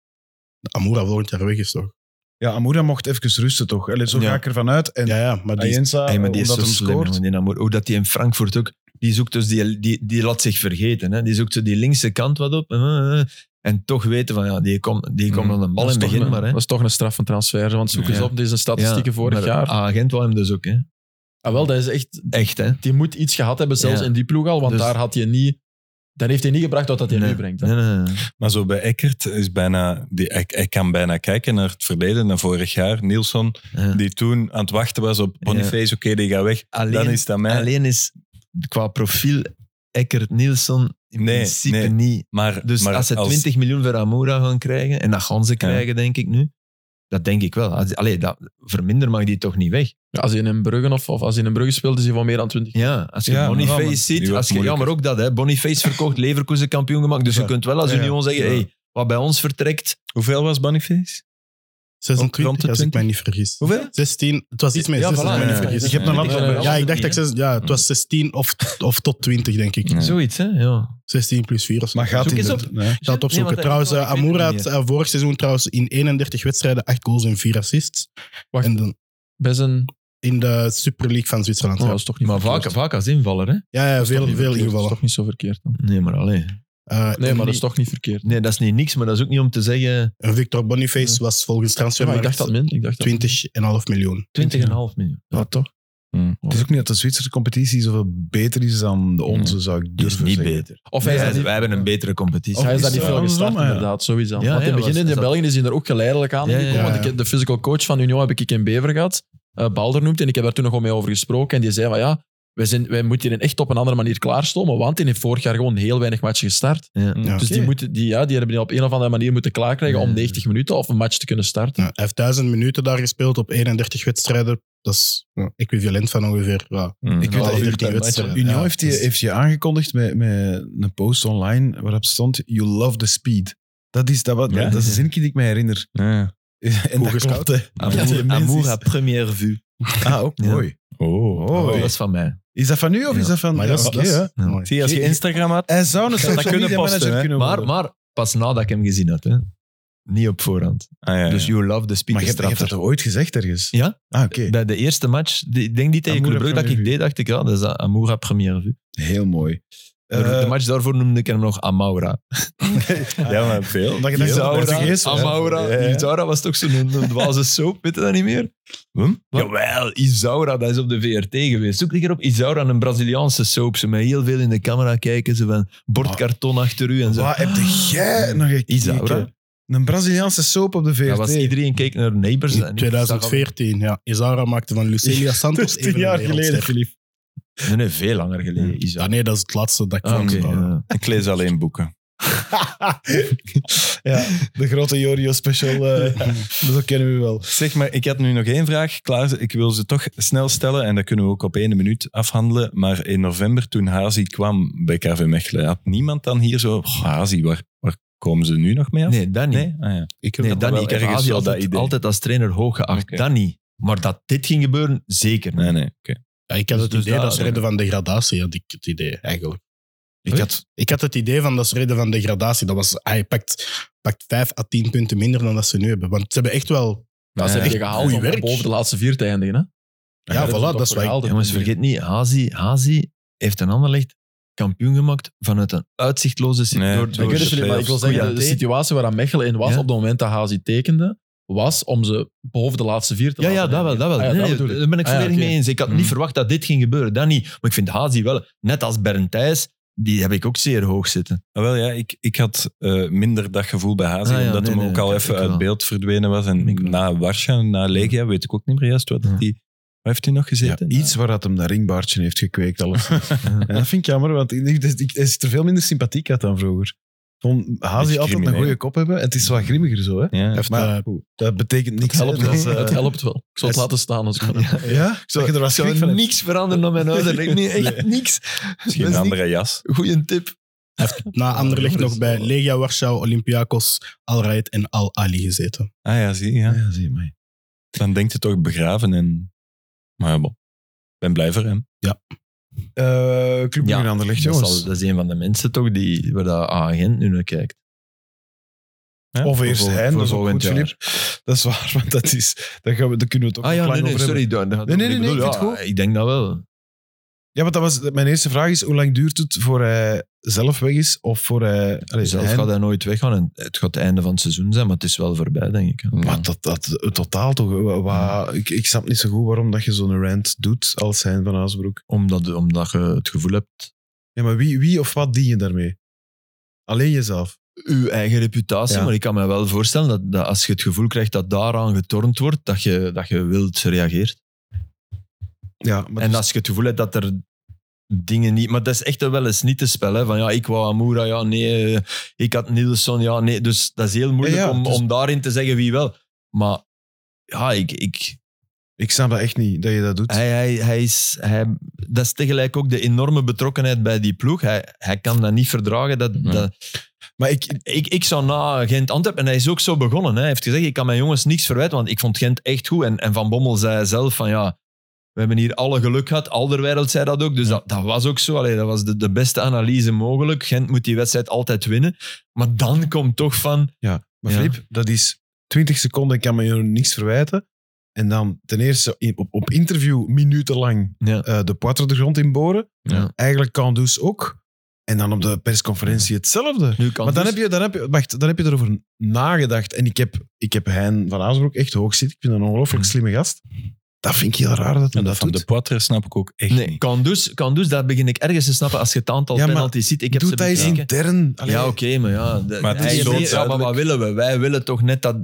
F: Amoura volgend jaar weg is, toch?
B: Ja, Amoura mocht even rusten, toch? Allee, zo
E: Ja.
B: ga ik ervan uit. En
F: Ja, ja,
D: Ah,
F: maar die...
B: Ayensa,
E: Hey, maar die is
B: omdat
E: zo
B: hem
E: slim,
B: scoort.
E: jongen, die Namor. Ook dat die in Frankfurt ook... Die, zoekt dus die, die, die laat zich vergeten. Hè. Die zoekt zo die linkse kant wat op. eh, eh, eh. En toch weten van, ja, die komt die komt
C: Mm.
E: aan een bal in
D: dat,
E: het
D: is toch
E: begin
D: een,
E: maar. Hè.
D: dat is toch een straf van transfer, want zoek eens
C: Ja.
D: op, dit is een statistieken
E: Ja,
D: vorig
E: maar
D: jaar.
E: Agent wou hem dus ook. Hè.
D: Ah, wel, dat is echt...
E: Echt, hè.
D: Die moet iets gehad hebben, zelfs
E: Ja.
D: in die ploeg al, want
E: Dus-
D: daar had je niet... Dan heeft hij niet gebracht wat dat hij nu brengt. hè.
E: Nee, nee, nee.
C: Maar zo bij Eckert is bijna. Die, hij, hij kan bijna kijken naar het verleden, naar vorig jaar. Nielsen,
E: Ja.
C: die toen aan het wachten was op Boniface, oké, die gaat weg.
E: Alleen,
C: Dan is dat mij.
E: alleen is qua profiel Eckert Nielsen in
C: Nee,
E: principe
C: nee.
E: niet.
C: maar,
E: Dus
C: maar
E: als ze 20 miljoen voor Amoura gaan krijgen, en dat gaan ze krijgen, denk ik nu, dat denk ik wel. Als- Allee, dat, voor minder mag die toch niet weg.
D: Ja, Als hij in Bruggen of, of als hij in Brugge speelt, is hij van meer dan 20.
E: Ja, als je
B: Ja,
E: Boniface
B: maar-
C: Die
E: ziet,
C: wordt
E: als je, ja,
C: moeilijker.
E: maar ook dat, hè. Boniface verkocht, Leverkusen kampioen gemaakt. Dus
B: Ja.
E: je kunt wel als
B: Ja, ja.
E: Union zeggen,
B: Ja.
E: hey, wat bij ons vertrekt,
C: Hoeveel was Boniface?
F: 26, als ik mij niet vergis.
C: Hoeveel?
F: 16, het was iets meer
E: Ja,
F: 16,
E: voilà.
F: als ik me
C: Ja,
F: niet vergis.
B: Je hebt een
C: Ja,
B: laptop.
D: ja,
B: bij.
F: Ja, ik dacht
E: niet,
F: dat ik zes- ja, het was 16 of, of tot 20, denk ik.
C: Ja.
E: zoiets. Hè? Ja.
F: 16 plus 4 of zo.
B: Maar gaat
E: Zoek
B: hij
E: eens
B: dat- Nee.
F: Ik zal het opzoeken.
E: Nee, want
F: trouwens,
E: dat-
F: eh, Amoura
E: ik weet
F: had
E: het
F: eh, vorig seizoen trouwens in 31 wedstrijden 8 goals en 4 assists.
D: Wacht.
F: En dan,
D: Bij zijn
F: in de Super League van Zwitserland.
D: Oh,
F: ja.
D: dat is toch niet
E: Maar
D: verkeerd.
E: vaak, vaak als invaller, hè?
F: ja, ja, veel,
D: Niet
F: veel
D: verkeerd. Dat is
F: ingevallen.
D: toch niet zo verkeerd dan.
E: Nee, maar alleen.
F: Eh,
D: Nee,
F: en
D: maar dat is
F: die-
D: toch niet verkeerd.
E: Nee, dat is niet niks, maar dat is ook niet om te zeggen
F: en Victor Boniface
D: Ja.
F: was volgens
D: Ja, maar ik dacht
F: transfermarkt
D: dat min. Ik dacht dat min.
F: 20,5 miljoen.
E: 20,5 miljoen.
D: Ja, toch?
E: Hmm.
B: Het is ook niet dat de Zwitserse competitie zoveel beter is dan de onze, zou ik
E: Die is
B: durven
E: niet
B: zeggen.
E: beter.
D: Of
E: Wij,
D: hij is daar
E: zijn-
D: niet-
E: wij hebben een betere competitie. Dus, eh,
B: Of
D: Hij is
B: is
D: daar niet
B: dat
D: veel
B: andersom,
D: gestart,
B: ja.
D: inderdaad, sowieso.
E: Ja,
D: Want
E: ja,
D: in het
E: was-
D: begin in
E: is dat-
D: België is hij er ook geleidelijk aan
E: Ja, ja,
D: gekomen.
E: ja.
D: Want ik, de physical coach van Union heb ik in Bever gehad, eh, Balder noemt, en ik heb daar toen nog wel mee over gesproken. En die zei van ja, wij, zijn, wij moeten hier echt op een andere manier klaarstomen, want die heeft vorig jaar gewoon heel weinig matchen gestart.
E: Ja.
F: Ja.
D: Dus die, moeten, die, ja, die hebben die op een of andere manier moeten klaarkrijgen om
E: Ja.
D: 90 minuten of een match te kunnen starten.
F: Ja, hij heeft 1000 minuten daar gespeeld op 31 wedstrijden. Dat is ja, equivalent van ongeveer ja,
B: Ik weet
F: half
B: dat
F: uur
B: Union-
F: tien wedstrijden.
B: Union
F: Ja,
B: heeft, die,
F: dus-
B: heeft je aangekondigd met, met een post online waarop stond You love the speed. Dat is, dat, wat,
C: Ja.
B: dat is een zinnetje die ik mij herinner.
C: Ja.
B: En dat
F: gescout.
B: klopt, hè. Dat die
E: Amour,
B: mens
E: amour
B: is-
E: à première vue.
B: Ah, ook
E: Ja.
B: mooi.
C: Oh.
B: Oh,
E: Dat
B: ja.
E: is van mij.
B: Is dat van nu of
E: Ja.
B: is dat van...
F: Maar dat is,
B: oké,
F: dat is-
B: hè.
E: ja.
F: mooi.
C: Zie, als je Instagram had...
B: Hij zou een
C: zou
B: social
C: dat kunnen
B: media
C: posten,
B: manager
C: hè.
B: kunnen
E: Maar,
B: worden.
E: maar pas nadat ik hem gezien had. Hè. Niet op voorhand.
C: Ah, ja, ja.
E: Dus You Love the Speed
B: Maar je,
E: is
B: hebt- je hebt dat
E: straffer.
B: toch ooit gezegd ergens?
E: Ja.
B: Ah, oké.
E: Bij de eerste match, die- ik denk die tegen
B: Amour
E: Club
B: à
E: Brugge dat ik
B: première
E: deed, dacht ik, ja, dat is Amour à première vue.
B: Heel mooi.
E: Maar
B: Eh,
E: de match daarvoor noemde ik hem nog Amaura.
C: ja, maar veel.
B: Omdat je dacht dat het Portugees was.
E: Amaura.
B: Ja, ja.
E: Isaura was toch zo'n een dwaze soap, weet je dat niet meer?
C: Hm?
E: Jawel, Isaura, dat is op de VRT geweest. Zoek een keer op Isaura, een Braziliaanse soap. Ze met heel veel in de camera kijken, ze van bordkarton achter u en zo.
B: Wat heb jij nog gekeken?
E: Isaura?
B: Een Braziliaanse soap op de VRT.
E: Dat was, iedereen keek naar Neighbors. en
F: In
E: ik
F: 2014, ja. Isara maakte van Lucelia
B: Dat
F: Santos
B: is
F: even
B: tien
F: een
B: jaar geleden,
F: wereldster.
B: Filip.
E: zag al- Nee, nee, veel langer geleden.
F: Ja,
E: Isaura.
F: nee, dat is het laatste dat ik
E: Ah,
F: van
E: oké,
F: Isaura-
E: ja.
C: Ik lees alleen boeken.
B: ja, de grote Jorio special. eh, dat kennen we wel.
C: Zeg maar, ik had nu nog één vraag. Klaas, ik wil ze toch snel stellen en dat kunnen we ook op één minuut afhandelen. Maar in november, toen Hazi kwam bij KV Mechelen, had niemand dan hier zo... "Goh, Hazi, waar, waar komen ze nu nog mee af?
E: Nee, dat niet.
C: Nee? Ah, ja.
E: Ik
C: heb
E: nee,
C: dat
E: dat
C: wel
E: niet. Ik heb
C: ergens
E: Azië
C: wel dat
E: altijd,
C: idee.
E: altijd als trainer hoog geacht.
C: Oké.
E: Dat niet. Maar dat dit ging gebeuren, zeker niet.
C: Nee, nee. oké.
F: Ja, ik had het
E: Dus
F: idee
E: daar-
F: dat ze reden van degradatie, had ik het idee eigenlijk. Ik
E: Huh?
F: had, ik had het idee van dat ze reden van degradatie. Dat was, hij pakt, pakt 5 à 10 punten minder dan dat ze nu hebben. Want ze hebben echt wel.
D: Dat is
C: Ja,
D: echt
F: echt
D: gehaald
F: goeie
D: om
F: werk.
D: boven de laatste vier te eindigen. Hè?
F: Ja,
D: hebben ze
F: voilà,
D: toch
F: dat is wat ik-
D: gehaald, hè.
E: Jongens, vergeet niet, Hazi, Hazi heeft een Anderlecht kampioen gemaakt vanuit een uitzichtloze
C: Nee,
E: situatie.
C: ik
D: Ik,
C: weet
D: weet het niet, maar ik wil zeggen, de, de
E: eh,
D: situatie waar Mechelen in was
E: Ja.
D: op het moment dat Hazi tekende, was om ze boven de laatste vier te
E: Ja, ja,
D: laten
E: dat wel. Dat wel.
D: Ah
E: Nee,
D: ja, dat
E: nee, eh,
D: bedoel ik.
E: daar ben ik
D: Ah ja,
E: volledig
D: oké.
E: mee eens. Ik had
D: Hmm.
E: niet verwacht dat dit ging gebeuren. Dat niet. Maar ik vind Hazi wel, net als Bernd Thijs, die heb ik ook zeer hoog zitten.
C: Ah, wel, ja, ik, ik had eh, minder dat gevoel bij Hazi,
E: Ah, ja,
C: omdat
E: nee,
C: hem
E: nee,
C: ook al
E: ik-
C: even
E: ik
C: uit
E: wel.
C: beeld verdwenen was. En
E: Ik wel.
C: na Warschau, na Legia, weet ik ook niet meer juist wat
E: Ja.
C: die... Waar heeft hij nog
B: Ja,
C: gezeten?
B: iets waar dat hem dat ringbaardje heeft gekweekt. Alles. en dat vind ik jammer, want ik, ik, ik- hij ziet er veel minder sympathiek uit dan vroeger. Van Hazi altijd
C: Beetje
B: een
C: crimineel.
B: goede kop hebben. en Het is wat grimmiger zo, hè.
C: Ja.
F: Heeft, eh,
B: Maar goed, dat betekent
D: Het
B: niks. hè.
D: helpt,
B: Dat is,
D: wel.
B: eh,
D: het helpt wel. Ik zal het
B: is-
D: laten staan. Als ik
E: Ja.
B: Ja? Ik
E: Zou-
B: je er was schrik van
E: zou
B: hebt. Nou,
E: niks veranderen aan mijn ouder. Nee, echt
B: Nee.
E: niks.
C: Misschien een
E: Dat is niks.
C: andere jas.
E: Goeie tip.
F: na Anderlecht
E: dat is
F: nog bij
E: wel-
F: Legia Warschau, Olympiakos, Al Raed en Al Ali gezeten.
C: Ah ja, zie je.
B: Ja,
C: Ja.
B: ja, zie je mij.
C: Dan denkt het toch begraven en... Maar ja, bon. Ik ben blij voor hem.
B: Eh Club
E: Ja,
B: ja, Anderlecht,
E: Dat,
B: jongens.
E: zal- dat is een van de mensen toch die, waar dat agent nu naar kijkt.
C: Ja,
B: Of eerst
E: voor-
B: Hein,
E: voor
B: dat is ook
E: volgend
B: goed,
E: jaar.
B: Filip. Dat is waar, want dat is, daar, gaan we, daar kunnen we het ook
E: Ah ja,
B: nog
E: nee,
B: lang
E: nee,
B: over hebben.
E: sorry. dat- dat-
B: Nee, nee, nee,
E: ik bedoel,
B: ik vind
E: ja,
B: het goed.
E: Ik denk dat wel.
B: Ja, want dat was, mijn eerste vraag is, hoe lang duurt het voor hij zelf weg is? Of voor hij... allee,
E: Zelf
B: Hein-
E: gaat hij nooit weggaan. En het gaat het einde van het seizoen zijn, maar het is wel voorbij, denk ik.
B: Maar dat, dat, het totaal toch... eh, wa- wa- ik, ik snap niet zo goed waarom dat je zo'n rant doet als Hein van Aasbroek.
E: Omdat, omdat je het gevoel hebt,
B: Ja, maar wie, wie of wat dien je daarmee? Alleen jezelf.
E: uw eigen reputatie.
B: Ja.
E: Maar ik kan me wel voorstellen dat, dat als je het gevoel krijgt dat daaraan getornd wordt, dat je, dat je wild reageert.
B: Ja, maar
E: en
B: dus-
E: als je het gevoel hebt dat er dingen niet... Maar dat is echt wel eens niet te spellen. Van ja, ik wou Amoura, ja nee. eh, Ik had Nielsen, ja nee. Dus dat is heel moeilijk
B: Ja, ja,
E: om,
B: dus-
E: om daarin te zeggen wie wel. Maar ja, ik, ik,
B: ik snap dat echt niet, dat je dat doet.
E: Hij, hij, hij is, hij, dat is tegelijk ook de enorme betrokkenheid bij die ploeg. Hij, hij kan dat niet verdragen. Dat,
C: Nee.
E: dat,
B: Maar ik,
E: ik, ik zou na Gent Antwerpen, en hij is ook zo begonnen. Hè. Hij heeft gezegd: Ik kan mijn jongens niks verwijten, want ik vond Gent echt goed. En, en Van Bommel zei zelf: van ja, we hebben hier alle geluk gehad. Alderwereld zei dat ook. Dus dat, dat was ook zo. Allee, dat was de, de beste analyse mogelijk. Gent moet die wedstrijd altijd winnen. Maar dan komt toch van.
B: Maar
E: Ja.
B: Filip, dat is 20 seconden, ik kan me je niks verwijten. En dan ten eerste in- op, op interview minutenlang
E: Ja.
B: eh, de poitre de grond inboren.
E: Ja.
B: Eigenlijk kan dus ook. En dan op de persconferentie hetzelfde.
E: Nu kan
B: Maar dan
E: dus.
B: heb, je, dan, heb je, wacht, dan heb je erover nagedacht. En ik heb, ik heb Hein van Aasbroek echt hoog zitten. Ik vind hem een
E: Mm.
B: ongelooflijk slimme gast. Dat vind ik heel raar dat hij
C: En dat
B: dat,
C: van de
B: doet.
C: Poitre snap ik ook echt
E: Nee,
C: niet.
E: kan dus, kan dus, dat begin ik ergens te snappen als je het aantal
B: Ja, maar
E: penalties ziet. Ik heb ze
B: doet hij eens
E: bekeken.
B: intern. Allee,
E: Ja, oké, maar ja. de-
C: Maar het is
E: hij-
C: zo
E: nee, ja, maar
C: duidelijk.
E: wat willen we? Wij willen toch net dat...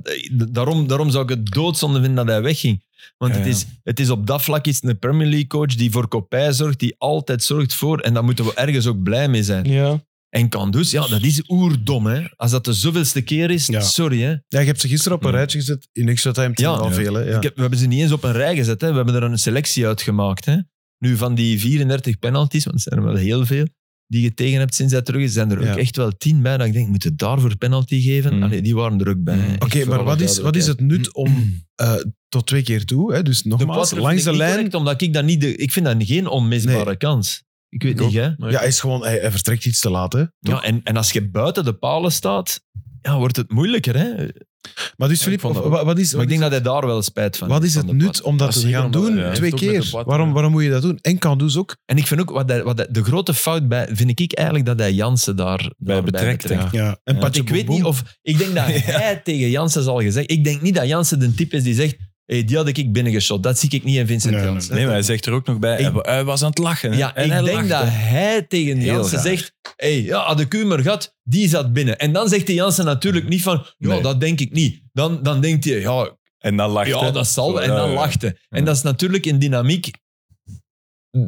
E: Daarom, daarom zou ik het doodzonde vinden dat hij wegging. Want
C: Ja,
E: het,
C: ja.
E: is, het is op dat vlak iets een Premier League coach die voor kopij zorgt, die altijd zorgt voor. En daar moeten we ergens ook blij mee zijn.
C: Ja.
E: En kan dus, ja, dat is oerdom, hè. Als dat de zoveelste keer is,
F: Ja.
E: sorry, hè.
B: Ja, je hebt ze gisteren op een
E: Ja.
B: rijtje gezet. In extra time
E: Mm. Ja.
B: al
E: Ja.
B: veel. hè. Ja.
E: Ik heb, we hebben ze niet eens op een rij gezet. Hè. We hebben er een selectie uit gemaakt. Hè. Nu, van die 34 penalties, want het zijn er wel heel veel, die je tegen hebt sinds hij terug is, zijn er
B: Ja.
E: ook echt wel tien bij. Dat ik denk, moet je daarvoor penalty geven?
C: Mm.
E: Allee, die waren er ook bij.
C: Mm.
E: hè. Echt
B: Oké,
E: voor
B: maar
E: alle
B: wat is, wat is het nut om eh, tot twee keer toe? Hè? Dus
E: duidelijkheid. Mm. De
B: nogmaals,
E: Poitre
B: langs
E: vind
B: de
E: ik niet
B: lijn.
E: correct, omdat ik, dat niet de, ik vind dat geen onmisbare
B: Nee.
E: kans. Ik weet
B: Ik
E: niet, hè.
B: Ja, hij, is gewoon, hij, hij vertrekt iets te laat. Hè?
E: Ja, en, en als je buiten de palen staat, ja, wordt het moeilijker. Hè.
B: Maar dus, Filip,
D: vond dat
B: wat, wat is,
E: Maar ik
B: wat is-
E: denk dat hij daar wel spijt van
B: wat
E: heeft,
B: is
E: van
B: het
E: de Poitre.
B: nut om dat
D: Dat
B: te
D: is
B: gaan
D: zeker omdat
B: doen?
D: hij- hij
B: twee
D: heeft ook met
B: keer.
D: de Poitre,
B: waarom,
D: ja.
B: waarom moet je dat doen? En kan dus ook.
E: En ik vind ook, wat hij- wat hij- de grote fout bij, vind ik eigenlijk dat hij Jansen daar, daarbij
C: betrekt, ja.
F: Ja.
B: En
E: Want
B: Patje
E: ik weet
B: Boem
E: niet
B: Boem.
E: of... Ik denk dat hij tegen Jansen zal gezegd... Ik denk niet dat Jansen de type is die zegt... Hey, die had ik binnengeschot. Dat zie ik niet in Vincent
F: Nee, nee,
E: Jansen.
C: Nee, maar hij zegt er ook nog bij,
E: Ik-
C: hij was aan het lachen. hè.
E: Ja,
C: en
E: ik
C: hij
E: denk
C: lacht,
E: dat
C: hè.
E: hij tegen
C: Heel
E: Jansen
C: raar.
E: zegt... hey, ja, had ik u maar gehad, die zat binnen. En dan zegt die Jansen natuurlijk niet van... Ja,
C: Nee.
E: dat denk ik niet. Dan, dan denkt hij... Ja,
C: En dan lacht
E: ja
C: hij.
E: dat zal. wel. En
C: Ja,
E: dan
C: ja.
E: lacht hij. En dat is natuurlijk in dynamiek...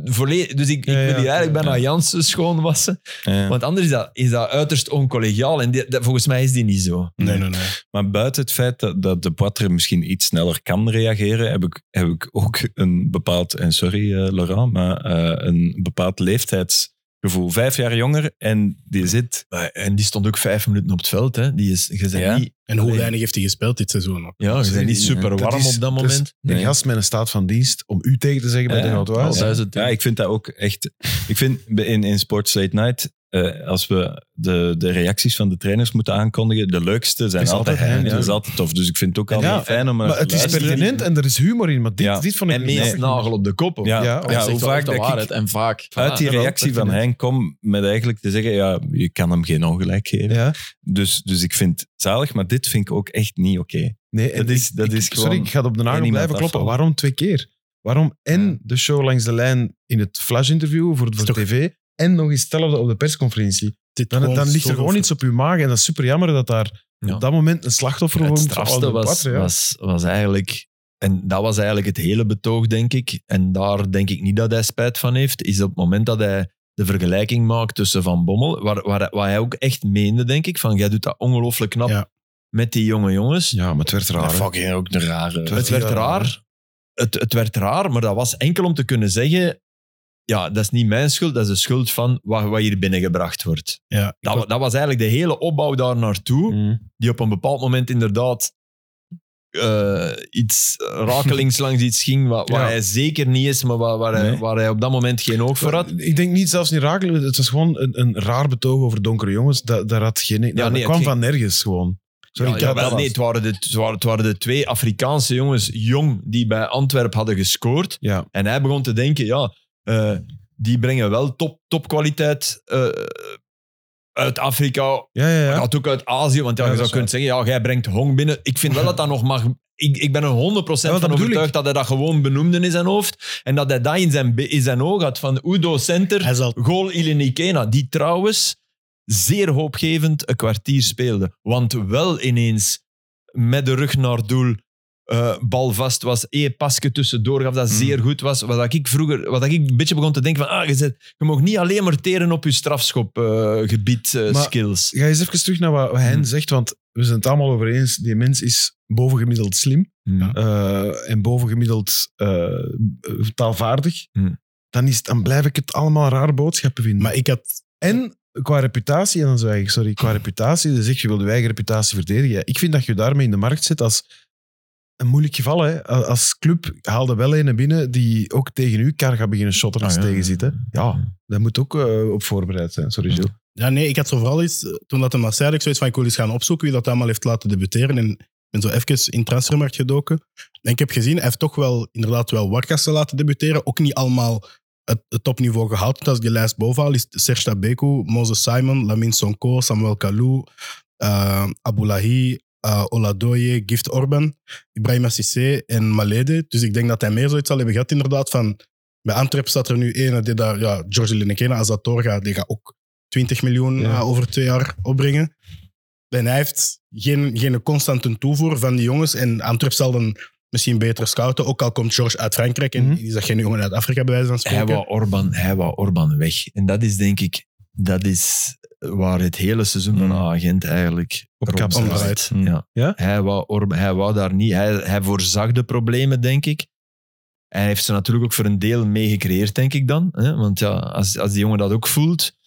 E: Volledig, dus ik, ik
B: Ja, ja,
E: wil hier eigenlijk
B: ja.
E: bijna Jansen schoonwassen.
C: Ja.
E: Want anders is dat, is dat uiterst oncollegiaal. En die- dat- volgens mij is die niet zo.
F: Nee, nee, nee.
C: Maar buiten het feit dat, dat de Poitre misschien iets sneller kan reageren, heb ik, heb ik ook een bepaald, en sorry eh, Laurent, maar eh, een bepaald leeftijdsgevoel. Vijf jaar jonger en die zit...
E: Maar- En die stond ook vijf minuten op het veld. Hè. Die is, je bent
C: Ja.
E: niet,
F: En hoe
E: Allee.
F: weinig heeft hij gespeeld dit seizoen? nog?
E: ja, je bent niet super
B: Dat
E: warm
B: is-
E: op dat
B: is
E: moment.
B: Een gast met een staat van dienst om u tegen te zeggen bij
C: Ja,
B: de
D: Oh,
B: Gautois.
D: dat is het.
C: Ja, ik vind dat ook echt... Ik vind in, in Sports Late Night, eh, als we de, de reacties van de trainers moeten aankondigen, de leukste zijn
B: is
C: altijd
B: altijd
C: hem.
B: hem,
C: Dat is
B: ja.
C: altijd tof. Dus ik vind het ook altijd
B: Ja,
C: fijn om naar
B: Maar
C: te
B: het is
C: luisteren.
B: pertinent en er is humor in. Maar dit,
C: Ja.
B: dit vond ik
E: En
B: niet
E: meest
B: leuk.
E: nagel op de kop. hoor.
C: Ja,
B: Ja,
C: ja,
B: want
D: Dat is
C: hoe
D: echt wel
C: vaak
D: echt de
C: dat ik
D: waarheid. En vaak.
C: uit die
D: Voilà, dat
C: reactie
D: wel
C: van Henk kom met eigenlijk te zeggen, ja, je kan hem geen ongelijk geven.
B: Ja.
C: Dus, dus ik vind het zalig, maar dit vind ik ook echt niet oké.
B: Nee, en
C: Dat is-
B: ik-
C: dat
B: ik-
C: is
B: sorry,
C: gewoon
B: ik ga op de nagel
C: één iemand
B: blijven kloppen.
C: afvallen.
B: Waarom twee keer? Waarom en
C: Ja.
B: de show langs de lijn in het flash-interview voor, voor
F: Is toch-
B: tv en nog eens hetzelfde op de persconferentie?
F: Dit
B: Dan,
F: gewoon
B: dan ligt
F: zo
B: er gewoon
F: over-
B: iets op uw maag en dat is super jammer dat daar
E: Ja.
B: op dat moment een slachtoffer
E: Het
B: wordt.
E: strafste was, was, was eigenlijk... En dat was eigenlijk het hele betoog, denk ik. En daar denk ik niet dat hij spijt van heeft. Is op het moment dat hij de vergelijking maakt tussen Van Bommel, waar, waar, waar hij ook echt meende, denk ik, van jij doet dat ongelooflijk knap
F: Ja.
E: met die jonge jongens.
B: Ja, maar het werd raar. hè.
C: fucking ook de rare.
E: Het werd
B: Ja.
E: raar. Het, het werd raar, maar dat was enkel om te kunnen zeggen... Ja, dat is niet mijn schuld, dat is de schuld van wat, wat hier binnengebracht wordt.
F: Ja.
E: Dat, wa- dat was eigenlijk de hele opbouw daar naartoe, die op een bepaald moment inderdaad eh, iets rakelings langs iets ging, wat, wat
B: Ja.
E: hij zeker niet is, maar waar, waar, hij,
C: Nee.
E: waar hij op dat moment geen oog voor had.
B: eh, Ik denk niet zelfs niet raar. Het was gewoon een, een raar betoog over donkere jongens. Dat, dat, had geen, dat,
E: nee,
B: dat
E: het
B: kwam
E: ging-
B: van nergens gewoon. Sorry,
E: Ja,
B: ik had
E: jawel,
B: dat
E: nee,
B: als-
E: het waren, de, het, waren, het waren de twee Afrikaanse jongens, jong, die bij Antwerpen hadden gescoord.
B: Ja.
E: En hij begon te denken, ja, eh, die brengen wel top, topkwaliteit eh, uit Afrika.
B: Ja, ja, ja.
E: Gaat ook uit Azië, want ja,
B: Ja,
E: je
B: dat
E: zou
B: is
E: kunnen zeggen, ja, jij brengt Hong binnen. Ik vind wel dat dat nog mag... Ik, ik ben er 100%
B: Ja, dat
E: van
B: bedoel
E: overtuigd
B: ik.
E: dat hij dat gewoon benoemde in zijn hoofd. En dat hij dat in zijn, be- in zijn oog had van Udo Center.
F: Hij zal
E: Goal Ilinikena, die trouwens zeer hoopgevend een kwartier speelde. Want wel ineens met de rug naar doel, eh, bal vast was, één pasje tussendoor gaf dat
B: Hmm.
C: Mm.
E: zeer goed was. Wat dat ik vroeger, wat dat ik een beetje begon te denken van, ah, je, zet, je mag niet alleen maar teren op je strafschopgebied eh,
B: Maar-
E: skills.
B: Ga eens even terug naar wat wat Hein
E: Hmm.
B: zegt, want we zijn het allemaal over eens. Die mens is bovengemiddeld slim
E: Ja.
B: eh, en bovengemiddeld eh, taalvaardig.
E: Hmm.
B: Dan, is, het- dan blijf ik het allemaal raar boodschappen vinden.
F: Maar ik had...
B: en qua reputatie, en dan zwijg ik, sorry, qua reputatie, dan zeg je, wil je eigen reputatie verdedigen. Ja, Ik vind dat je daarmee in de markt zit als een moeilijk geval. Hè. A- Als club haalde wel een binnen die ook tegen u kar gaat beginnen shotten als
E: Ah, ja.
B: tegen zit. Hè. Ja, daar moet ook eh, op voorbereid zijn. Sorry, Gilles.
F: Ja, nee, ik had zo vooral iets... eh, Toen dat hem dat zei, had ik zoiets van, ik wil eens gaan opzoeken wie dat allemaal heeft laten debuteren. En ik ben zo even in transfermarkt gedoken. En ik heb gezien, hij heeft toch wel inderdaad wel Wargassen laten debuteren. Ook niet allemaal het, het topniveau gehaald. Want als ik de lijst bovenhaal, is Serge Tabeku, Moses Simon, Lamin Sonko, Samuel Kalou, eh Aboulahi, eh, Oladoye, Gift Orban, Ibrahim Sissé en Malede. Dus ik denk dat hij meer zoiets zal hebben gehad inderdaad van... Bij Antwerpen staat er nu één, die daar, ja, George Linekena, Azatorga, die gaat ook 20 miljoen eh, over twee jaar opbrengen. En hij heeft geen, geen constante toevoer van die jongens. En Antwerp zal dan misschien beter scouten. Ook al komt George uit Frankrijk en
B: Mhm.
F: is dat geen jongen uit Afrika, bij wijze van
E: Hij
F: spreken.
E: wou, Orban, hij wou Orban weg. En dat is denk ik, dat is waar het hele seizoen van agent eigenlijk op
B: kap
F: omdraait.
E: Ja.
B: Ja?
E: Hij, wou Orban, hij wou daar niet, hij, hij voorzag de problemen denk ik. Hij heeft ze natuurlijk ook voor een deel mee gecreëerd denk ik dan. Hè? Want ja, als, als die jongen dat ook voelt.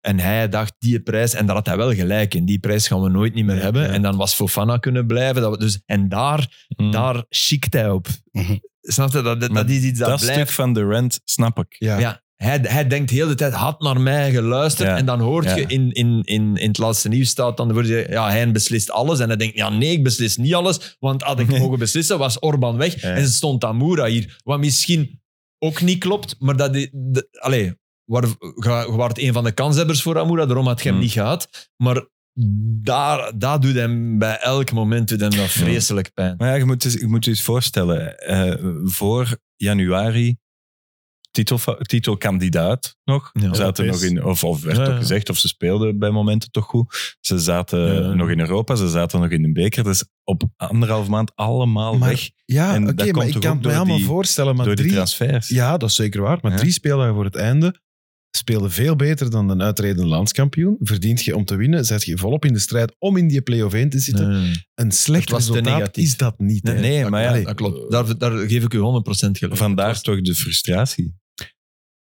E: En hij dacht, die prijs, en daar had hij wel gelijk in, die prijs gaan we nooit niet meer hebben. En dan was Fofana kunnen blijven. Dat, we- dus, en daar,
C: Mm.
E: daar schikt hij op.
F: Mhm.
E: Snap je? Dat, dat,
C: Maar
E: dat is iets dat,
C: dat
E: blijft.
C: stuk van de rent snap ik.
B: Ja.
E: Ja. Hij, hij denkt heel de hele tijd, had naar mij geluisterd.
C: Ja.
E: En dan hoort
C: Ja.
E: je in, in, in, in het laatste nieuws staat dan, de woorden, ja, hij beslist alles. En hij denkt, ja, nee, ik beslis niet alles. Want had ik mogen beslissen, was Orban weg.
C: Ja.
E: En ze stond Tamura hier. Wat misschien ook niet klopt, maar dat... i- De, allee, waar, je waart een van de kanshebbers voor Amura, daarom had je hem
C: Hmm.
E: niet gehad. Maar daar, daar doet hem bij elk moment doet hem dat vreselijk pijn.
C: Maar ja, je moet, dus- je moet je eens voorstellen, eh, voor januari titel, titelkandidaat nog.
E: Ja.
C: zaten nog
F: Europees.
C: in, of, of werd
E: Ja, ja.
C: ook gezegd, of ze speelden bij momenten toch goed. Ze zaten
E: Ja.
C: nog in Europa, ze zaten nog in de beker. Dus op anderhalf maand allemaal
B: Maar
C: weg
B: Ja,
C: En
B: oké,
C: dat komt
B: maar
C: toch
B: ik kan
C: ook
B: het
C: door
B: mij allemaal
C: die-
B: voorstellen. Maar
C: door die
B: drie,
C: transfers.
B: ja, dat is zeker waar. Maar
C: Ja.
B: drie speeldagen voor het einde speelden veel beter dan een uitredende landskampioen. Verdient je om te winnen, zet je volop in de strijd om in die play-off 1 te zitten. Een slecht
E: Het was te
B: resultaat
E: negatief.
B: is dat niet.
C: Nee,
B: hè.
C: nee,
B: Dat-
C: maar ja,
B: allee,
E: Dat klopt. Daar, daar geef ik u 100% gelijk.
C: Vandaar toch de frustratie.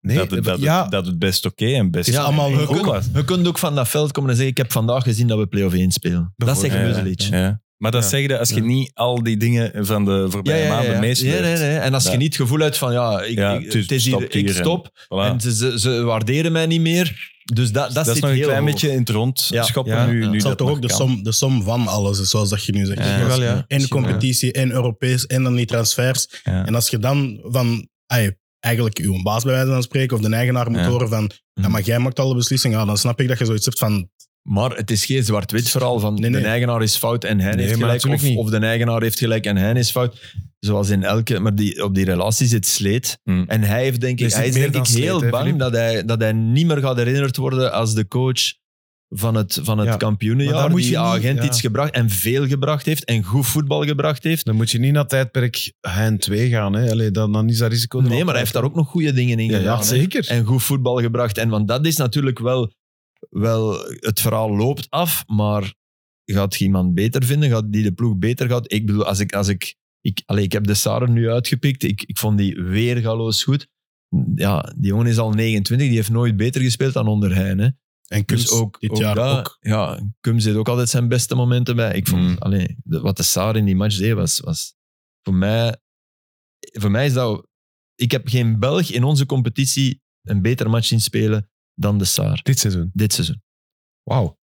B: nee, eh,
C: dat, het, dat, het-
B: ja,
C: dat het best oké en best
F: Het is allemaal
C: goed
F: leuk,
E: Je
C: was.
E: kunt, je kunt ook van dat veld komen en zeggen: Ik heb vandaag gezien dat we play-off 1 spelen. Dat zegt
C: Ja,
E: Muzelic. Ja,
C: Ja. Maar dat
B: Ja.
C: zeg je als je
B: Ja.
C: niet al die dingen van de
E: ja,
C: voorbije
E: ja,
C: maanden
E: ja.
C: meesleurt.
E: Ja, nee, nee. En als
C: Ja.
E: je niet het gevoel hebt van: Ja, ik,
C: Ja,
E: ik-
C: het is-
E: het is hier,
C: stopt hier
E: ik
C: en-
E: stop.
C: Voilà.
E: En ze, ze, ze waarderen mij niet meer. Dus dat, dat,
C: dat,
E: zit
C: is nog een
E: heel
C: klein
E: hoog.
C: beetje in het rond
E: Ja.
C: schoppen
B: Ja.
C: nu.
E: Ja.
C: nu
F: Het zal
C: dat
F: toch
C: nog
F: ook de
C: kan.
F: som, de som van alles, is, zoals dat je nu zegt.
C: Ja.
F: Dus
B: wel, ja.
F: En de
B: Misschien wel.
F: competitie, en Europees, en dan die transfers.
C: Ja.
F: En als je dan van ai, eigenlijk uw baas bij wijze van spreken, of de eigenaar moet
C: Ja.
F: horen van
B: Mhm.
F: ja, maar jij maakt alle beslissingen, ja, dan snap ik dat je zoiets hebt van
E: Maar het is geen zwart-wit verhaal van
F: Nee, nee.
E: de eigenaar is fout en hij
B: Nee,
E: heeft
B: maar
E: gelijk.
B: natuurlijk
E: Of,
B: niet.
E: of de eigenaar heeft gelijk en hij is fout. Zoals in elke, maar die, op die relatie zit sleet.
C: Mm.
E: En hij, heeft, denk
B: Er
E: ik,
B: zit
E: hij is
B: Hmm. meer
E: denk
B: dan
E: ik
B: sleet,
E: heel
B: hè,
E: bang
B: Filip?
E: dat hij, dat hij niet meer gaat herinnerd worden als de coach van het, van het
B: Ja. Maar daar
E: kampioenenjaar.
B: moet
E: Die
B: je niet-
E: agent
B: ja.
E: iets gebracht en veel gebracht heeft en goed voetbal gebracht heeft.
B: dan moet je niet naar tijdperk hen 2 gaan. Hè. Allee, dan, dan is dat risico er
E: Nee,
B: al-
E: maar hij heeft daar ook nog goede dingen in
B: Ja,
E: gedaan.
B: ja,
E: hè.
B: zeker.
E: En goed voetbal gebracht. En want dat is natuurlijk wel, wel... Het verhaal loopt af, maar gaat je iemand beter vinden? Gaat die de ploeg beter gaat? Ik bedoel, als ik... Als ik, ik, allee, ik heb de Saar nu uitgepikt. Ik, ik vond die weergaloos goed. Ja, die jongen is al 29. Die heeft nooit beter gespeeld dan onder Heijn. Hè?
F: en kunst
E: Dus ook,
F: dit
E: ook
F: jaar
E: dat-
F: ook.
E: Ja, Kum zit ook altijd zijn beste momenten bij. Ik vond,
C: Mm.
E: allee, de- wat de Saar in die match deed, was, was voor, mij, voor mij is dat... Ik heb geen Belg in onze competitie een beter match zien spelen dan de Saar.
B: Dit seizoen.
E: Dit seizoen.
B: Wauw.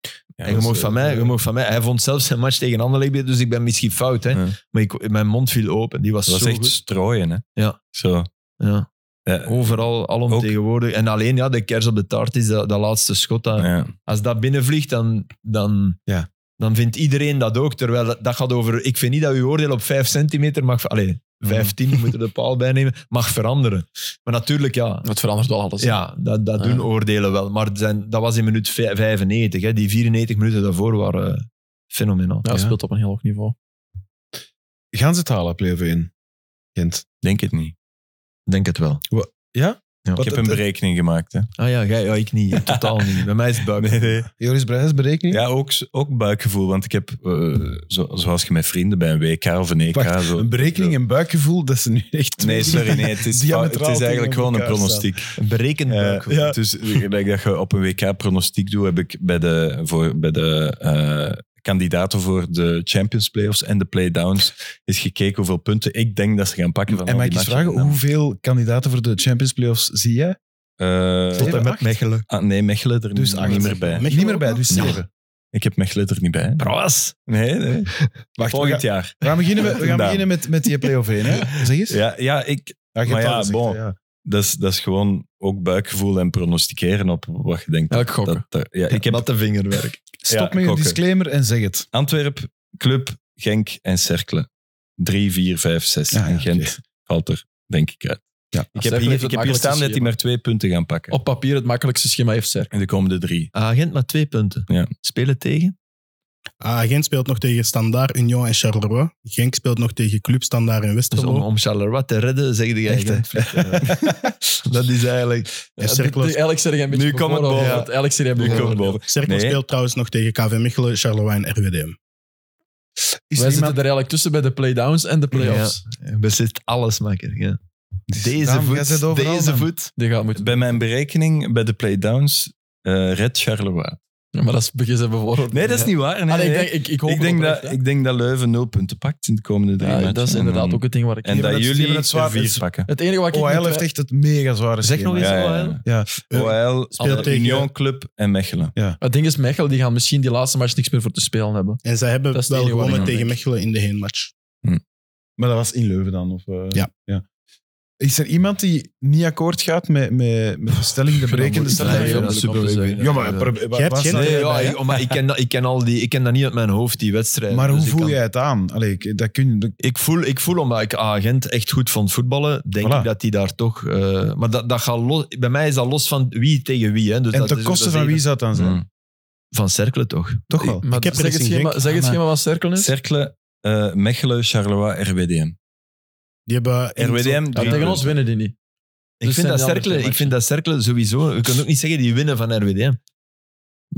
C: Ja,
E: en je
C: dat
E: mag
C: is,
E: van,
C: eh,
E: mij- je mag van mij... Hij vond zelfs zijn match tegen Anderlecht, dus ik ben misschien fout. Hè?
C: Ja.
E: Maar ik, mijn mond viel open. Die was,
C: Dat was
E: zo
C: echt
E: goed.
C: strooien, hè?
E: Ja.
C: Zo.
E: Ja.
C: Ja.
E: Overal, alomtegenwoordig. En alleen ja, de kers op de taart is dat, dat laatste schot. Dat,
C: Ja.
E: als dat binnenvliegt, dan, dan,
B: Ja.
E: dan vindt iedereen dat ook. Terwijl dat, dat gaat over... Ik vind niet dat uw oordeel op 5 centimeter mag... ver- Allee, 15, je moet er de paal bij nemen, mag veranderen. Maar natuurlijk, ja.
D: Dat verandert wel alles.
E: Ja, dat, dat
D: Ja.
E: doen oordelen wel. Maar zijn, dat was in minuut vij- 95. Hè. Die 94 minuten daarvoor waren eh, fenomenaal.
D: Ja,
B: Ja.
D: dat speelt op een heel hoog niveau.
B: Gaan ze het halen, play-off 1? Gent.
C: Denk het niet.
E: Ik Denk het wel.
C: Ik
B: Wat
C: heb
B: het-
C: een berekening gemaakt. Hè.
E: Ah ja, jij, ja ik niet. In Totaal niet. Bij mij is het buik.
B: Joris Brijs berekening?
C: Ja, ook, ook buikgevoel. Want ik heb, eh, zo, zoals je met vrienden bij een WK of een EK...
B: Wacht,
C: zo,
B: Een berekening en buikgevoel, dat ze nu echt...
C: Nee, sorry. Nee, het, is,
B: Diametraal
C: het is
B: tegenover
C: eigenlijk gewoon een
B: elkaar
C: pronostiek.
E: Een berekend buik.
C: Eh, Dus eh, gelijk dat je op een WK pronostiek doet, heb ik bij de, voor, bij de eh, kandidaten voor de Champions Playoffs en de Playdowns is gekeken hoeveel punten ik denk dat ze gaan pakken van
B: En
C: al
B: mag
C: die
B: ik eens
C: matchen.
B: vragen, hoeveel kandidaten voor de Champions Playoffs zie jij?
C: Eh,
B: Tot en met
E: Mechelen.
C: ah, nee, Mechelen er
B: Dus
C: niet
B: acht.
C: meer bij.
F: Mechelen
B: Niet meer
F: ook
B: bij,
F: nog?
B: dus
E: Ja.
B: zeven.
C: Ik heb mijn glitter niet bij.
E: Braas.
C: Nee, nee.
B: Wacht, we
C: Volgend
B: gaan,
C: jaar.
B: we gaan beginnen, met, we gaan
C: Gedaan.
B: beginnen met, met die play-off 1, hè? Zeg eens. Ah,
C: Ja, ja ik,
B: je hebt
C: maar
B: al
C: ja,
B: gezegd,
C: bon.
B: hè, ja.
C: dat, is, dat is gewoon ook buikgevoel en pronosticeren op wat je denkt.
D: Elk gok.
C: Dat, dat- eh, ja, ik heb
E: de vingerwerk.
B: Stop
C: Ja,
B: met je
C: gokken.
B: disclaimer en zeg het.
C: Antwerp, Club, Genk en Cerkelen. Drie, vier, vijf, zes.
B: Ja, ja,
C: en Gent
B: oké.
C: valt er, denk ik, uit.
B: Ja.
C: ik
D: Cerkelen
C: heb
D: heeft
C: hier,
D: het
C: ik heb hier
B: dus
C: staan
D: makkelijkste
C: dat die maar twee punten gaan pakken.
D: Op papier het makkelijkste schema heeft Cerk.
C: In de komende drie.
E: Agent maar twee punten.
C: Ja.
E: Spelen tegen.
F: Ah, Gent speelt nog tegen Standaard, Union en Charleroi. Genk speelt nog tegen Club Standaard en
E: Dus
F: Westerlo.
E: om, om Charleroi te redden, zeg
B: Echt,
E: je eigenlijk. dat is eigenlijk...
F: en Cercle-
D: Eigenlijk zeg je een beetje
C: Nu
D: voor
C: komt het
D: voorover,
C: boven.
D: want Eigenlijk zeg je
C: Nu
D: boven.
C: komen we boven.
F: Cercle
C: Nee.
F: speelt trouwens nog tegen KV Mechelen, Charleroi en RWDM.
B: Is
D: Wij
B: er
D: zitten
B: iemand...
D: er eigenlijk tussen bij de playdowns en de playoffs.
E: Beslist alles makker. Ja. Deze
B: Daan, jij zit
E: voet.
B: overal,
E: Deze
B: man.
E: voet.
D: Die gaat moeten.
C: Bij mijn berekening, bij de playdowns, eh red Charleroi.
D: Ja, maar dat is begin ze bevooroordeeld.
C: Nee, dat is niet waar. Nee,
D: Allee, Ah, ik,
C: nee.
D: denk, ik, ik hoop
C: Ik denk,
D: het
C: dat,
D: oprecht, hè.
C: ik denk dat Leuven nul punten pakt in de komende drie
D: Ja,
C: matchen. Mm.
D: dat is
E: Mm.
D: inderdaad ook het ding waar ik...
C: En
B: Die hebben
C: dat
B: het- die
C: jullie
B: hebben het zwaar.
C: er vier
B: Het is-
C: pakken.
D: het enige
E: Oh.
D: wat ik...
B: OHL
D: niet-
B: Oh, heeft echt het mega zware
E: Zeg
B: schema.
E: nog eens.
C: Ja, ja,
E: OHL?
C: ja.
B: Ja.
C: OHL,
F: Speelt tegen-
C: Union Club en Mechelen.
D: Het ding is, Mechel die gaan misschien die laatste match niks meer voor te spelen hebben.
F: En zij hebben
D: Dat is het
F: wel
D: enige wat
F: gewonnen
D: ik
F: tegen
D: denk.
F: Mechelen in de heenmatch.
B: Maar dat was in Leuven dan? Of, eh,
F: Ja.
B: Is er iemand die niet akkoord gaat met, met, met de stelling, de berekende
D: moeilijk.
B: stelling?
D: Nee,
B: van-
D: dat is super moeilijk.
B: Ja, maar... pro- wa-
F: hebt
B: waar
F: geen-
B: sta
E: Nee,
B: jij
E: ja,
B: bij, hè?
E: ik, Oh, maar ik, ken dat, ik, ken al die, ik ken dat niet uit mijn hoofd, die wedstrijd.
B: Maar hoe voel
E: dus ik
B: jij het aan? Allee, ik, dat kun je... dat-
E: Ik voel, ik voel omdat ik agent echt goed vond voetballen, denk
B: Voilà.
E: ik dat die daar toch... eh, maar dat, dat gaat los, bij mij is dat los van wie tegen wie. Hè. Dus
B: en
E: dat
B: ten
E: is-
B: koste
E: dat is
B: van wie
E: even-
B: zou het dan zijn?
C: Mm.
E: Van Cerkelen toch.
B: Toch wel?
D: Maar
F: Ik heb
D: zeg, het
F: Racing
D: schema,
F: Genk.
D: zeg het
C: Ah,
D: schema wat cirkel
E: Dus?
D: is.
C: Cercle, eh, Mechelen, Charleroi, RWDM.
F: Die hebben in-
C: RWDM,
D: Ja, tegen ons winnen die niet.
E: Ik, vind
D: Dus zijn
E: dat
D: die andere
E: Cerkelen,
D: twee
E: ik vind dat Cerkelen sowieso... Je kunt ook niet zeggen die winnen van RWDM.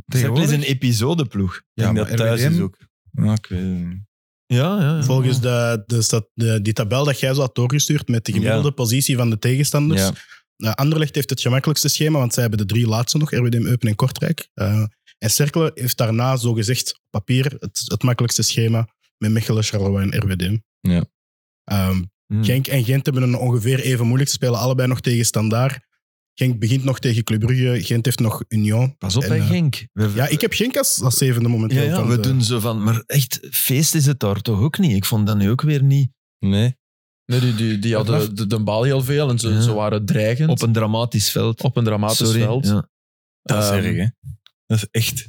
E: Cerkelen is een episodeploeg.
C: Ik denk
B: Ja,
C: dat
B: maar
C: thuis
B: RWDM
C: is ook. Ja, ik weet het niet.
E: Ja, ja.
F: Volgens de, de, stat- de- die tabel dat jij zo had doorgestuurd met de gemiddelde positie van de tegenstanders.
C: Ja.
F: Eh, Anderlecht heeft het gemakkelijkste schema, want zij hebben de drie laatste nog, RWDM, Eupen en Kortrijk. Eh, en Cercle heeft daarna, zogezegd, op papier het, het makkelijkste schema met Mechelen, Charleroi en RWDM.
C: Ja. Hmm.
F: Ehm, Genk en Gent hebben een ongeveer even moeilijk. Ze spelen allebei nog tegen Standaard. Genk begint nog tegen Club Brugge. Gent heeft nog Union.
E: Pas op,
F: En,
E: bij
F: eh,
E: Genk. We- eh,
F: Ja, ik heb Genk als, als zevende momenteel.
E: Ja, ja,
F: van
E: we
F: de-
E: doen zo van... Maar echt, feest is het daar toch ook niet? Ik vond dat nu ook weer niet...
C: Nee.
D: Nee, die, die, die hadden de, de bal heel veel en ze,
E: Ja.
D: ze waren dreigend
E: Op een dramatisch veld.
D: op een dramatisch
E: Sorry,
D: veld.
E: ja.
C: Dat is
D: Ehm,
C: erg, hè? Dat is echt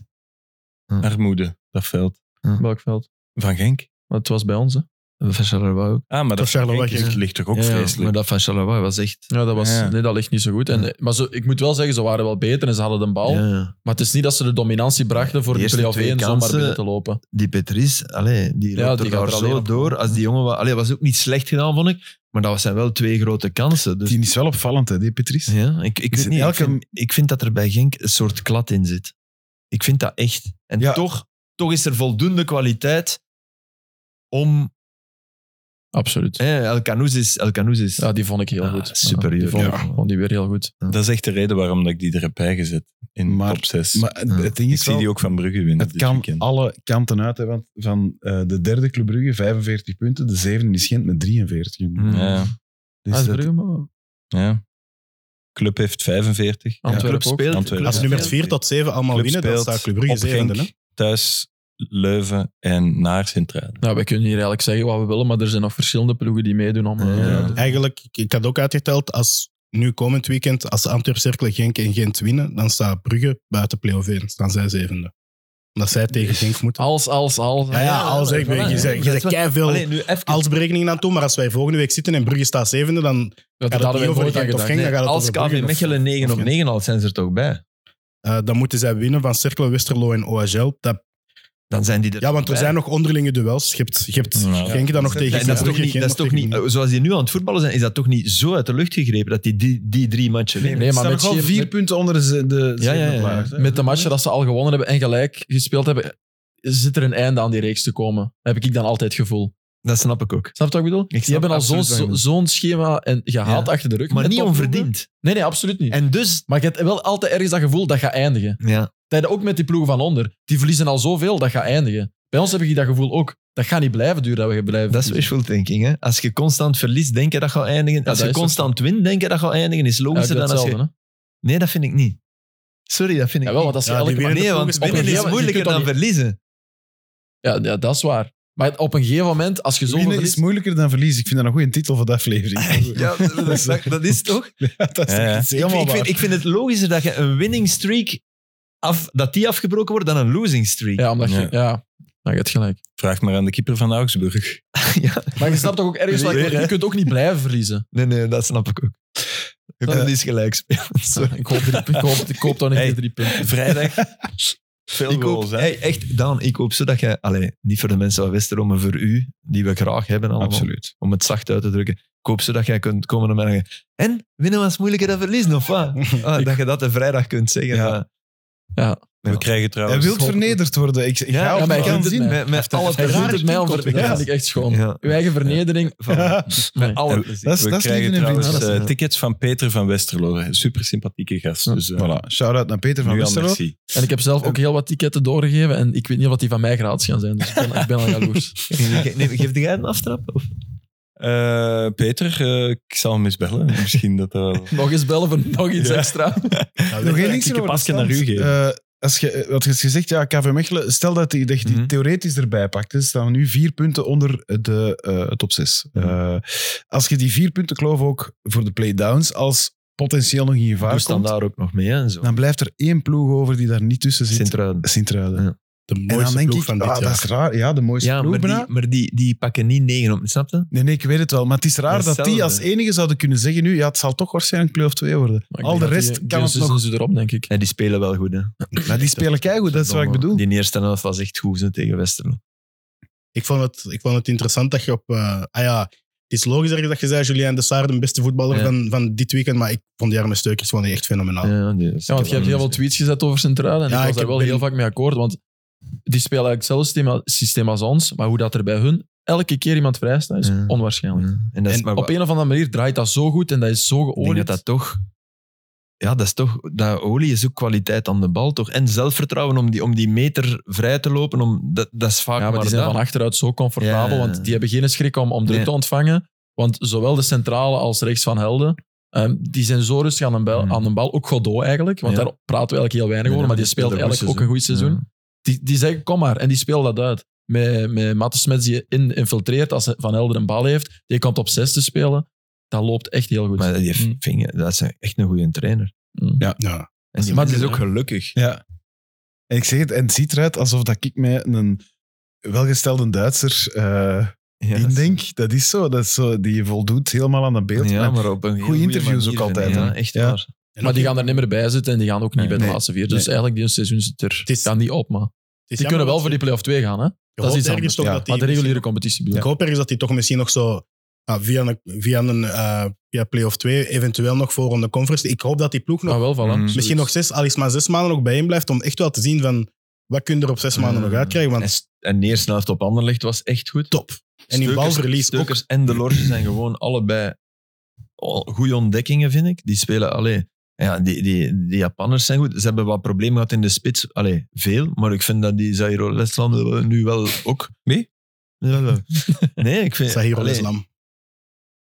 E: Ja.
C: armoede, dat veld.
D: Welk veld?
C: Van Genk.
D: Want het was bij ons, hè.
E: Van Charleroi ook.
C: Ah, maar dat van
F: Charleroi
C: Genk is-
F: Genk.
C: ligt toch ook
E: Ja, ja,
C: vreselijk.
E: Maar dat van Charleroi was echt...
D: Ja, dat, was,
C: Ja.
D: Nee, dat ligt niet zo goed. En, Maar ze, ik moet wel zeggen, ze waren wel beter en ze hadden de bal.
E: Ja, ja.
D: Maar het is niet dat ze de dominantie brachten voor
E: De
D: de
E: eerste
D: play-off
E: twee
D: 1 zomaar
E: kansen-
D: binnen te lopen.
E: Die Petris, allee, die
D: Ja,
E: loopt
D: die
E: er
D: gaat
E: daar
D: er alleen
E: zo
D: op.
E: door. Als die jongen... wa- Allee, was ook niet slecht gedaan, vond ik. Maar dat zijn wel twee grote kansen. Dus,
B: Die is wel opvallend, hè, die Patrice.
E: ja, ik, ik,
B: Is
E: weet
B: het
E: niet,
B: elke-
E: ik, vind, ik vind dat er bij Genk een soort klad in zit. Ik vind dat echt. En
B: Ja.
E: toch, toch is er voldoende kwaliteit om...
D: Absoluut.
E: Eh, El Canoes is... El Canoes is
D: Ja, die vond ik heel
E: Ah,
D: goed.
E: superieur.
D: Ja, die vond, ik-
E: Ja.
D: vond die weer heel goed.
C: Dat is echt de reden waarom dat ik die er heb bijgezet. In
B: Maar-
C: top 6.
B: Maar het, het ding
C: ik
B: is
C: zie
B: wel,
C: die ook dus van Brugge winnen
B: het
C: dit
B: kan
C: weekend.
B: alle kanten uit. Hè, want van eh, de derde Club Brugge 45 punten, de zevende is Gent met 43.
E: Mm.
C: Ja,
B: Dus
D: Ah, is
B: dat-
D: Brugge, maar
C: ja. Club heeft 45.
D: Antwerpen ook.
E: speelt.
C: Antwerpen.
F: Als
C: Ja.
F: nummers 4 tot 7 allemaal
C: Club
F: winnen, dan
C: speelt
F: staat Club Brugge
C: op
F: zevende.
C: Genk,
F: hè?
C: thuis, Leuven en naar Centraal.
D: Nou, wij kunnen hier eigenlijk zeggen wat we willen, maar er zijn nog verschillende ploegen die meedoen om... eh,
E: Ja.
D: ja, de-
F: Eigenlijk, ik- ik had ook uitgeteld, als nu komend weekend, als Antwerp, Cercle, Genk en Gent winnen, dan staat Brugge buiten play-off 1. Staan zij zevende.
E: Dus
F: Omdat zij tegen Genk moeten.
D: Als, als, als.
F: Ja, ja, als ik weet, je zegt je zegt keiveel
E: Allee, nu even...
F: als berekeningen aan toe, maar als wij volgende week zitten en Brugge staat zevende, dan
D: Dat,
F: gaat het
D: hadden
F: niet
D: wij
F: over
D: nooit aan
F: Genk of
D: gedacht.
F: Genk, dan gaat het
E: Als
F: over Brugge
E: KV
F: of-
E: Mechelen 9
F: of
E: op
F: Gent.
E: 9 haalt, zijn ze er toch bij?
F: Eh, dan moeten zij winnen van Cercle, Westerlo en OHL. Dat,
E: Dan zijn die er
F: ja, want er
E: bij.
F: zijn nog onderlinge duels. Je hebt, je hebt
C: Nou, ja.
F: Genk dan nog
E: Dat is-
F: tegen
E: dat is toch
F: Brugge,
E: niet,
F: Gent
E: dat is
F: nog
E: toch
F: tegen
E: niet, zoals die nu aan het voetballen zijn, is dat toch niet zo uit de lucht gegrepen dat die die, die drie matchen winnen?
D: Nee, maar
B: Ze
D: met,
B: staan nog al
D: Gem-
B: vier
D: met-
B: punten onder de, de
E: Ja, ja, ja, ja.
B: plaats, hè.
D: met de matchen dat ze al gewonnen hebben en gelijk gespeeld hebben, zit er een einde aan die reeks te komen. Heb ik dan altijd het gevoel.
E: Dat snap ik ook.
D: Snap je wat ik bedoel?
E: snap
D: die hebben al zo'n
E: absoluut wat je
D: zo,
E: bedoelt.
D: zo'n schema en gehaald
E: Ja.
D: achter de rug.
E: Maar
D: met
E: niet
D: topploegen.
E: onverdiend.
D: Nee, nee, absoluut niet.
E: En dus...
D: maar je hebt wel altijd ergens dat gevoel dat gaat eindigen.
E: Ja.
D: Dat je ook met die ploegen van onder. Die verliezen al zoveel, dat gaat eindigen. Bij ons heb ik dat gevoel ook. Dat gaat niet blijven duren dat we blijven
E: Dat is
D: verliezen.
E: wishful thinking. Hè? Als je constant verliest, denk je dat gaat eindigen. Als
D: dat
E: je
D: is ook
E: constant wint, denk je dat gaat eindigen. Is
D: Ja, ik
E: logischer
D: doe
E: dan als
D: hetzelfde,
E: je...
D: hè.
E: Nee, dat vind ik niet. Sorry, dat vind ik
D: Jawel,
E: niet.
D: want als je
F: Ja, die
D: elke
F: winnen
D: manier-
E: Nee,
F: de
E: want
F: ploeg is
E: winnen
F: beter.
E: is
D: Ja,
E: moeilijker
D: je kunt
E: dan
D: dat
E: verliezen.
D: Ja, ja, dat is waar. Maar op een gegeven moment, als je zoveel
B: Winnen is
D: verliest...
B: moeilijker dan verliezen. Ik vind dat een goede titel voor de aflevering.
E: Ja, dat, dat is toch?
B: Ja, dat is
C: Ja, ja.
B: echt
E: Ik,
B: helemaal
E: ik, vind,
B: waar.
E: ik vind het logischer dat je een winning streak, af, dat die afgebroken wordt dan een losing streak.
D: Ja, omdat je...
C: Ja.
D: Ja, ja je hebt gelijk.
C: Vraag maar aan de keeper van Augsburg.
D: Maar je snapt toch ook ergens... dat
E: Weer,
D: je-
E: hè?
D: je kunt ook niet blijven verliezen.
E: Nee, nee, dat snap ik ook. Je
D: Dat-
E: kunt niet gelijk spelen. Sorry.
D: Ik hoop, drie, ik hoop, ik hoop dan niet
E: Hey.
D: de drie punten.
E: Vrijdag.
C: Veel
E: Ik hoop, hey, echt, Daan, ik hoop zodat jij... Allee, niet voor de mensen van Westerlo, maar voor u, die we graag hebben allemaal.
B: Absoluut.
E: Om het zacht uit te drukken. Ik hoop zodat jij kunt komen en zeggen... En, winnen was moeilijker dan verliezen, of wat? Ah, dat je dat de vrijdag kunt zeggen.
B: Ja.
E: maar-
C: We krijgen
B: Hij
C: trouwens...
B: wil vernederd worden. Ik, ik ga
E: Ja,
B: op
D: maar
B: de
D: ik
B: kant
D: vind
B: zien.
D: het mij.
E: Met, met alle
D: Hij
E: plezier.
D: doet het mij om
B: kick-off,
D: ver- Dat
B: ja.
D: vind ik echt schoon.
E: Ja.
D: Uw eigen vernedering.
E: Van-
B: Ja.
E: Met alle
C: We-
E: plezier.
B: Dat is,
C: We
B: dat is liefde
C: krijgen
B: en
C: trouwens
B: vriendschap.
E: vrienden.
C: eh, tickets van Peter van Westerlo. Super sympathieke gast. Dus, eh,
B: Voilà. Shout-out naar Peter van
C: nu al
B: Westerlo.
C: merci.
D: En ik heb zelf ook heel wat ticketten doorgegeven. En ik weet niet of die van mij gratis gaan zijn. Dus ik ben, ik ben al jaloers.
E: Nee, nee, Geef jij een aftrap? Of?
C: Eh, Peter, eh, ik zal hem eens bellen. Misschien dat eh, dat wel-
D: Nog eens bellen voor nog iets extra.
F: Ja,
B: Nog
F: weet
B: één
F: je,
B: ding
C: dikke
B: over de
C: pasje
B: stand.
C: naar u geven.
B: Eh, als je, wat je gezegd, ja, KV Mechelen, stel dat hij dat je die
E: Mhm.
B: theoretisch erbij pakt. Ze staan we nu vier punten onder de eh, top zes.
E: Mhm.
B: Eh, als je die vier punten kloof ook voor de playdowns als potentieel nog in
E: Doe
B: gevaar
E: staan
B: komt,
E: daar ook nog mee hè, en zo.
B: dan blijft er één ploeg over die daar niet tussen zit.
E: Sint-Truiden.
B: Sint-Truiden.
E: Ja.
F: De
B: En dan
F: mooiste
B: denk
F: ploeg
B: ik,
F: van dit
B: ah, dat is
F: jaar.
B: raar. Ja, de mooiste
E: Ja,
B: ploeg
E: maar, die,
B: bijna.
E: maar die, die pakken niet negen op, snap je?
B: Nee, nee, ik weet het wel. Maar het is raar dat die
E: Hetzelfde.
B: als enige zouden kunnen zeggen nu, ja, het zal toch waarschijnlijk play of 2 worden.
D: Maar ik
B: Al de
D: denk dat
B: rest kan
D: die- die
B: het nog.
D: zussen
E: dus
D: ze erop, denk ik.
E: En die spelen wel goed, hè?
B: Maar die spelen keigoed, dat is wat ik bedoel.
E: Die eerste helft was echt goed zo, tegen Westerlo.
F: Ik vond, het, ik vond het interessant dat je op... eh, ah ja, het is logisch ergens dat je zei, Julien de Saar, de beste voetballer
E: Ja.
F: van, van dit weekend. Maar ik vond die arme steukers vond die echt fenomenaal.
E: Ja, die
D: Ja, want je hebt heel veel tweets gezet over Centraal. En
F: Ja,
D: ik was
F: ik
D: daar wel
F: ben-
D: heel vaak mee akkoord. Want die spelen eigenlijk hetzelfde systeem- systeem als ons. Maar hoe dat er bij hun elke keer iemand vrij staat, is
E: Ja.
D: onwaarschijnlijk.
E: Ja, En dat is
F: En
E: maar
D: Op een of andere manier draait dat zo goed en dat is zo
E: ik denk dat
D: geolied.
E: dat toch... Ja, dat is toch... Dat olie is ook kwaliteit aan de bal, toch? En zelfvertrouwen om die, om die meter vrij te lopen, om, dat, dat is vaak
D: Ja, maar die zijn
E: dat.
D: van achteruit zo comfortabel,
E: Ja.
D: want die hebben geen schrik om, om druk
E: Nee.
D: te ontvangen. Want zowel de centrale als rechts van Helden, ehm, die zijn zo rustig aan een, bel,
E: Mm.
D: aan een bal. Ook Godot eigenlijk, want
E: Ja.
D: daar praten we eigenlijk heel weinig
E: Ja,
D: over, maar die
E: die
D: speelt
E: speelde
D: eigenlijk
E: goed
D: ook een goed seizoen.
E: Ja.
D: Die, die zeggen, kom maar, en die speelt dat uit. Met, met Matte Smets die in, infiltreert als Van Helder een bal heeft, die komt op zes te spelen. Dat loopt echt heel goed.
E: Maar die
D: Mm.
E: vinger, dat is echt een goede trainer.
D: Mm.
B: Ja.
F: Ja.
E: En die man
D: Maar die-
E: is ook gelukkig.
B: Ja. En ik zeg het, en het ziet eruit alsof dat ik mij een welgestelde Duitser eh
E: Ja,
B: indenk. Dat is zo. Dat is zo. Die voldoet helemaal aan dat beeld.
E: Ja,
B: Maar
E: maar op een heel
B: goede interviews
E: manier,
B: ook
E: vind ik.
B: altijd,
E: Ja,
B: hè.
E: echt
B: Ja.
E: waar.
F: En
D: Maar die
F: ook-
D: gaan er niet meer bij zitten en die gaan ook niet bij de
B: Nee.
D: laatste vier. Dus eigenlijk die seizoen zit er,
F: is-
D: gaan niet op. Maar
F: het is
D: die
F: jammer
D: kunnen wel
F: dat
D: voor die play-off 2 gaan, hè?
F: je
D: dat is
F: hoopt
D: iets
F: ergens
D: anders.
F: toch
B: Ja.
F: dat die
D: Maar de reguliere
F: misschien-
D: competitie
F: Ik
D: bedoel
F: hoop ergens dat die toch misschien nog zo ah, via een, via een eh, via play of twee, eventueel nog voor om de conference. Ik hoop dat die ploeg nog,
D: Maar wel van
C: Mm.
F: misschien nog zes, al is maar zes maanden nog bijeen blijft, om echt wel te zien van wat kun je er op
D: Mm.
F: zes maanden nog uitkrijgen. Want
E: En, en de eerste helft op Anderlecht was echt goed.
F: top. En die
E: Steukers-
F: balverlies ook.
E: Steukers en De Lorge zijn gewoon allebei al- goede ontdekkingen, vind ik. Die spelen, allee, ja, die, die, die Japanners zijn goed. Ze hebben wat problemen gehad in de spits. Allee, veel. Maar ik vind dat die Zairo Leslam nu wel ook...
C: Wie?
E: Ja, wel. Nee, ik vind...
F: Sahiro
E: allee,
F: Islam.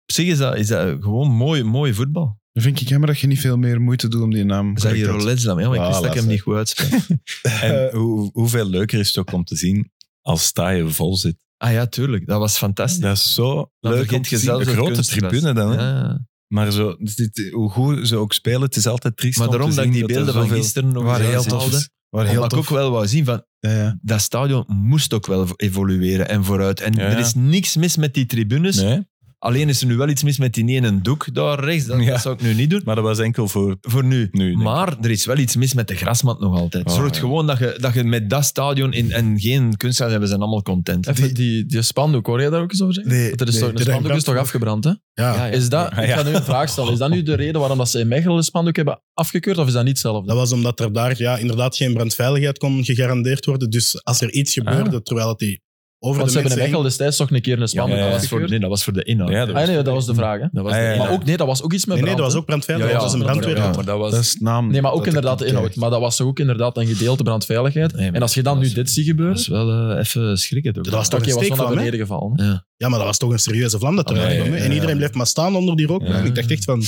E: Op zich is dat, is dat gewoon mooi, mooi voetbal.
B: Dan vind ik jammer dat je niet veel meer moeite doet om die naam correct uit
E: Zairo
B: te
E: Leslam, ja, maar ik wist
B: Voilà,
E: dat ik hem
B: zeg.
E: niet goed uitspreek.
C: En hoe, hoeveel leuker is het ook om te zien als sta je vol zit.
E: ah ja, tuurlijk. Dat was fantastisch.
C: Dat is zo
E: Dan
C: leuk om
E: vergeet
C: te
E: je
C: zien.
E: zelfs
C: Een
E: het
C: grote
E: kunstgras.
C: tribune dan. hè.
E: Ja, ja.
C: Maar zo, dus dit, hoe goed ze ook spelen, het is altijd triest
E: Maar
C: om te
E: daarom dat ik
C: zien er
E: die beelden van
C: zoveel-
E: gisteren nog
B: Waar
E: eens
B: heel
E: uithaalde,
B: tof is. Waar heel
E: Omdat ik
B: tof.
E: ook wel wou zien van,
B: Ja, ja.
E: dat stadion moest ook wel evolueren en vooruit. En
C: Ja, ja.
E: er is niks mis met die tribunes.
C: Nee,
E: Alleen is er nu wel iets mis met die ene doek daar rechts. Dat,
C: Ja.
E: dat zou ik nu niet doen.
C: maar dat was enkel voor
E: Voor nu.
C: nu. denk ik.
E: Maar er is wel iets mis met de grasmat nog altijd.
C: Oh,
E: Zorg
C: ja.
E: gewoon dat je, dat je met dat stadion in, en geen kunstgras hebben, zijn allemaal content.
D: Even die, die, spandoek, hoor jij daar ook eens over zeggen?
B: Nee,
D: Want er is
B: nee,
D: toch, de
F: er zijn
D: spandoek is toch
F: brand-
D: afgebrand, hè?
F: Ja.
E: Ja, ja.
D: Is dat, ik ga nu een vraag stellen. Is dat nu de reden waarom dat ze in Mechelen de spandoek hebben afgekeurd, of is dat niet hetzelfde?
F: Dat was omdat er daar ja, inderdaad geen brandveiligheid kon gegarandeerd worden. Dus als er iets gebeurde, terwijl het die over
D: Ah. Want
F: de
D: ze hebben
F: mensen
D: in Mechelen
F: hing-
D: destijds toch een keer een
E: Ja,
D: spandoek
C: ja, ja.
E: Dat was voor,
D: afgekeurd?
E: nee, dat was voor de inhoud.
C: Ja, dat was-
D: Ah, nee, dat was de vraag, hè?
E: Dat was
C: Ah,
E: de
C: ja, ja.
E: inhoud.
D: Maar ook, nee, dat was ook iets met
F: Nee, nee, dat was
D: brand, hè?
F: ook brandveiligheid.
D: Ja,
F: dat
D: ja,
F: was een brandweer.
E: Ja, maar dat was...
B: Dat is naam.
D: Nee, maar ook
B: dat
D: inderdaad de
B: ik-
D: inhoud. Maar dat was toch ook inderdaad een gedeelte brandveiligheid.
E: Nee, maar
D: en als je dan
E: dat
D: nu
E: was-
D: dit ziet gebeuren,
E: dat is wel eh, even schrikken. toch?
F: Dat was toch
D: oké,
F: een
D: was wel naar
F: steekvlam, hè?
D: beneden gevallen. hè?
E: Ja.
F: Ja, maar dat was toch een serieuze vlam dat
E: Ah,
F: eruit
E: ja,
F: kwam. hè?
E: ja, ja,
F: En
E: ja.
F: iedereen bleef maar staan onder die rook.
C: Ja.
F: Ik dacht echt van...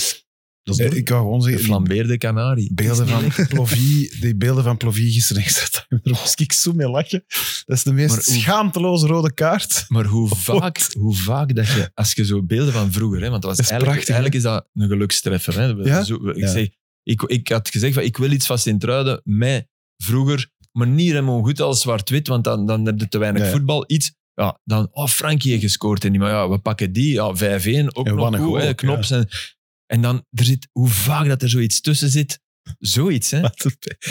B: Dat is- Eh, ik wou gewoon
E: De
B: zeggen, die
E: flambeerde kanarie.
B: beelden van Plovy, die beelden van Plovy gisteren extra time, daar moest ik zo mee lachen. Dat is de meest
E: Maar hoe-
B: schaamteloze rode kaart.
E: Maar hoe vaak, hoe vaak dat je, als je zo beelden van vroeger, hè, want dat was
B: Dat is
E: eigenlijk,
B: prachtig, hè?
E: eigenlijk is dat een gelukstreffer. Hè. We-
B: Ja?
E: zo- we- ik,
B: Ja.
E: zeg, ik, ik had gezegd, van, ik wil iets van Sint-Truiden met vroeger, maar niet helemaal goed als zwart-wit, want dan, dan heb je te weinig
B: Ja.
E: voetbal. Iets, ja, dan, oh, Frankie heeft gescoord en die, maar ja, we pakken die, ja, 5-1, ook
B: En wat
E: nog
B: een
E: goed,
B: goal,
E: hè, knops. En, en dan, er zit, hoe vaak dat er zoiets tussen zit, zoiets, hè.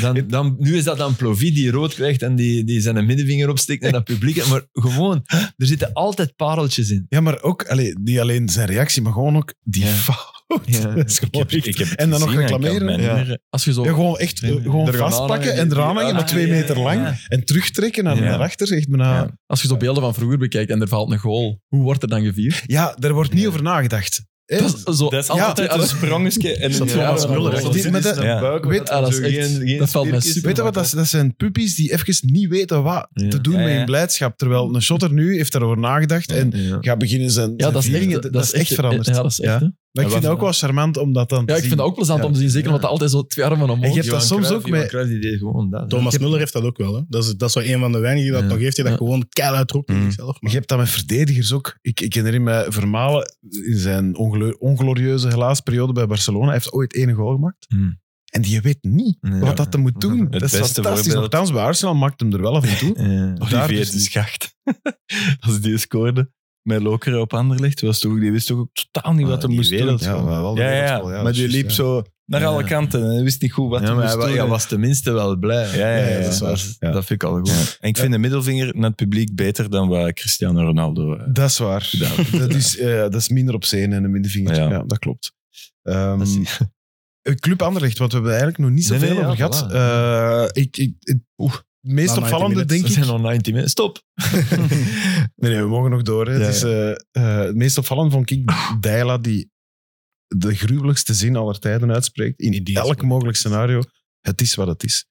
E: Dan, dan, nu is dat dan Plovy die rood krijgt en die, die zijn middenvinger opsteekt naar dat publiek. Maar gewoon, er zitten altijd pareltjes in.
B: Ja, maar ook, allee, niet alleen zijn reactie, maar gewoon ook die
E: Ja.
B: fout.
E: Ja.
B: Dat is gewoon echt-
C: heb het
B: en dan nog
C: gezien, ik kan
B: reclameren.
C: mij niet
E: Ja.
C: herinneren.
D: Als je zo...
B: Ja, gewoon echt eh, gewoon
E: Er gaan
B: vastpakken
E: aanhangen,
B: en
E: die-
B: eraan hangen,
E: ah,
B: maar twee
E: ja,
B: meter
E: ja,
B: lang.
E: ja.
B: En terugtrekken en
E: Ja.
B: naar achter, ah, echt bijna...
E: Ja.
B: Ja.
D: Als je zo beelden van vroeger bekijkt en er valt een goal, hoe wordt er dan gevierd?
B: daar wordt niet over nagedacht. Hè?
D: zo,
C: Dat is
B: Ja.
C: altijd een sprongetje. En
D: Dat
C: Ja,
D: Thomas
C: dat
D: Muller,
C: was-
D: hè.
B: Die- maar dat-
C: Ja.
B: Weet-
D: Ah, dat, is echt-
E: Zo geen- geen
D: dat valt mij
E: spiertjes.
D: super
B: Weet je wat, dat, dat zijn puppies die even niet weten wat
E: Ja.
B: te doen
C: Ja,
B: met
C: ja.
B: hun blijdschap. Terwijl een shotter nu heeft daarover nagedacht en
E: Ja.
B: gaat beginnen zijn,
D: Ja,
B: zijn
D: dat is echt,
B: vieringen. dat is echt veranderd.
D: Ja, dat is echt, hè.
B: Maar ik
E: Ja,
B: vind dat ook wel charmant om dat dan te
D: Ja, ik
B: zien.
D: vind dat ook plezant
B: Ja.
D: om te zien. Zeker omdat dat altijd zo twee armen omhoog
B: En je hebt
E: Johan
B: dat soms
E: Cruijff,
B: ook
E: Johan
B: met-
E: Cruijff, die deed gewoon dat.
D: Ik
F: Thomas
D: heb-
F: Muller heeft dat ook wel. Hè. Dat, is, dat is wel een van de weinigen die dat
E: Ja.
F: nog heeft, die dat
D: Ja.
F: gewoon keil uitroept in
E: Mm.
F: zichzelf.
B: Maar
F: Maar
B: je hebt dat met verdedigers ook. Ik, ik herinner me Vermalen in zijn ongelo- onglorieuze gelaasperiode bij Barcelona. Hij heeft ooit één goal gemaakt.
E: Hmm.
B: En je weet niet
E: Ja.
B: wat dat hem moet doen.
E: Het
B: dat is
C: beste
B: fantastisch.
C: voorbeeld.
B: Nochtans, bij Arsenal maakt hem er wel af en toe.
E: Ja.
B: Daar
C: Olivier
B: dus
C: de
B: niet.
C: Schacht. Als die scoorde met Lokeren op Anderlecht, was toch, die wist toch ook totaal niet wat
B: Ah,
C: hij
B: die
C: moest doen.
B: wereld- ja, maar wel de
C: Ja, ja,
B: wereld
C: ja,
B: wel, ja,
C: maar
B: dat is
C: die
B: juist,
C: liep
B: ja.
C: zo naar
E: Ja.
C: alle kanten en hij wist niet goed wat
E: Ja,
C: hij
E: maar
C: moest
E: hij wa-
C: doen.
E: hij was tenminste wel blij.
C: Ja, ja, ja,
E: dat,
C: dat
E: is
C: is
E: waar.
B: Ja.
E: dat vind ik al goed.
C: En ik vind de middelvinger naar het publiek beter dan wat Cristiano Ronaldo... eh,
B: Dat is waar.
C: Ja.
B: Dat is, eh, dat is minder op zeen en een middenvinger. Ja.
C: Ja.
B: dat klopt. Ehm, eh, Club Anderlecht, want we hebben eigenlijk nog niet
E: Nee,
B: zoveel
E: nee, ja,
B: over gehad.
E: voilà.
B: Eh, ik, ik, het meest
F: Maar 90
B: opvallende,
F: minutes,
B: denk
E: We
B: ik...
E: zijn al 90 minuten. Stop!
B: Nee, nee, we mogen nog door. Hè.
E: Ja,
B: het, is, eh, eh, het meest opvallend vond ik Dijla, die de gruwelijkste zin aller tijden uitspreekt. In
F: Die is
B: elk
F: goed.
B: mogelijk scenario. Het is wat het is.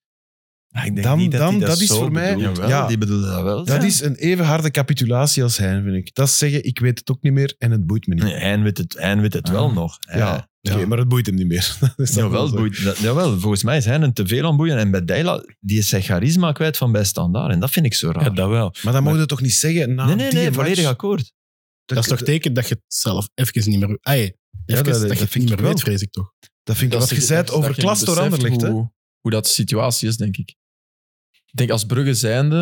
E: Ah, ik denk
B: Dan-
E: niet dat,
B: dan-
E: hij dat,
B: dat is
E: zo
B: voor mij-
E: bedoelt. Jawel,
B: ja.
E: die bedoelde dat wel.
B: Dat
E: Ja.
B: is een even harde capitulatie als hij, vind ik. Dat is zeggen, ik weet het ook niet meer en het boeit me niet.
E: Nee, hij weet het, hij weet het wel
C: Ah.
E: nog.
B: Ja, oké, maar het boeit hem niet meer. Dat is dan wel
E: Jawel,
B: zo.
E: boeit, dat- jawel, volgens mij is hij een te veel aan boeien. En bij Deila, die is zijn charisma kwijt van bij Standaard. En dat vind ik zo raar.
C: Ja, dat wel.
B: Maar dan mogen we toch niet zeggen na
E: nee, nee,
B: die
E: nee,
B: match?
E: volledig akkoord.
F: dat is toch teken dat je het zelf even niet meer... Ah, even
B: dat-
F: dat,
B: dat
F: je het
B: vind
F: niet
B: ik
F: meer
B: wel.
F: weet, vrees ik toch.
B: Dat vind ik wat
D: Dat
B: je
D: is-
B: zei
D: dat-
B: over
D: dat je
B: klas door
D: beseft
B: Anderlecht. hè?
D: Hoe, hoe dat de situatie is, denk ik. Ik denk als Brugge zijnde...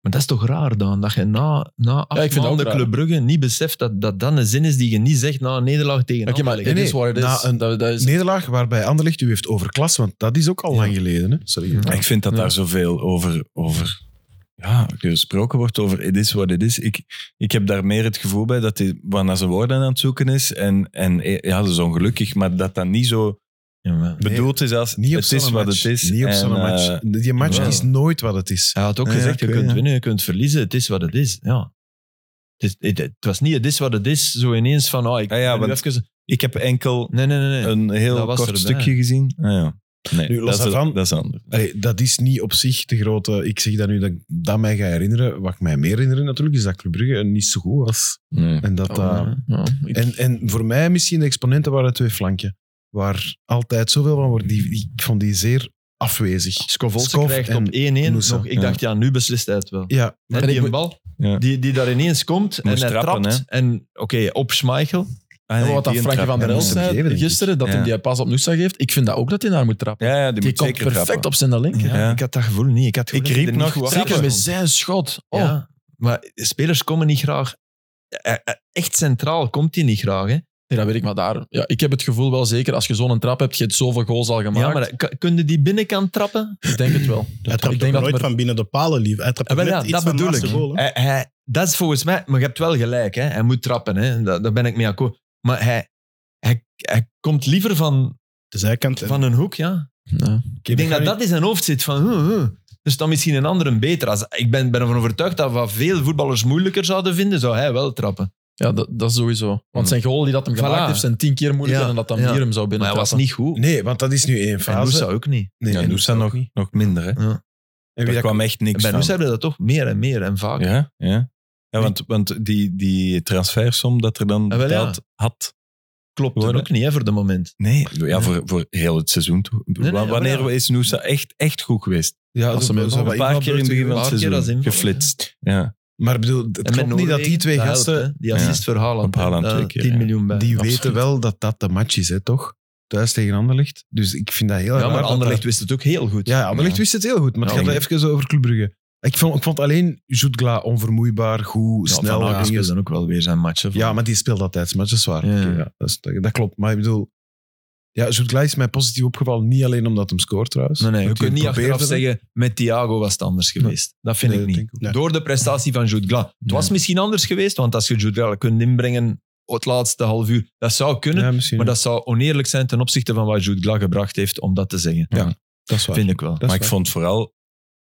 E: Maar dat is toch raar dan, dat je na, na acht
D: Ja, ik vind dat ook
E: maanden
D: raar.
E: Club Brugge niet beseft dat dat dan een zin is die je niet zegt na een nederlaag tegen
D: Oké, maar
E: Anderlecht.
D: dit
B: nee,
D: is waar het is.
B: na een-
D: dat, dat is
B: Nederlaag waarbij Anderlecht u heeft over klas, want dat is ook al lang geleden. Hè? Sorry.
E: Ja.
C: Ik vind dat
D: Ja.
C: daar zoveel over, over ja, gesproken wordt, over het is wat het is. Ik, ik heb daar meer het gevoel bij dat hij wat naar zijn woorden aan het zoeken is. En, en ja, dat is ongelukkig, maar dat dat niet zo
E: Jawel.
C: bedoeld is als
B: Niet op
C: het is
B: zo'n
C: wat
B: match.
C: het is.
B: Niet op
C: En,
B: zo'n match.
C: eh,
B: Die match
E: ja.
B: is nooit wat het is.
E: Hij had ook
C: Ja,
E: gezegd,
C: ja,
E: je
C: ik
E: kunt
C: weet, ja.
E: winnen, je kunt verliezen, het is wat het is. Ja. Het, is- het, het was niet het is wat het is, zo ineens van, oh, ik
C: Ja, Ah ja,
E: ben nu
C: want- Eh,
E: even-
C: ik heb enkel
E: Nee, nee, nee. nee.
C: een heel
E: dat was
C: kort
E: erbij.
C: stukje gezien. Ah, ja. Nee,
B: Nu, los
C: dat, is,
B: daarvan-
C: dat is anders.
B: Allee, dat is niet op zich de grote... Ik zeg dat nu dat ik dat mij ga herinneren. Wat ik mij meer herinner natuurlijk, is dat Club Brugge niet zo goed was.
C: Nee.
B: En, dat,
E: Oh,
B: dat-
D: Ja, ja, ik-
B: en, en voor mij misschien de exponenten waren de twee flanken. Waar altijd zoveel van wordt. Die, die- ik vond die zeer afwezig.
E: Scovolse
B: Skov
E: krijgt
B: en
E: op 1-1
B: Nusa.
E: nog. Ik
C: Ja.
E: dacht, ja, nu beslist hij het wel.
B: Ja,
E: Hè,
D: En
E: die
D: ik
E: een
D: moet-
E: bal
C: Ja.
E: die, die daar ineens komt en
C: Moest
E: hij
C: trappen,
E: trapt.
C: hè.
E: En oké, op Schmeichel.
C: Ah,
D: en
C: nee,
D: wat dat
C: die
D: Frankie
C: trap.
D: van der
B: Ja,
D: El
B: dat moet
D: zei
B: gegeven, denk
D: gisteren, dat
C: Ja.
D: hij die pas op Noosa geeft, ik vind dat ook dat hij daar moet trappen.
C: Ja, ja, die,
D: die
C: moet
D: komt
C: zeker
D: perfect
C: trappen.
D: op zijn link.
C: Ja.
E: Ik had dat gevoel niet. Ik, had het
C: Ik
E: gevoel
C: riep
E: dat hij
C: nog
E: er niet
C: wat
E: goed
D: Zeker
E: bij
D: met
E: stond.
D: zijn schot. Oh.
E: Ja, maar spelers komen niet graag. eh, eh, Echt centraal komt hij niet graag. Hè?
D: Nee, dat weet ik, maar daar... Ja, ik heb het gevoel wel zeker, als je zo'n trap hebt, je hebt zoveel goals al gemaakt.
E: Ja, maar ka- kun je die binnenkant trappen?
D: Ik denk het wel.
F: Hij trapt
D: ik denk
F: ook
D: dat
F: nooit
D: maar-
F: van binnen de palen, lief. Hij trapt
E: Ja, Ah, wel, ja,
F: net iets
E: dat
F: van
E: bedoel
F: naast
E: ik.
F: de goal, hè.
E: Hij, hij- dat is volgens mij, maar je hebt wel gelijk, hè? hij moet trappen, hè? Daar, daar ben ik mee akkoord. Maar hij, hij, hij komt liever van,
F: De zijkant. en-
E: van een hoek, ja.
D: Ja.
E: Ik denk dat dat in zijn hoofd zit van... huh, huh. Er staat misschien een ander beter. Als, ik ben, ben ervan overtuigd dat wat veel voetballers moeilijker zouden vinden, zou hij wel trappen. Hmm.
D: Ja, dat, dat is sowieso. Want zijn goal die dat hem
E: Voilà.
D: gemaakt heeft, zijn tien keer moeilijker
E: Ja,
D: dan dat dan
E: ja.
D: hier hem zou
E: Maar
D: binnen.
E: hij was niet goed.
B: Nee, want dat is nu één
E: en
B: fase.
E: Noosa ook niet.
B: Nee,
C: Ja,
B: en
C: Noosa nog, nog minder. Hè.
B: En wie dat
C: Daar kwam echt niks
E: Bij
C: van.
E: Noosa hebben we dat toch meer en meer en vaker.
C: Ja, ja. ja want, want die, die transfersom dat er dan
E: Ah, wel, ja.
C: betaald had,
E: klopt
C: Gewoon,
E: er ook niet hè, voor de moment.
C: Nee, ja, voor, voor heel het seizoen. toe.
E: nee,
C: Wa-
E: ja,
C: Wanneer
E: maar
C: is Noosa echt, echt goed geweest?
B: Ja,
D: Als ze met-
B: hebben
C: Een paar keer in het begin van het
E: Een paar keer als
C: seizoen.
E: invaller,
C: Geflitst. Ja.
B: Maar ik bedoel, het klopt niet dat die twee
E: de helft,
B: gasten,
E: hè, die assist voor Haaland.
C: Op Haaland
E: hè,
C: twee
E: daar
C: keer,
E: 10
C: ja.
E: eh, miljoen bij.
B: die
E: Absoluut.
B: weten wel dat dat de match is, hè, toch? Thuis tegen Anderlecht. Dus ik vind dat heel raar
E: Ja, maar
B: dat
E: Anderlecht
B: daar-
E: wist het ook heel goed.
B: Ja, Anderlecht
C: Ja.
B: wist het heel goed. Maar het
E: Ja,
B: gaat even over Club Brugge. Ik vond, ik vond alleen Jutgla onvermoeibaar, goed,
E: Ja,
B: snel.
E: Van Aken
B: dingen.
E: speelde dan ook wel weer zijn matchen.
B: Ja, maar die speelt altijd match, dat is waar.
E: Ja.
B: Oké, ja, dat, is- dat- dat klopt. Maar ik bedoel, ja, Jutgla is mij positief opgevallen. Niet alleen omdat hem scoort trouwens.
E: Nee, nee, je
B: Want
E: kunt
B: die
E: niet
B: probeerde
E: achteraf
B: het.
E: zeggen, met Thiago was het anders geweest. Dat vind
B: Nee,
E: ik
B: dat
E: niet.
B: denk ook
F: Nee.
E: Door de prestatie van Jude Gla. Het was misschien anders geweest, want als je Jude Gla kunt inbrengen het laatste half uur, dat zou kunnen.
B: Ja, misschien.
E: Maar dat zou oneerlijk zijn ten opzichte van wat Jude Gla gebracht heeft om dat te zeggen.
B: Ja, dat is waar.
E: vind ik wel.
B: Dat is
C: maar ik
B: waar.
C: vond vooral,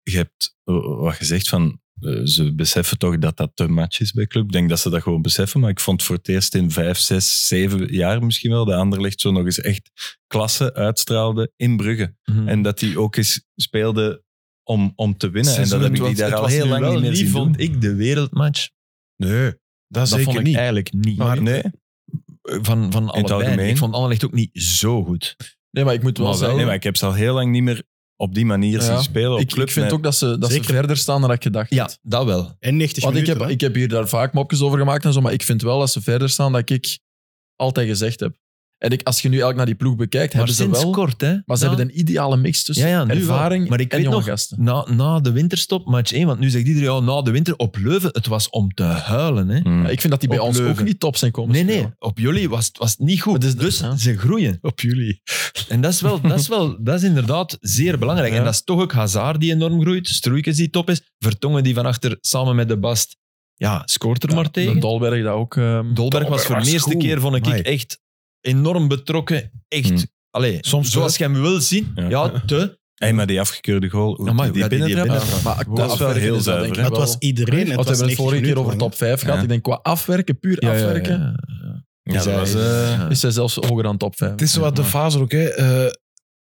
C: je hebt eh, wat gezegd van, eh, ze beseffen toch dat dat de match is bij club. Ik denk dat ze dat gewoon beseffen, maar ik vond voor het eerst in vijf, zes, zeven jaar misschien wel, de Anderlecht zo nog eens echt klasse uitstraalde in Brugge.
E: Mhm.
C: En dat die ook eens speelde om, om te winnen. En dat heb ik die
E: Het
C: daar al
E: was
C: heel
E: nu
C: lang
E: wel
C: niet meer zien
E: vond
C: doen.
E: ik de wereldmatch.
B: Nee, dat,
E: Dat
B: zeker
E: vond ik
B: niet.
E: eigenlijk niet.
B: Maar-
C: nee,
E: van, van allebei.
C: algemeen.
E: Ik vond Anderlecht ook niet zo goed.
D: Nee, maar ik moet wel
C: maar wel,
D: zeggen...
C: nee, maar ik heb ze al heel lang niet meer op die manier
D: Ja.
C: zien spelen. Op
D: ik,
C: club,
D: ik vind
C: nee.
D: ook dat ze, dat ze
F: Zeker.
D: verder staan dan ik gedacht
E: Ja,
D: had.
E: dat wel.
F: En 90
D: Want ik
F: minuten.
D: heb,
F: hè.
D: ik heb hier daar vaak mopjes over gemaakt en zo, maar ik vind wel dat ze verder staan dan ik altijd gezegd heb. En ik, als je nu elk naar die ploeg bekijkt,
E: Maar
D: hebben ze
E: sinds
D: wel...
E: kort, hè.
D: Maar ze hebben een ideale mix tussen
E: Ja, ja, nu wel.
D: ervaring
E: Maar ik
D: en
E: weet
D: jonge
E: nog-
D: gasten.
E: Na, na de winterstop, match 1. Want nu zegt iedereen, ja, na de winter op Leuven, het was om te huilen. Hè.
C: Mm.
D: Ja, ik vind dat die bij
E: Hm. Op
D: ons
E: Leuven.
D: ook niet top zijn komen
E: Nee,
D: spelen.
E: nee, op jullie was, het- was het niet goed.
D: is-
E: dus
D: ja.
E: ze groeien.
B: op jullie.
E: En dat is, wel, dat is, wel, dat is inderdaad zeer belangrijk.
D: Ja.
E: En dat is toch ook Hazard die enorm groeit, Stroeikens die top is, Vertongen die van achter samen met de Bast ja, scoort er
D: Ja,
E: maar tegen.
D: De Dolberg dat ook. ehm,
E: Dolberg was voor
B: was
E: de eerste
B: goed.
E: keer, vond ik,
B: Amai.
E: echt enorm betrokken. Echt,
D: Hm.
C: Hmm.
E: allee,
B: Soms
D: eh,
E: zoals je hem wil zien.
C: Ja.
E: Ja, te.
C: Hey, maar die afgekeurde goal, hoe
E: Amai,
C: die,
E: ja, die- die
C: binnentrap.
E: binnentrap.
D: Maar
C: Dat
D: qua
C: is wel
D: afwerken
C: heel
D: is dat
C: zuiver,
D: denk
C: hè?
D: ik
F: het was
D: wel-
F: iedereen. Het
D: Want we
F: was
D: hebben het
F: 90
D: vorige keer
F: minuten
D: over
F: lang,
D: top 5 gehad.
C: Ja.
D: Ik denk qua afwerken, puur afwerken,
C: Ja, dat was, eh,
D: is zij zelfs hoger dan top 5.
B: Het is zo wat de fase ook, hè. Eh,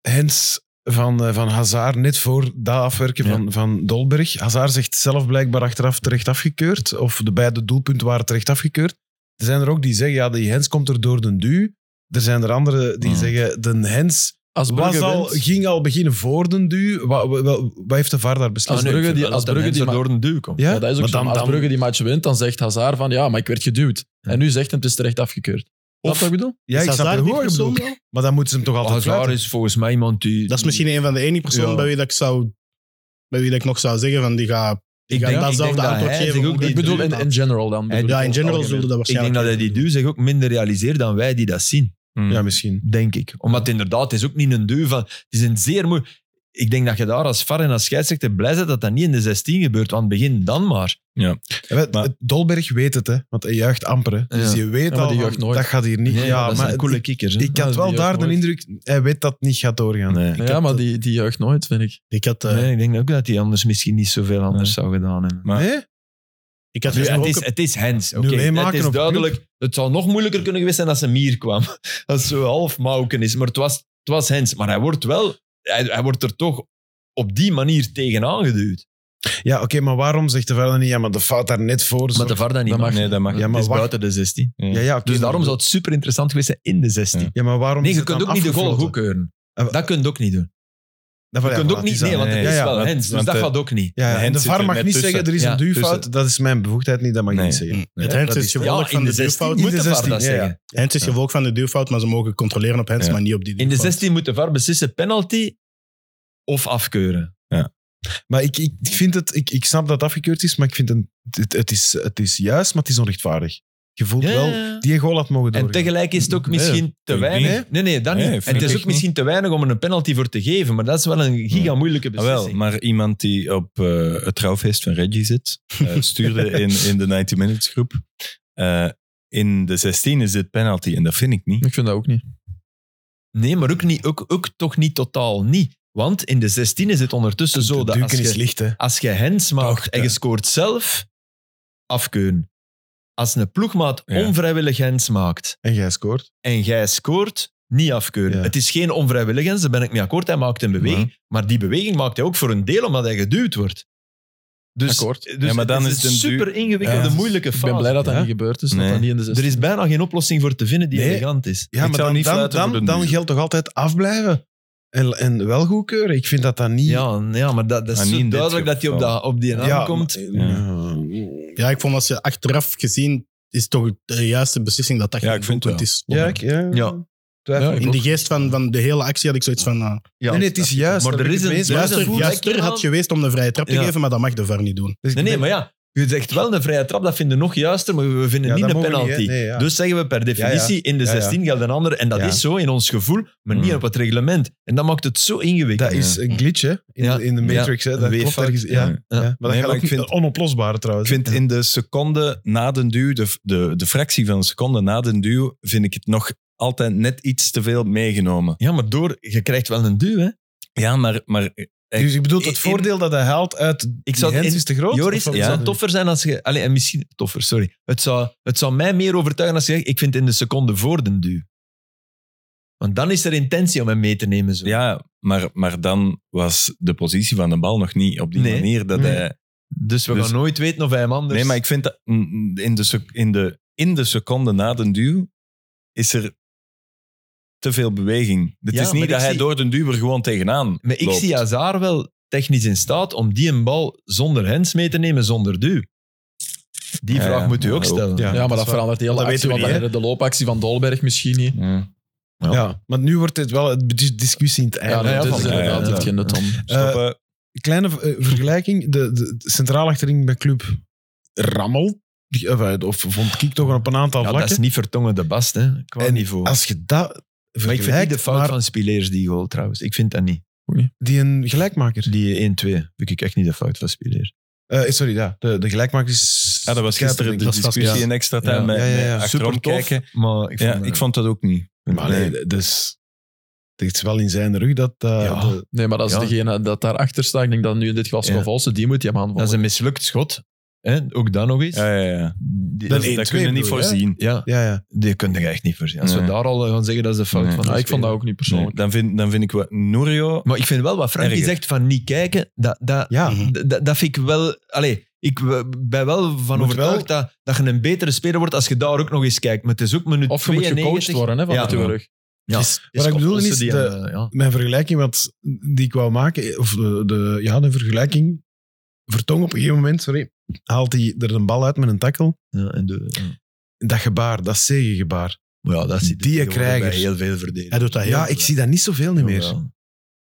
B: Hens van, eh, van Hazard, net voor dat afwerken van, van Dolberg. Hazard zegt zelf blijkbaar achteraf terecht afgekeurd. Of de beide doelpunten waren terecht afgekeurd. Er zijn er ook die zeggen, ja, die Hens komt er door den duw. Er zijn er anderen die
C: Mm.
B: zeggen, de Hens
D: Als
B: was
D: Brugge,
B: al,
D: wint-
B: ging al beginnen voor den duw. Wat, wat, wat- wat heeft de VAR daar
D: als
B: beslist?
E: Ah, nee, ik
D: Brugge
E: vind
D: die,
E: wel
D: als
E: dat
D: Brugge
E: Hens
D: die
E: er
D: ma-
E: door een duw komt.
D: ja, dat is ook
B: maar
D: zo.
B: dan-
D: Als
B: dan-
D: Brugge die match wint, dan zegt Hazard van ja, maar ik werd geduwd. En nu zegt hem het is terecht afgekeurd. Snap
B: Of-
D: je wat ik bedoel?
B: Ja, ik
F: Is
B: snap
F: Hazard
B: er
F: die
B: hoe ik
F: persoon
B: bedoel.
F: wel?
B: Maar dan moeten ze hem toch altijd
D: Oh,
E: Hazard
B: fluiten.
E: is volgens mij iemand die...
F: Dat is misschien een van de enige personen
E: Ja.
F: bij wie dat ik zou... Bij wie dat ik nog zou zeggen van die gaat... Die
E: Ik
F: gaat
E: denk- ik
F: datzelfde
E: denk dat
F: antwoord
E: hij
F: geven.
E: zich ook
F: hoe
E: die
F: dat
D: Ik bedoel
F: doet.
D: in, in general dan.
E: Hij-
F: Ja, in general
D: Algemeen.
F: zullen dat
E: Ik denk
F: waarschijnlijk...
E: dat hij die
F: even
E: duw zich ook minder realiseert dan wij die dat zien.
C: Mm.
B: Ja, misschien.
E: denk ik. Omdat inderdaad, het is ook niet een duw van... Het is een zeer moe... Ik denk dat je daar als VAR en als scheidsrechter blij bent dat dat niet in de 16 gebeurt. Aan het begin dan maar.
B: Ja, maar
C: Maar-
B: het- Dolberg weet het, hè, want hij juicht amper. hè. Dus
E: Ja.
B: je weet
D: Ja, maar
B: al,
D: die
B: van,
D: juicht nooit.
B: dat gaat hier niet.
E: Nee,
B: ja,
E: dat
B: maar
E: zijn coole
B: ik,
E: kickers. hè.
B: ik
D: Ja,
B: had
D: die
B: wel
D: juicht
B: daar de
D: nooit.
B: indruk, hij weet dat het niet gaat doorgaan.
C: Nee.
D: Ja, maar die, die juicht nooit, vind ik.
F: Ik had, eh,
E: Nee, ik denk ook dat hij anders misschien niet zoveel anders zou gedaan hebben.
C: Maar-
B: Nee?
F: ik had
E: Nu, het,
F: gesproken-
E: is, het is Hens. Oké,
B: Nu meemaken
E: het is
B: op
E: duidelijk. Het zou nog moeilijker kunnen geweest zijn als een mier kwam. Als zo half mauken is. Maar het was, het was Hens. Maar hij wordt wel... Hij, hij wordt er toch op die manier tegenaan geduwd.
B: Ja, oké, maar waarom zegt de verder niet, ja, maar de fout daar net voor. zo-
E: Maar de VAR dat niet
C: Dat mag
E: mag.
C: niet. Nee, dat mag
E: Het
B: niet. Ja, maar
E: is
B: wacht.
E: buiten de 16.
B: ja, ja, oké,
E: Dus daarom
B: maar-
E: zou het super interessant geweest zijn in de 16.
C: Ja.
B: Ja, maar waarom
E: Nee,
B: is
E: je
B: het
E: kunt
B: dan
E: ook niet de goal
B: afgefloten?
E: goedkeuren.
B: Eh,
E: Dat kun je ook niet doen.
B: Dat
E: Je
B: wil- ja,
E: kunt
B: voilà,
E: ook
B: het
E: niet,
B: is aan-
E: nee, want het
C: Nee,
E: is
B: ja,
E: wel
C: want-
E: Hens, dus
C: want
E: dat
C: de-
E: gaat ook niet.
B: Ja, ja, en
C: Hens
B: de
C: zit
B: VAR
C: er
B: mag
C: net
B: niet
C: tussen.
B: zeggen, er is
E: Ja,
B: een duwfout.
C: tussen.
B: Dat is mijn bevoegdheid niet, dat mag ik
C: Nee.
B: niet zeggen.
E: Mm,
F: Hm. Het
B: Ja,
F: Hens
B: dat
F: is
B: is-
F: gevolg
E: Ja,
F: van
E: in
F: de
E: de 16
F: duwfout.
B: In
E: moet
B: de
E: de VAR
B: 16,
E: dat
B: ja, ja.
E: zeggen.
F: Hens is
C: Ja.
F: gevolg van de duwfout, maar ze mogen controleren op Hens,
C: Ja.
F: maar niet op die
E: In de
F: duwfout.
E: 16 moet de VAR beslissen penalty of afkeuren.
B: Maar ik, ik, ik vind het, ik, ik snap dat het afgekeurd is, maar ik vind het, het, het is, het is juist, maar het is onrechtvaardig. Je voelt wel, die goal had mogen
E: En
B: doorgaan.
E: tegelijk is het ook
B: Nee,
E: misschien te
C: ik
E: weinig.
C: niet.
E: Nee, nee, dat niet.
C: Nee, vind
E: en het
C: ik
E: is ook
C: echt niet.
E: misschien te weinig om er een penalty voor te geven, maar dat is wel een giga moeilijke
C: Ah, wel,
E: beslissing.
C: maar iemand die op eh, het trouwfeest van Reggie zit, eh, stuurde in, in de 90 Minutes groep. eh, in de 16 is dit penalty en dat vind ik niet.
D: Ik vind dat ook niet.
E: Nee, maar ook, niet, ook, ook toch niet totaal niet. Want in de 16 is het ondertussen zo
B: De
E: dat als
B: duiken is
E: je,
B: licht, hè.
E: als je hens maakt
C: Toch,
E: en je
C: ja.
E: scoort zelf, afkeuren. Als een ploegmaat
C: Ja.
E: onvrijwillig hens maakt
B: En jij scoort.
E: en jij scoort, niet afkeuren.
B: Ja.
E: Het is geen onvrijwillig hens, daar ben ik mee akkoord. Hij maakt een beweging, maar die beweging maakt hij ook voor een deel omdat hij geduwd wordt. Dus,
D: Akkoord.
E: dus
C: Ja, maar dan
E: het
C: is
E: is een
C: het een duur-
E: super ingewikkelde,
B: Ja.
E: moeilijke
D: Ik
E: fase.
D: ben blij dat dat
E: Ja.
D: niet gebeurd is. dat
C: Nee.
D: Dat niet in de zes-
E: Er is bijna geen oplossing voor te vinden die
B: Nee.
E: elegant is.
B: Ja, maar
C: Ik zou
B: dan,
C: niet
B: dan,
C: fluiten
B: dan,
C: voor de
B: dan
C: muur.
B: geldt toch altijd afblijven en, en wel goedkeuren. Ik vind dat dat niet...
E: Ja, ja maar dat, dat is
C: Maar niet
E: zo
C: in dit
E: duidelijk dat hij op,
C: geval.
E: dat, op die naam
B: Ja,
E: komt.
B: maar-
F: Ja, ik vond als je achteraf gezien is toch de juiste beslissing dat dat
C: Ja,
F: geen
C: ik vind
F: doelpunt is.
B: Ja, ik- ja.
E: Ja.
B: Twijfel.
D: Ja, ik-
F: In de geest van, van de hele actie had ik zoiets van... eh,
E: Ja,
B: nee, nee, het is juist.
E: Maar
B: dat
E: er
B: ben
E: is
B: ik
E: een-
B: mee eens. Maar
E: juist
F: Juister,
B: dat voelt-
E: juist-
F: juister had geweest om een vrije trap te
E: Ja.
F: geven, maar dat mag de VAR niet doen.
B: Dus ik
E: Nee, nee,
B: ben-
E: maar ja. Je zegt wel een vrije trap, dat vinden we nog juister, maar we vinden
B: Ja,
E: niet
B: dat
E: een
B: mogen we
E: penalty.
B: niet, hè? Nee, ja.
E: Dus zeggen we per definitie, in de
B: Ja, ja.
E: 16 geldt een ander. En dat
B: Ja.
E: is zo in ons gevoel, maar niet
C: Mm.
E: op het reglement. En dat maakt het zo ingewikkeld.
B: Dat is een glitch, hè? In,
E: Ja.
B: in de Matrix, hè?
E: Een
B: Dat klopt
E: weeffout.
B: ergens. Ja.
C: Ja.
B: Ja. Maar dat
C: Nee,
B: gaat
C: maar
B: ook
C: ik vind-
B: niet- onoplosbare trouwens.
C: Ik vind in de seconde na de duw, de, de, de fractie van een seconde na de duw, vind ik het nog altijd net iets te veel meegenomen.
E: Ja, maar door, je krijgt wel een duw, hè.
C: Ja, maar, maar eh,
B: dus ik bedoel,
E: in-
B: het voordeel dat hij haalt uit
E: Ik zou
B: die
E: het
B: hands
E: in-
B: is te groot.
E: Joris,
B: Of-
E: het zou toffer zijn als je... Allee, en misschien... Toffer, sorry. Het zou, het zou mij meer overtuigen als je zegt, ik vind in de seconde voor de duw. Want dan is er intentie om hem mee te nemen. Zo.
C: Ja, maar, maar dan was de positie van de bal nog niet op die
E: Nee.
C: manier dat
E: Nee.
C: hij...
E: Dus we
C: Dus-
E: gaan nooit weten of hij hem anders...
C: Nee, maar ik vind dat mm, in de, sec- in de, in de seconde na de duw is er te veel beweging. Het
E: Ja,
C: is
E: maar
C: niet
E: ik
C: dat hij
E: zie-
C: door de duw er gewoon tegenaan
E: Maar ik
C: loopt.
E: zie Hazard wel technisch in staat om die een bal zonder hands mee te nemen, zonder duw. Die
C: Ja,
E: vraag
C: ja,
E: moet u
C: ja,
E: ook
C: ook.
E: stellen.
B: Ja.
D: Ja, maar dat verandert heel de
B: dat
D: hele
B: weten we
D: actie. Want dan
B: niet,
D: hebben we de loopactie van Dolberg misschien niet.
C: Ja.
B: Ja, maar nu wordt dit wel een dis- discussie in het einde.
D: Ja,
B: hè,
D: dat
B: van-
D: is
C: ja,
D: inderdaad
C: ja,
D: heeft
E: ja.
D: geen nut om.
C: Stoppen.
B: Kleine eh, vergelijking. De, de, de centraal achterin bij club Rammel, die- eh, of vond ik toch op een aantal
E: Ja, dat
B: vlakken.
E: is niet vertongen de bast, hè, qua
B: En
E: niveau.
B: Als je dat
E: maar ik vind niet
B: vergelijkt,
E: de fout
B: maar
E: van Spileers die goal, trouwens. Ik vind dat niet.
B: die een gelijkmaker.
E: Die 1-2 vind ik echt niet de fout van Spileers.
B: Eh, sorry, ja, de, de gelijkmaker is...
C: Ja, dat was gisteren de
B: Dat was-
C: discussie
B: ja.
C: in extra time
E: Ja.
C: met,
B: Ja, ja, ja.
C: met achterom
E: Super tof,
C: kijken.
E: maar ik vond,
C: Ja, ik vond dat ook niet.
B: Maar nee, dus... Het is wel in zijn rug dat... eh,
E: Ja.
B: de-
D: Nee, maar dat is
E: Ja.
D: degene dat daarachter staat. Ik denk dat nu in dit geval
E: Ja.
D: Scovolse, die moet je hem aanvallen.
E: dat is een mislukt schot. Hè? Ook dat nog eens.
C: Ja, ja, ja.
E: Die-
B: Dat
C: Dat,
E: dat-
B: is-
C: dat
B: 1-2
C: kun je niet
B: bedoel je, hè?
C: voorzien.
E: ja,
B: ja, ja.
E: die kun je echt niet voorzien. Als we
C: Nee.
E: daar al eh, gaan zeggen, dat is de fout
C: Nee.
E: van de
D: Ja, ik vond
E: speler.
D: dat ook niet
C: Nee,
D: persoonlijk.
C: dan, vind, dan vind ik wat Nurio...
E: Maar ik vind wel wat Frankie
C: Erger.
E: zegt van niet kijken, dat, dat,
B: Ja.
F: Mhm.
E: dat- dat, dat vind ik wel... Allee, ik w- ben wel van
B: Moet
E: overtuigd Dat, dat je een betere speler wordt als je daar ook nog eens kijkt. Maar het is ook minuut
D: Of je moet
E: 92.
D: gecoacht worden hè,
E: Ja.
D: vanuit uw rug.
E: Ja.
B: Is- wat ik bedoel is,
E: Die,
B: de,
E: eh, ja.
B: mijn vergelijking wat, die ik wou maken, of de, de, ja, de vergelijking, Vertong op een gegeven moment, sorry, haalt hij er een bal uit met een tackle.
E: Ja, en de, ja.
B: Dat gebaar, dat zegengebaar.
E: Maar ja, dat zit
B: Die
E: tegenwoordig
B: krijgers.
E: bij heel veel verdedigers.
F: Hij doet dat heel
B: Ja,
F: goed.
B: ik zie dat niet zoveel niet meer.
E: Jawel.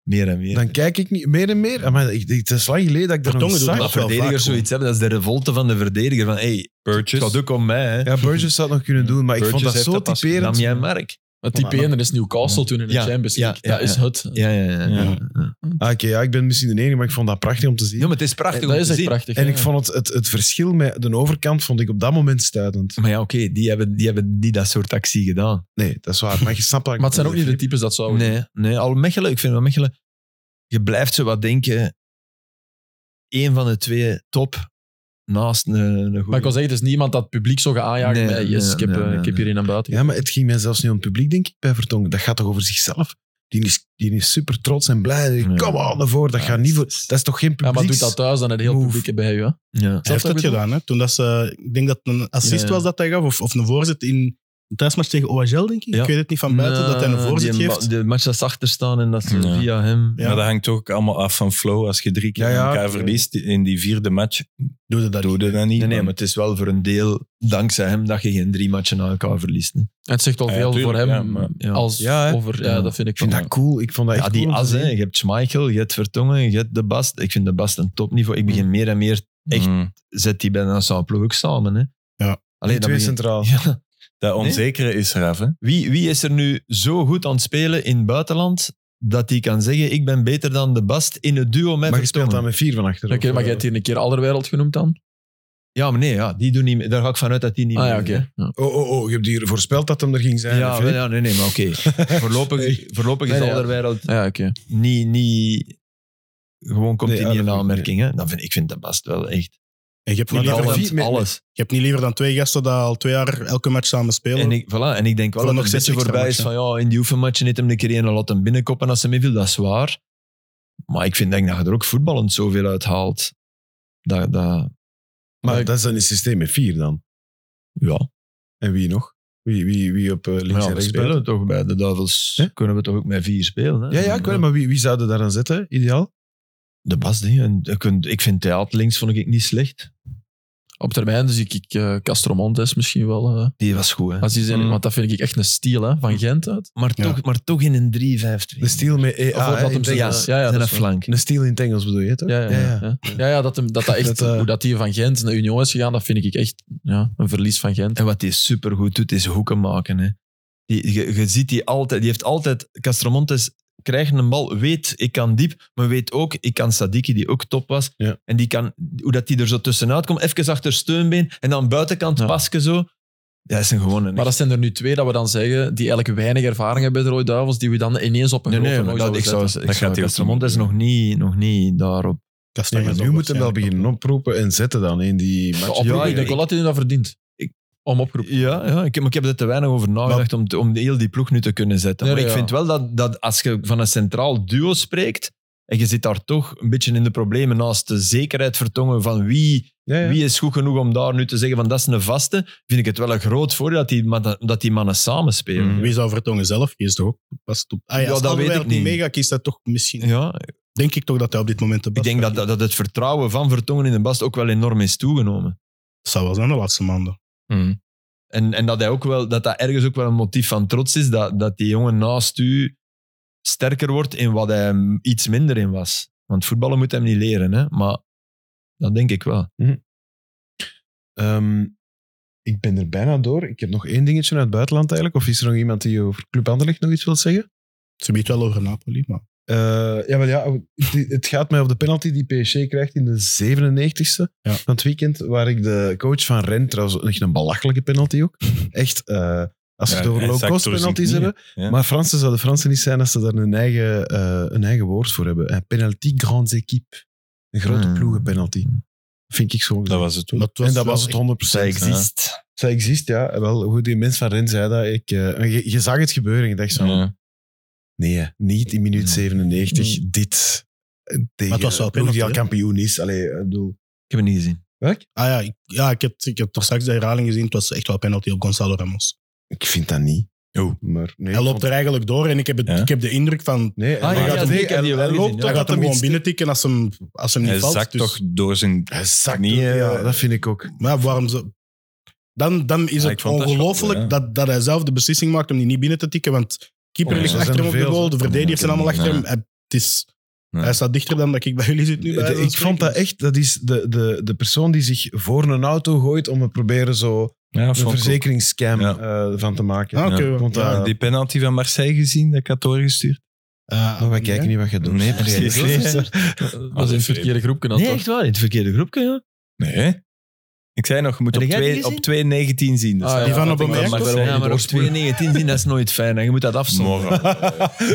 E: Meer en meer.
B: Dan kijk ik niet, meer en meer. Ah, Maar ik, ik- het is lang geleden dat ik dat nog
F: Vertongen
B: eens
F: doet
B: zag.
E: dat
F: wel
E: verdedigers
F: vaak, hoor.
E: zoiets hebben, dat is de revolte van de verdediger. Van, hey, het gaat
C: Purchase.
E: ook om mij. Hè.
B: Ja, Burgess zou het nog kunnen doen, maar ik
C: Burgess
B: vond dat
C: heeft
B: zo
C: dat pas
B: typerend.
E: Nam jij Mark?
D: Het type is Newcastle toen in de
E: Ja.
D: Champions League.
E: Ja. Ja.
D: Dat is het.
E: Ja, ja, ja. ja.
C: Ja.
B: Ah, Oké, ja, ik ben misschien de enige, maar ik vond dat prachtig om te zien.
E: Ja, maar het is prachtig
D: Dat
E: om
D: is
E: te
D: echt
E: zien.
D: prachtig.
B: en
D: ja.
B: ik vond het, het, het verschil met de overkant vond ik op dat moment stuitend.
E: Maar ja, oké, die, hebben, die hebben niet dat soort actie gedaan.
B: Nee, dat is waar. Maar je snapt dat ik
D: Maar het zijn ook niet
B: bedoel,
D: de types dat zouden doen.
E: Nee, nee, al Mechelen, ik vind wel Mechelen, je blijft zo wat denken, één van de twee top, naast een, een goeie.
D: Maar ik wil zeggen, het is niemand dat het publiek zo gaat
E: Nee,
D: aanjagen met yes,
E: nee,
D: ik heb,
E: nee,
D: eh,
E: nee,
D: ik heb
E: nee.
D: hierin aan buiten.
B: Ja, maar het ging mij zelfs niet om het publiek, denk ik, bij Vertongen. Dat gaat toch over zichzelf? Die is, die is super trots en blij.
E: Ja.
B: Kom aan, naar voren. Dat
E: Ja,
B: gaat niet voor... Dat is toch geen
D: Ja,
B: publiek?
D: maar doet dat thuis, dan het heel
B: Move.
D: publiek bij je. hè.
E: Ja.
F: Hij heeft
D: Snap
F: dat
D: je wat ik
F: gedaan, hè? Toen dat ze, ik denk dat het een assist
E: Ja.
F: was dat hij gaf, of, of een voorzet in de thuismatch tegen OHL, denk ik.
E: Ja.
F: Ik weet het niet van buiten, dat hij een
D: Eh,
E: Nee,
F: voorzet
E: die,
F: geeft.
E: De match dat ze achter staan en dat ze
C: Ja.
E: via hem...
F: Ja.
C: Maar dat hangt ook allemaal af van flow. Als je drie keer
B: Ja, ja.
C: elkaar verliest in die vierde match,
F: Doe dat
C: doe
F: niet.
C: je dat niet.
E: Nee, nee, maar het is wel voor een deel dankzij hem dat je geen drie matchen na elkaar verliest. hè.
D: En Het zegt al
C: Ja,
D: veel
C: tuurlijk,
D: voor hem.
C: ja, maar-
E: ja.
D: Als
B: Ja, hè.
D: over, ja,
E: Ja.
D: dat vind ik
B: Ik vind
D: wel.
B: dat cool. Ik vond dat echt
E: Ja, die
B: cool om te
E: as, hè.
B: zien.
E: je hebt Schmeichel, je hebt Vertongen, je hebt De Bast. Ik vind De Bast een topniveau. Ik begin meer en meer, echt,
C: Mm.
E: zet die bij een ploeg ook samen. Hè.
F: Ja.
B: Die
E: Alleen,
B: twee centraal.
E: Ja,
C: Dat onzekere is eraf. Hè?
E: Wie, wie is er nu zo goed aan het spelen in het buitenland dat hij kan zeggen: Ik ben beter dan de Bast in het duo met
B: Maar je speelt dan
E: Vertongen?
B: met vier van achter.
D: Oké,
B: of,
D: maar jij hebt hier een keer Alderwereld genoemd dan?
E: Ja, maar nee, ja, die doen niet mee. daar ga ik vanuit dat die niet
D: Ah ja,
E: meer
D: oké.
E: doen,
D: Ja.
B: Oh, oh, oh. Je hebt hier voorspeld dat hem er ging
E: hè.
B: zijn.
E: Ja,
B: of,
E: wel,
B: hè?
E: ja, nee, nee, maar oké. Voorlopig, voorlopig is
B: Nee, nee, ja.
E: Alderweireld
D: Ah, Ja, oké.
E: niet, niet... Gewoon komt
B: Nee,
E: hij
B: ja,
E: niet in
B: dat vind ik
E: aanmerking. Hè? Dan vind, ik vind de Bast wel echt...
F: En je, hebt niet
E: Maar
B: dat-
F: liever dan,
E: Holland,
B: vier- met-
E: alles.
F: je hebt niet liever dan twee gasten die al twee jaar elke match samen spelen.
E: En ik, voilà, en ik denk wel
F: Voor
E: dat er
F: nog
E: een beetje
F: zes extra
E: voorbij is van... Ja, in die oefenmatchen heeft hem een keer een lot hem binnenkoppen als ze meeviel. Dat is waar. Maar ik vind denk dat je er ook voetballend zoveel uit haalt. Dat, dat,
B: Maar
D: Maar ik-
B: dat is dan een systeem met vier dan.
E: ja.
B: En wie nog? Wie, wie, wie op eh, links en
E: ja, we
B: rechts speelt?
E: spelen toch bij de Duivels.
B: Hè?
E: Kunnen we toch ook met vier spelen? Hè?
B: Ja, ja, ik weet het, maar wie, wie zouden daar aan zetten, ideaal?
E: De Bas, die, en, ik vind- ik vind Theat links vond ik niet slecht.
D: Op termijn dus ik, ik eh, Castromontes misschien wel. eh,
E: Die was goed, hè.
D: als die zijn,
B: Mm.
D: Want dat vind ik echt een stiel hè, van Gent uit.
E: Maar,
F: Ja.
E: toch, maar toch in een 3-5-2.
B: De steel met EA,
D: Of wat
B: hè,
D: dat
B: in
D: hem
B: het
D: zegt,
B: Engels.
D: ja, ja,
E: zijn
D: dat
E: een
D: is waar.
E: flank.
B: De steel in het Engels bedoel je, toch?
D: Ja, ja, ja. ja, ja. ja, dat, hem, dat, dat echt,
B: Dat, eh,
D: hoe dat die van Gent naar Union is gegaan, dat vind ik echt ja, een verlies van Gent.
E: En wat hij supergoed doet, is hoeken maken. Hè. Die, je, je ziet die altijd, die heeft altijd, Castromontes krijgt een bal, weet ik kan diep, maar weet ook, ik kan Sadiki, die ook top was.
B: Ja.
E: En die kan, hoe dat die er zo tussenuit komt, even achter steunbeen en dan buitenkant
D: Ja.
E: pasken zo. Ja, dat is een gewone.
D: Maar dat zijn er nu twee dat we dan zeggen, die eigenlijk weinig ervaring hebben bij de Rode Duivels, die we dan ineens op een
E: nee,
D: grote
E: nee,
D: nog
E: maar dat,
D: zouden
E: ik zou, ik
D: zetten.
E: zou
C: Dat gaat hij ook
E: Castromontes
C: doen.
E: nog niet, nog niet daarop.
B: Nee, maar nu moeten we wel beginnen oproepen en zetten dan in die
D: Ja,
B: match.
D: oproepen,
E: Ja,
D: ik denk
E: ik-
D: wel dat hij dat verdient.
E: Ik-
D: om oproepen.
E: Ja, ja ik, maar ik heb er te weinig over nagedacht om, te- om heel die ploeg nu te kunnen zetten.
D: Nee,
E: maar
D: nee,
E: ik
D: ja.
E: vind wel dat, dat als je van een centraal duo spreekt en je zit daar toch een beetje in de problemen naast de zekerheid vertongen van wie,
B: Ja, ja.
E: wie is goed genoeg om daar nu te zeggen van dat is een vaste, vind ik het wel een groot voordeel dat die, mannen- dat die mannen samenspelen.
D: Mm.
C: Mhm.
F: Wie zou Vertongen zelf? Die is toch ook pas op. Ah, ja,
E: Ja,
F: als
E: dat
F: Alderweireld
E: weet ik
F: niet
E: niet.
F: meegaat, kiest dat toch misschien.
E: Ja,
F: Denk ik toch dat hij op dit moment de
E: ik
F: beste
E: denk dat, dat dat het vertrouwen van Vertongen in de Bast ook wel enorm is toegenomen.
F: Dat zou wel zijn de laatste maanden.
E: En, en dat, hij ook wel, dat dat ergens ook wel een motief van trots is, dat, dat die jongen naast u sterker wordt in wat hij m- iets minder in was. Want voetballen moet hem niet leren, hè? maar dat denk ik wel.
B: Ehm, ik ben er bijna door. Ik heb nog één dingetje uit het buitenland eigenlijk. Of is er nog iemand die over Club Anderlecht nog iets wil zeggen?
F: Ze biedt wel over Napoli, maar
B: Eh, ja, wel ja, het, het gaat mij op de penalty die PSG krijgt in de 97ste
F: Ja.
B: van het weekend, waar ik de coach van Ren, trouwens echt een belachelijke penalty ook, echt, eh, als we
C: Ja,
B: het over
C: hij zakt
B: low-cost
C: door zijn
B: penalties
C: knieën,
B: hebben,
C: ja.
B: maar Fransen zouden Fransen niet zijn als ze daar een eigen, eh, een eigen woord voor hebben. Een penalty grandes équipes. Een grote
E: Hmm.
B: ploegenpenalty. Vind ik zo.
C: Dat was het.
F: dat was
B: en dat
F: wel
B: was het 100%.
E: exist.
B: Zij exist, ja. Wel, hoe die mens van Ren zei dat. Ik, eh, je, je zag het gebeuren. Ik dacht zo,
C: Ja.
B: nee, hè, niet in minuut 97. Dit eh, tegen
F: Mm. het was wel
B: een ploeg die al
F: penalty, hè?
B: kampioen is. Allee, eh, ik bedoel...
E: Ik heb het niet gezien.
B: Welk?
F: Ah ja, ik, ja, ik heb, ik heb toch straks de herhaling gezien. Het was echt wel penalty op Gonzalo Ramos.
B: Ik vind dat niet.
C: Oh.
B: Maar nee,
F: hij
B: ik
F: loopt
B: vond-
F: er eigenlijk door en ik heb, het,
C: Ja.
F: ik heb de indruk van...
B: Nee, hij
E: Ah, ja,
B: gaat-
E: ja,
B: nee,
E: nee, ik heb
B: hij-
E: die wel
B: hij
E: gezien,
B: loopt
E: ja.
F: Hij
B: toch
F: gaat
B: dat
F: hem
B: hem
F: gewoon
B: iets-
F: binnentikken als hem, als hem niet
C: Hij
F: valt.
C: zakt
F: dus-
C: toch door zijn...
B: Hij zakt
C: Nee,
B: door, ja,
C: eh,
B: dat vind ik ook.
F: Maar ja, waarom ze... Dan, dan
C: Ja,
F: is
C: ik
F: het
C: vond dat
F: ongelooflijk
C: schande,
F: dat, dat, hij zelf de beslissing maakt om die niet binnen te tikken. Want keeper
C: Oh,
F: ligt
C: ja,
B: er
F: achter hem
B: zijn
F: op
B: er veel,
F: de
B: hè.
F: goal, de verdedigers zijn allemaal achter
C: Nee.
F: hem. Hij- Het is,
C: Nee.
F: Hij staat dichter dan dat ik bij jullie zit nu. bij wijze van
B: ik vond dat
F: spreken.
B: echt... Dat is de, de, de persoon die zich voor een auto gooit om te proberen zo
C: Ja,
B: een
C: vond ik ook.
B: verzekeringsscam
C: Ja.
B: eh, van te maken.
F: Ah, oké.
C: Ja,
B: ik vond dat-
F: Ja,
C: Die penalty van Marseille gezien, dat ik had doorgestuurd.
F: Eh,
C: Oh,
B: Maar wij
F: ja.
B: Oh, kijken niet wat je doet.
C: Nee, precies.
D: Dat was in het
C: even-
D: verkeerde groepje dan
E: Nee,
D: toch?
E: echt waar, in het verkeerde groepje. Ja.
C: Nee. Ik zei nog, je moet op
E: Heb jij die
C: 2
E: gezien?
C: op 2.19 zien. Dus
D: Ah, ja,
F: Die van
D: dat
F: op een
D: ik dat
F: merk
D: maar
F: of
D: verder
F: zo?
D: wel
E: Ja,
D: niet
E: maar op
D: doorspoelen.
E: 2.19 zien, dat is nooit fijn. hè. Je moet dat afzonderen.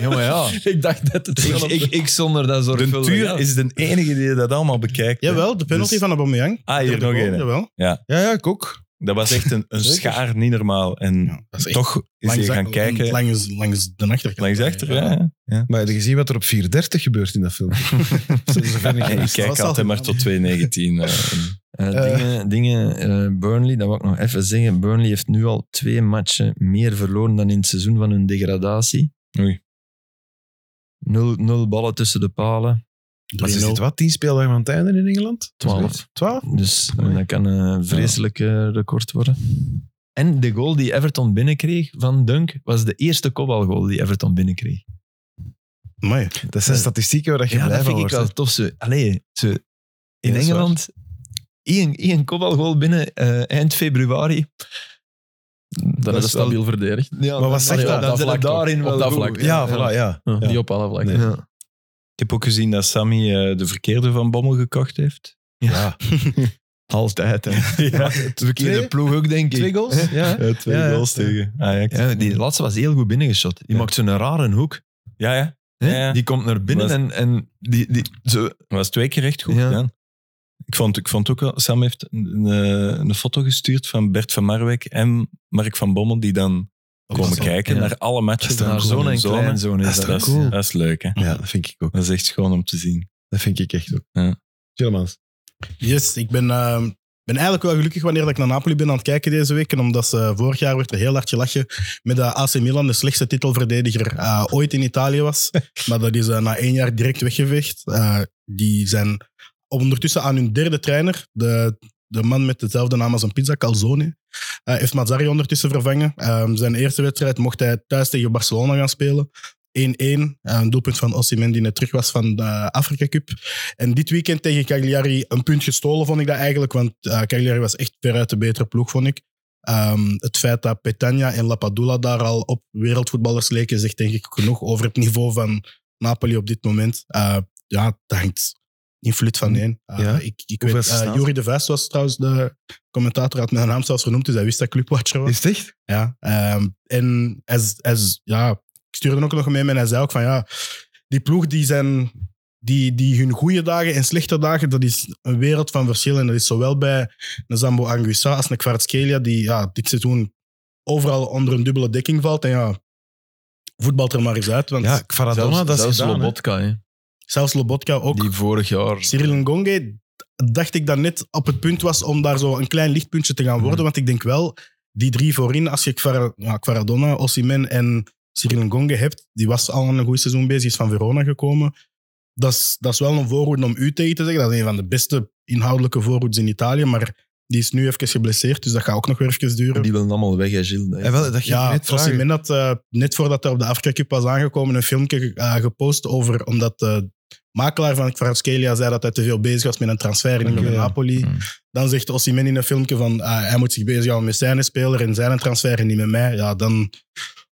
E: Ja, maar ja.
D: Ik dacht net het
E: Ik,
D: wel.
E: ik, ik zonder dat zorgvuldig.
C: De Tuur
E: ja.
C: is de enige die dat allemaal bekijkt. hè.
F: Jawel, de penalty
C: Dus-
F: van Aubameyang.
C: Ah, hier
F: Derde
C: nog
F: goal,
C: één. hè.
F: Jawel.
B: Ja, ja, ik ook.
C: Dat was echt een, een
B: Zeker.
C: schaar, niet normaal. En
F: Ja, dat is echt
C: toch is hij
F: langs-
C: gaan kijken
F: Langs, langs de achterkant.
C: langs achter. Ja. ja.
B: Maar heb je gezien wat er op 4.30 gebeurt in dat film? Dat is zover niet
C: En ik
B: geweest.
C: kijk
F: was al
C: altijd maar
F: gedaan.
C: tot 2.19. eh.
E: Eh,
B: Eh.
E: dingen, dingen eh, Burnley, dat wil ik nog even zeggen. Burnley heeft nu al twee matchen meer verloren dan in het seizoen van hun degradatie.
C: Oei.
E: Nul, nul ballen tussen de palen.
B: Maar ze
F: 3-0.
B: zitten wat, tien speeldagen aan het einde in Engeland?
E: Twaalf.
B: Twaalf?
E: Dus eh, dat kan een vreselijk eh, record worden. En de goal die Everton binnenkreeg van Dunk was de eerste kopbalgoal die Everton binnenkreeg.
F: Amai.
B: Dat zijn
E: Eh,
B: statistieken waar je
E: Ja,
B: blij
E: dat
B: van
E: vind
B: wordt.
E: ik wel
B: hè.
E: tof. Ze, allee, ze, in
B: Ja, dat is waar.
E: Engeland, één, één kopbalgoal binnen eh, eind februari.
D: Dan is
E: is
D: het
E: wel-
D: stabiel verdedigd.
E: Ja,
B: Maar wat zegt
E: allee,
B: dat?
E: op
D: Dat
E: vlak
D: vlak toch.
E: daarin
D: Op
E: wel
D: dat
E: goed.
D: vlak,
B: Ja, voilà, ja.
D: Ja,
B: Ja.
D: Niet op alle vlakken.
B: Nee.
E: Ja.
C: Ik heb ook gezien dat Sammy eh, de verkeerde van Bommel gekocht heeft.
B: Ja.
E: Altijd, hè. Ja, het verkeerde
B: Twee-
E: ploeg ook, denk ik.
B: Twee goals? Ja.
C: Ja,
E: eh,
C: twee
B: Ja, ja.
C: goals tegen Ajax.
E: Ja, die laatste was heel goed binnengeschot. Die
C: Ja.
E: maakt zo'n rare hoek.
C: Ja, ja.
E: Hè?
C: Ja, ja.
E: Die komt naar binnen
C: Was-
E: en, en die, die, zo,
C: Dat was twee keer echt goed
E: Ja.
C: gedaan. Ik vond, ik vond ook wel, Sam heeft een, eh, een foto gestuurd van Bert van Marwijk en Mark van Bommel, die dan
E: Oh,
C: komen kijken
E: ja.
C: naar alle matches.
E: naar
C: van
E: zo'n
C: hun
E: en
C: zonen.
E: kleinzoon is
B: Dat is
E: dat.
C: Dat is,
B: toch cool.
C: dat is leuk, hè?
B: Ja, dat vind ik ook.
C: Dat is echt schoon om te zien.
B: Dat vind ik echt ook.
C: Ja.
B: Tjellemans.
F: Yes, ik ben, eh, ben eigenlijk wel gelukkig wanneer dat ik naar Napoli ben aan het kijken deze week. En omdat ze, vorig jaar werd er heel hard gelachen met dat AC Milan de slechtste titelverdediger eh, ooit in Italië was. Maar dat is eh, na één jaar direct weggeveegd. Eh, die zijn ondertussen aan hun derde trainer, de, de man met dezelfde naam als een pizza, Calzone. eh, heeft Mazzari ondertussen vervangen. Eh, zijn eerste wedstrijd mocht hij thuis tegen Barcelona gaan spelen. 1-1, eh, een doelpunt van Osimhen die net terug was van de Afrika Cup. En dit weekend tegen Cagliari een punt gestolen, vond ik dat eigenlijk. Want eh, Cagliari was echt veruit de betere ploeg, vond ik. Ehm, het feit dat Petagna en Lapadula daar al op wereldvoetballers leken, zegt denk ik genoeg over het niveau van Napoli op dit moment. Eh, ja, dat hangt niet flut van één. Eh,
B: Ja.
F: Ik, ik
B: Hoeveel
F: weet, eh,
B: staan ze?
F: Jori de Vuist was trouwens de commentator, had mijn naam zelfs genoemd, dus hij wist dat ik Clubwatcher was.
B: Is het echt?
F: Ja, ehm, en hij z- hij z- ja, ik stuurde ook nog mee en hij zei ook van ja, die ploeg die zijn, die, die hun goede dagen en slechte dagen, dat is een wereld van verschil. En dat is zowel bij een Zambo Anguissa als een Kvaratskhelia, die ja, dit seizoen overal onder een dubbele dekking valt. En ja, voetbalt er maar eens uit, want
B: Ja, Kvaradona,
D: Zelfs,
B: dat is
D: zelfs
B: gedaan, hè.
D: Lobotka, hè.
F: zelfs Lobotka ook.
D: die vorig jaar...
F: Cyril Ngonge dacht ik dat net op het punt was om daar zo een klein lichtpuntje te gaan worden. Want ik denk wel, die drie voorin, als je Kvar, ja, Kvaradona, Osimhen en Cyril Ngonge hebt, die was al aan een goed seizoen bezig, is van Verona gekomen. Dat is, dat is wel een voorhoede om u tegen te zeggen. Dat is een van de beste inhoudelijke voorhoedes in Italië, maar die is nu even geblesseerd, dus dat gaat ook nog weer even duren.
E: Die willen allemaal weg, hè, Gilles.
B: Ja, wel, dat ging ik
F: Ja,
B: net vragen.
F: Osimhen had eh, net voordat hij op de Afrika Cup was aangekomen een filmpje ge- eh, gepost over, omdat de makelaar van Kvaratskhelia zei dat hij te veel bezig was met een transfer in
B: Ja.
F: Napoli.
D: Hmm.
F: Dan zegt Osimhen in een filmpje van eh, hij moet zich bezighouden met zijn speler en zijn transfer en niet met mij. Ja, dan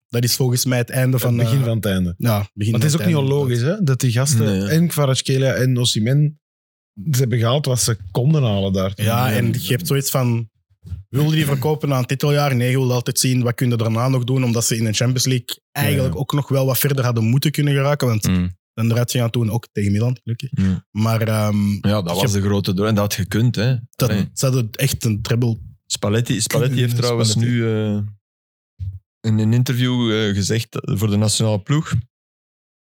F: dat is volgens mij het einde
B: Van
F: van...
B: het begin
F: eh,
B: van het einde.
F: ja,
B: Want
F: begin van
B: het is ook niet
F: einde.
B: onlogisch hè, dat die gasten
D: Nee, ja.
B: en Kvaratskhelia en Osimhen ze hebben gehaald wat ze konden halen daar.
F: Ja, en je hebt zoiets van... Wil je die verkopen na een titeljaar? Nee, je wil altijd zien wat kun je daarna nog doen, omdat ze in de Champions League eigenlijk ook nog wel wat verder hadden moeten kunnen geraken. Want
C: Mm.
F: dan eruit gaan toen ook tegen Milan, gelukkig.
E: Ja.
F: Maar ehm,
E: Ja, dat was de grote door. En dat had gekund, hè.
F: dat,
E: Allee.
F: ze hadden echt een treble.
E: Spalletti, Spalletti heeft trouwens
F: Spalletti.
E: nu eh, in een interview eh, gezegd dat- voor de nationale ploeg.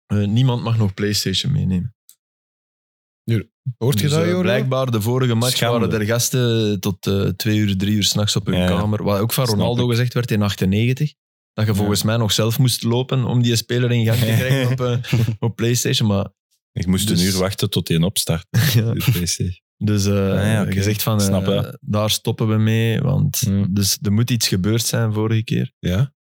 E: eh, niemand mag nog PlayStation meenemen.
B: Hoort je
E: Dus,
B: dat,
E: eh,
B: Jordi?
E: Blijkbaar de vorige match
C: Schande.
E: waren er gasten tot eh, twee uur, drie uur s'nachts op hun
C: Ja, ja.
E: kamer. Wat ook van
C: Snap
E: Ronaldo
C: ik.
E: gezegd werd in 98. Dat je volgens mij nog zelf moest lopen om die speler in gang te krijgen op, eh, op PlayStation. Maar
C: Ik moest
E: Dus-
C: een uur wachten tot die een opstart.
E: ja. Dus eh
C: Ah, ja, oké.
E: je zegt van, eh,
C: Snap, hè.
E: daar stoppen we mee, want
C: Ja.
E: dus, er moet iets gebeurd zijn vorige keer.
C: Ja?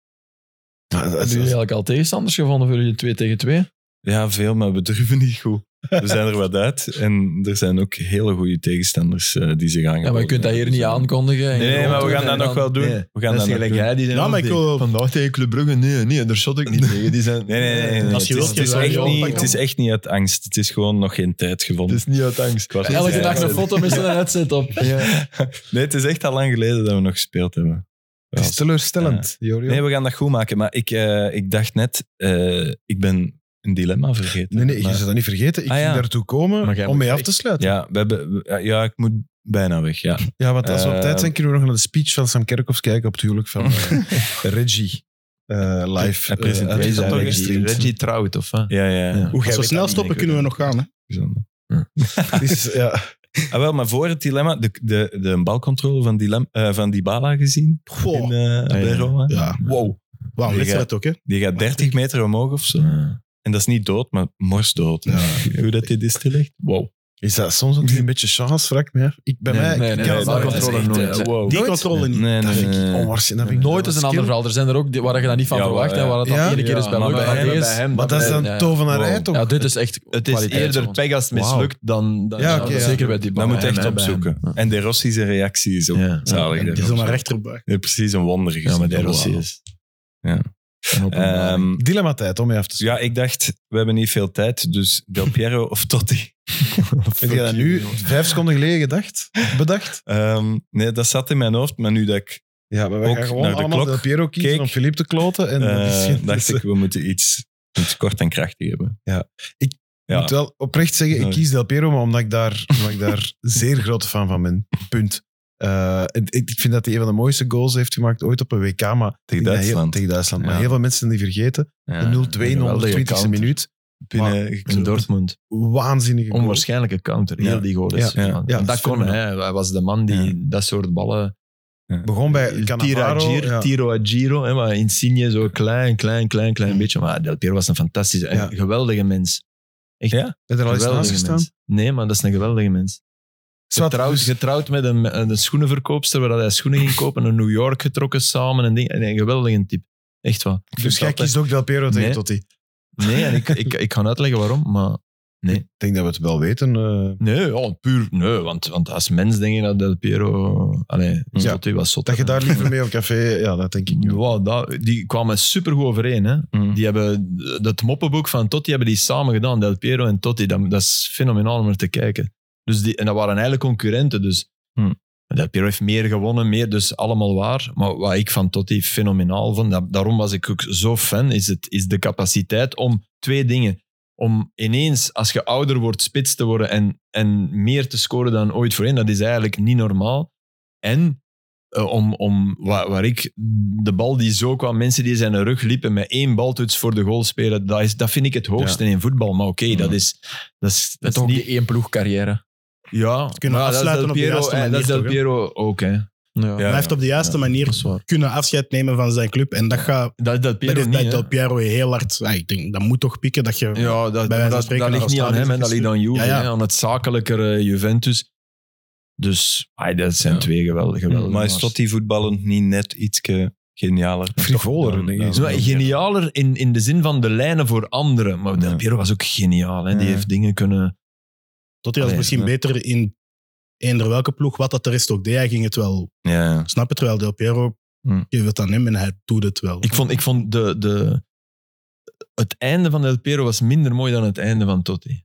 D: Hebben jullie eigenlijk al tegenstanders gevonden voor jullie 2 tegen 2?
C: Ja, veel, maar we durven niet goed. We zijn er wat uit en er zijn ook hele goede tegenstanders eh, die zich aangeboden
D: Ja, maar je kunt dat hier niet
C: aankomen.
D: aankondigen. en
C: dus eh, Nee, nee,
D: gewoon
C: maar we
D: doen
C: gaan
D: en
C: dat
D: dan-
C: nog wel doen.
E: Nee,
C: We gaan dat nog doen.
E: die
F: Ja, maar ik wil-
E: vandaag tegen Club Brugge, nee, nee, daar shot ik niet tegen. Die zijn,
C: Nee, nee, nee. nee, nee.
F: Als je
C: het, is, het,
F: wilt, kun
C: is
F: je
C: echt
F: wel
C: niet,
F: pakken.
C: het is echt niet uit angst. Het is gewoon nog geen tijd
E: Het
C: gevonden.
E: is niet uit angst.
C: Ik was-
D: Elke dag een
C: Ja.
D: foto met zijn headset op.
C: Nee, het is echt al lang geleden dat we nog gespeeld hebben.
B: Het is teleurstellend, Jorio.
C: Nee, we gaan dat goed maken. Maar ik, eh, ik dacht net, eh, ik ben een dilemma vergeten.
B: Nee, nee, je
C: Maar-
B: zou dat niet vergeten. Ik
C: Ah,
B: ging
C: ja.
B: daartoe komen om mee af te sluiten. Ja,
C: ja, we hebben, we- ja, ja, ik moet bijna weg. Ja.
B: want als we op
C: Eh,
B: tijd zijn, kunnen we nog naar de speech van Sam Kerkhoffs kijken op het huwelijk van eh, Reggie. eh, live.
C: Hij presenteert
B: eh,
C: dat
B: uitgezonden
C: toch
B: en
C: eens?
B: gestreamd.
E: Reggie trouwt, of wat?
C: Ja, ja.
E: Ja.
B: Hoe jij
F: Zo
B: weet
F: snel
B: dat niet,
F: stoppen
B: ik weet
F: kunnen we nog gaan. Hè?
C: Bijzonder.
B: het niet. Het is, ja.
C: Ah, wel, maar voor het dilemma, de, de, de balcontrole van, dilemma, eh, van Dybala gezien in, eh
F: Goh.
C: bij
E: ja.
C: Roma.
F: Ja,
C: Wow.
F: wauw,
C: Die
F: wedstrijd ook. Hè?
C: Die gaat 30 meter omhoog of zo. En dat is niet dood, maar morsdood. Hoe dat dit is terecht. Wow.
B: is dat soms ook niet een beetje chance, vraag me af. Ik, bij
E: Nee,
B: mij,
D: nee,
B: ik
D: nee,
B: kan
D: dat
B: het
D: is
B: niet
D: echt,
B: controleren.
D: eh,
B: nooit.
C: Wow.
F: Die
B: Nooit?
F: controle niet.
C: Nee,
B: Dat
C: nee,
B: vind ik
C: nee.
B: onwaarschijnlijk. dat vind ik
D: Nooit is een ander
B: skill.
D: verhaal. Er zijn er ook die- waar je dat niet van
C: Ja,
D: verwacht
C: wel,
D: en waar het dan
B: ja.
D: ene keer is bij
C: Ja,
D: lukt.
C: maar
D: en
C: bij
D: dan
C: hem-
D: is-
B: Maar dat is dan
D: Ja, ja.
B: tovenarij, toch?
D: Ja, dit is echt
E: Het is
D: kwaliteit,
E: eerder
D: want-
E: pech als het
D: Wauw.
E: mislukt dan... dan
B: Ja,
D: Ja,
B: oké,
D: dat
B: ja.
D: Zeker bij die
C: Dat moet
E: bij
C: je echt
E: hem, bij hem.
C: opzoeken. En de Rossi zijn reactie is ook
E: Ja.
C: zalig.
F: Die is
C: daarop.
F: maar rechterbuik.
C: Ja, precies een wonder gezien.
E: Ja, maar De
C: Wow.
E: Rossi is...
C: Ja.
E: Een openbaring.
C: Ehm,
B: Dilemma tijd om mee af te
C: dus
B: sluiten.
C: ja, ik dacht, we hebben niet veel tijd, dus Del Piero of Totti.
B: Heb je dat nu vijf seconden geleden gedacht? Bedacht?
C: Ehm, nee, dat zat in mijn hoofd, maar nu dat ik
B: Ja, maar wij
C: Ook
B: gaan
C: naar
B: gewoon
C: de
B: allemaal
C: klok
B: Del Piero kiezen
C: keek.
B: om Philippe te kloten. En dat is
C: eh,
B: geen-
C: dacht, ik, we moeten iets, iets kort en krachtig hebben.
B: Ja. Ik
C: Ja.
B: moet wel oprecht zeggen, ik
C: Sorry.
B: kies Del Piero, maar omdat ik daar, omdat ik daar zeer grote fan van ben. Punt. Eh, en ik ik vind dat hij een van de mooiste goals heeft gemaakt ooit op een WK, maar
C: Tegen
B: ik denk dat heel-
C: Duitsland.
B: tegen Duitsland. Maar
C: Ja.
B: heel veel mensen die vergeten.
C: Ja.
B: De 0-2 in de
E: geweldige
B: 120e
E: counter.
B: minuut.
C: binnen
E: in Dortmund.
B: Waanzinnige goal.
E: Onwaarschijnlijke counter, heel
C: Ja.
E: die goal. is.
B: Ja.
C: Ja.
E: Want-
B: Ja, dat
E: en dat
B: is
E: kon hij. Hij was de man die
C: Ja.
E: dat soort ballen...
B: Begon bij
E: Tiro a
B: Cannavaro.
E: Giro,
B: Ja.
E: Tiro a Giro hè, maar Insigne zo klein, klein, klein, klein beetje. Maar Del Piero was een fantastische, een
B: Ja.
E: geweldige mens. Echt,
C: Ja?
B: Heb je er al eens naast
E: geweldige
B: gestaan?
E: mens. Nee, maar dat is een geweldige mens.
B: Zwart,
E: Getrouwd,
B: dus-
E: getrouwd met een, een schoenenverkoopster waar hij schoenen ging kopen. Naar New York getrokken samen. Een, ding, een geweldige type. Echt waar. Ik
B: Dus
E: vind
B: jij
E: het altijd-
B: kiest ook Del Piero tegen
E: Nee.
B: Totti.
E: Nee, en ik, ik, ik ga uitleggen waarom, maar...
B: Ik denk dat we het wel weten. eh,
E: Nee, ja, puur nee, want, want als mens denk je dat Del Piero... Allee,
B: Ja.
E: Totti was zot.
B: dat je daar liever mee op café... Ja, dat denk ik wel.
E: Wow, dat, die kwamen supergoed overeen. Hè?
C: Mhm.
E: Die hebben dat moppenboek van Totti hebben die samen gedaan. Del Piero en Totti. Dat, dat is fenomenaal om naar te kijken. Dus die, en dat waren eigenlijk concurrenten. Dus
C: Mhm.
E: Del Piero heeft meer gewonnen, meer, dus allemaal waar. Maar wat ik van Totti fenomenaal vond, dat- daarom was ik ook zo fan, is, het, is de capaciteit om twee dingen. Om ineens, als je ouder wordt, spits te worden en, en meer te scoren dan ooit voorheen. Dat is eigenlijk niet normaal. En eh, om, om waar, waar ik de bal die zo kwam, mensen die zijn rug liepen met één baltoets voor de goal spelen, dat, is, dat vind ik het hoogste in voetbal. Maar oké, dat is. Dat is, dat
D: Met
E: is
D: toch
E: niet.
D: die één ploeg carrière.
E: Ja,
F: kunnen
E: maar dat is
F: afsluiten
E: Del
F: op de
E: Piero,
F: juiste
E: eh,
F: manier
E: Dat is Del
F: toch, hè?
E: Piero ook, hè?
D: Ja.
F: Hij heeft op de juiste
D: Dat
F: manier
D: is waar.
F: kunnen afscheid nemen van zijn club. En dat, gaat,
E: Dat is Del
F: dat
E: Piero
F: is bij
E: niet.
F: Del
E: hè.
F: Piero heel hard. Ah, ik denk, dat moet toch pieken dat je...
E: Ja, dat,
F: wijze van
E: dat,
F: spreken
E: dat ligt
F: als
E: niet aan hem, hè, dat
F: stadion-
E: ligt aan Juve,
F: Ja, ja.
E: hè, aan het zakelijkere Juventus. Dus, ai, dat zijn
C: Ja.
E: twee geweldige
F: Hmm.
E: geweldige
C: Maar is
E: maats.
C: Totti voetballend niet net iets genialer?
B: Frivoler,
C: Dan-
B: denk
C: dan-
B: ik.
E: Zo, genialer in, in de zin van de lijnen voor anderen. Maar Del
C: Ja.
E: Piero was ook geniaal. Hè? Die
B: Ja.
E: heeft dingen kunnen...
F: Totti was
E: Allee,
F: misschien
C: ja.
F: beter in eender welke ploeg, wat dat de rest ook deed. Hij ging het wel
C: Ja, ja.
F: snappen, terwijl Del Piero,
E: Hm.
F: je wilt aan hem en hij doet het wel.
E: Ik vond, ik vond de, de, het einde van Del Piero was minder mooi dan het einde van Totti.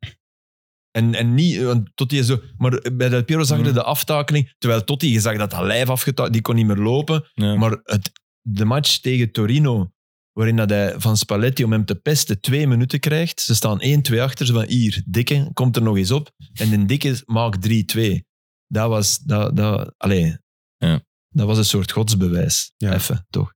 E: En, en niet, want Totti is zo... Maar bij Del Piero zag je
F: Hmm.
E: de aftakeling. Terwijl Totti, je zag dat dat lijf afgetakeld, die kon niet meer lopen.
C: Ja.
E: Maar het, de match tegen Torino, waarin dat hij van Spalletti om hem te pesten twee minuten krijgt. Ze staan 1-2 achter. Ze van hier, Dikke, komt er nog eens op. En de Dikke maakt 3-2. Dat was... Dat, dat, allee,
C: Ja.
E: dat was een soort godsbewijs.
B: Ja.
E: Even, toch?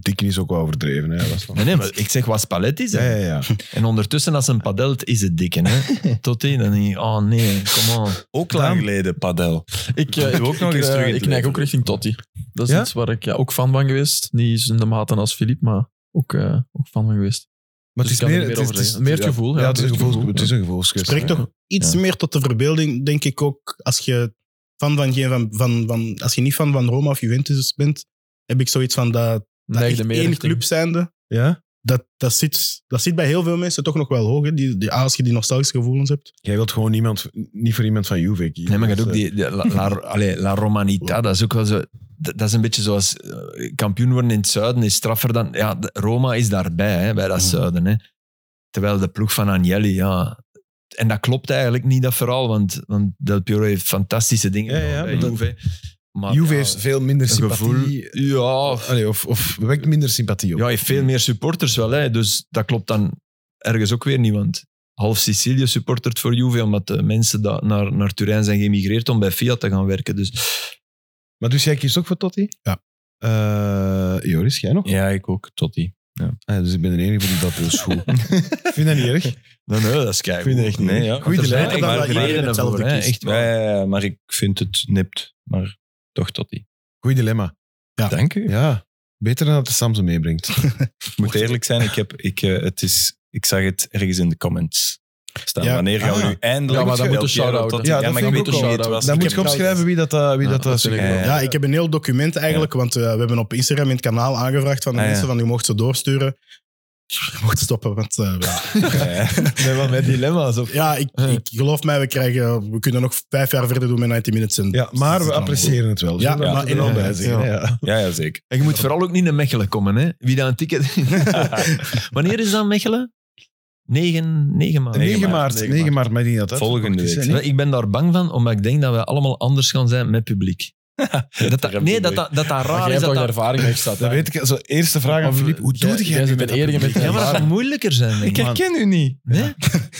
B: Dikken is ook wel overdreven. Hè. Dat is nog-
E: Nee, nee, maar ik zeg wat Spalletti
B: Ja,
E: zegt.
B: ja, ja.
E: En ondertussen, als een padelt, is het dikke. Hè? Tot in, dan denk je, oh nee, come on.
C: Ook lang geleden, Padel.
D: Ik,
C: Doe
D: eh, ik,
C: ook nog
D: ik,
C: eens
D: eh,
C: terug in het
D: ik neig
C: leven.
D: ook richting Totti. Dat is
B: Ja?
D: iets waar ik ja, ook fan van geweest. Niet eens in de mate als Philippe, maar ook, eh, ook fan van geweest.
B: Maar
D: Dus
B: het
D: ik kan
B: is meer, het
D: er niet meer
B: is,
D: over
B: het is-
D: zeggen. Meer gevoel, ja,
B: Ja, het is
D: meer
B: een gevoel.
D: gevoel,
B: Het is een gevoelskwestie.
F: Spreekt toch iets
E: Ja.
F: meer tot de verbeelding, denk ik ook. Als je, fan van geen, van, van, van, als je niet fan van Roma of Juventus bent, heb ik zoiets van dat, dat
D: Neigde
F: echt
D: meer
F: één
D: richting-
F: club zijnde,
B: Ja?
F: dat, dat, zit, dat zit bij heel veel mensen toch nog wel hoog. Hè? Die, die, als je die nostalgische gevoelens hebt.
B: Jij wilt gewoon niemand, niet voor iemand van Juve kiezen.
E: Nee, maar je hebt ook
B: Dat is,
E: die, die- la, la, allee, la Romanita, dat is ook wel zo... Dat, dat is een beetje zoals eh, kampioen worden in het zuiden is straffer dan... Ja, de- Roma is daarbij, hè, bij dat
F: Mhm.
E: zuiden. Hè. Terwijl de ploeg van Agnelli, ja... En dat klopt eigenlijk niet, dat verhaal, want, want Del Piero heeft fantastische dingen
B: Ja, ja,
E: gedaan bij
B: maar dat-
E: Juve. Maar,
B: eh, Juve
E: ja,
B: heeft veel minder
E: een gevoel...
B: sympathie.
E: Ja,
B: Allee, of, of wekt minder sympathie op.
E: Ja, hij heeft veel meer supporters wel, hè. dus dat klopt dan ergens ook weer niet. Want half Sicilië supportert voor Juve, omdat de mensen da- naar, naar Turijn zijn geëmigreerd om bij Fiat te gaan werken. Dus
B: Maar dus jij kiest ook voor Totti?
F: Ja.
B: Eh, Joris, jij nog?
C: Ja, ik ook, Totti.
B: Ah, dus ik ben de enige die dat dus goed. Ik vind dat niet erg.
E: nee, nee, dat is kijk.
B: Vind je echt niet?
C: Nee, ja.
B: Goeie
E: er zijn
B: lijn,
E: echt
F: dan
E: maar
F: dat iedereen
E: redenen
F: hetzelfde
E: voor, hè.
F: kiest.
E: Echt
C: Ja,
E: waar.
C: ja, ja, maar ik vind het nipt. Maar toch Totti.
B: Goeie dilemma.
C: Dank u.
B: Ja, beter dan dat de Samsung meebrengt.
C: Ik moet eerlijk zijn, ik, heb, ik, eh, het is, ik zag het ergens in de comments staan.
F: Ja.
C: Wanneer gaan we
B: Ah.
C: nu eindelijk...
D: Ja, maar dat
C: Del
D: moet
C: Piero
D: een shout-out,
C: Totti-
B: hè. Ja,
C: Ja,
B: dat
C: maar ik
B: vind
C: weet
B: ik
C: ook niet wie
D: ook een
C: het was.
D: shout-out.
B: Dan
C: Ik
B: moet je
C: heb
B: opschrijven wie dat, eh, wie
D: Ja,
B: dat, eh,
D: dat vind ik
B: suggereert.
C: wel.
F: Ja, ik heb een heel document eigenlijk, want eh, we hebben op Instagram in het kanaal aangevraagd van de
C: Ah, ja.
F: mensen van u mocht ze doorsturen. Je mocht stoppen, want eh, ja.
C: trouwens- Ja, ja.
E: Nee, maar met dilemma's. Of...
F: Ja, ik,
E: Ja.
F: ik geloof mij, we, krijgen, we kunnen nog vijf jaar verder doen met 90 Minutes. En
B: Ja, maar
F: Dat
B: we
F: is
B: appreciëren het wel.
F: Ja,
B: Zullen we
F: maar
B: het er wel
F: inderdaad,
B: bij zeggen,
E: ja.
B: ja.
C: Ja, ja, zeker.
E: En je moet vooral ook niet naar Mechelen komen. Hè. Wie dan een ticket... Wanneer is dan Mechelen? 9, 9 maart.
B: 9 maart, 9 maart, maar die dat uit-
C: Volgende
B: is,
C: week.
B: hè, niet?
E: Ik ben daar bang van, omdat ik denk dat we allemaal anders gaan zijn met publiek. Dat dat,
C: heb
E: nee,
C: je
E: dat
C: gelijk.
E: dat, dat dat
D: Maar
E: raar is.
D: jij hebt
E: Dat
D: toch
E: dat,
D: ervaring mee gesteld.
B: Dat
D: hè?
B: weet ik. Zo, eerste vraag aan
D: Of-
B: Filip. Hoe
D: jij-
B: doet
D: jij
B: jij nu
D: zit
B: met
D: een enige
B: publiek?
D: met-
E: ja, maar dat gaat moeilijker zijn. denk ik.
B: Man.
C: ken u niet.
E: Nee?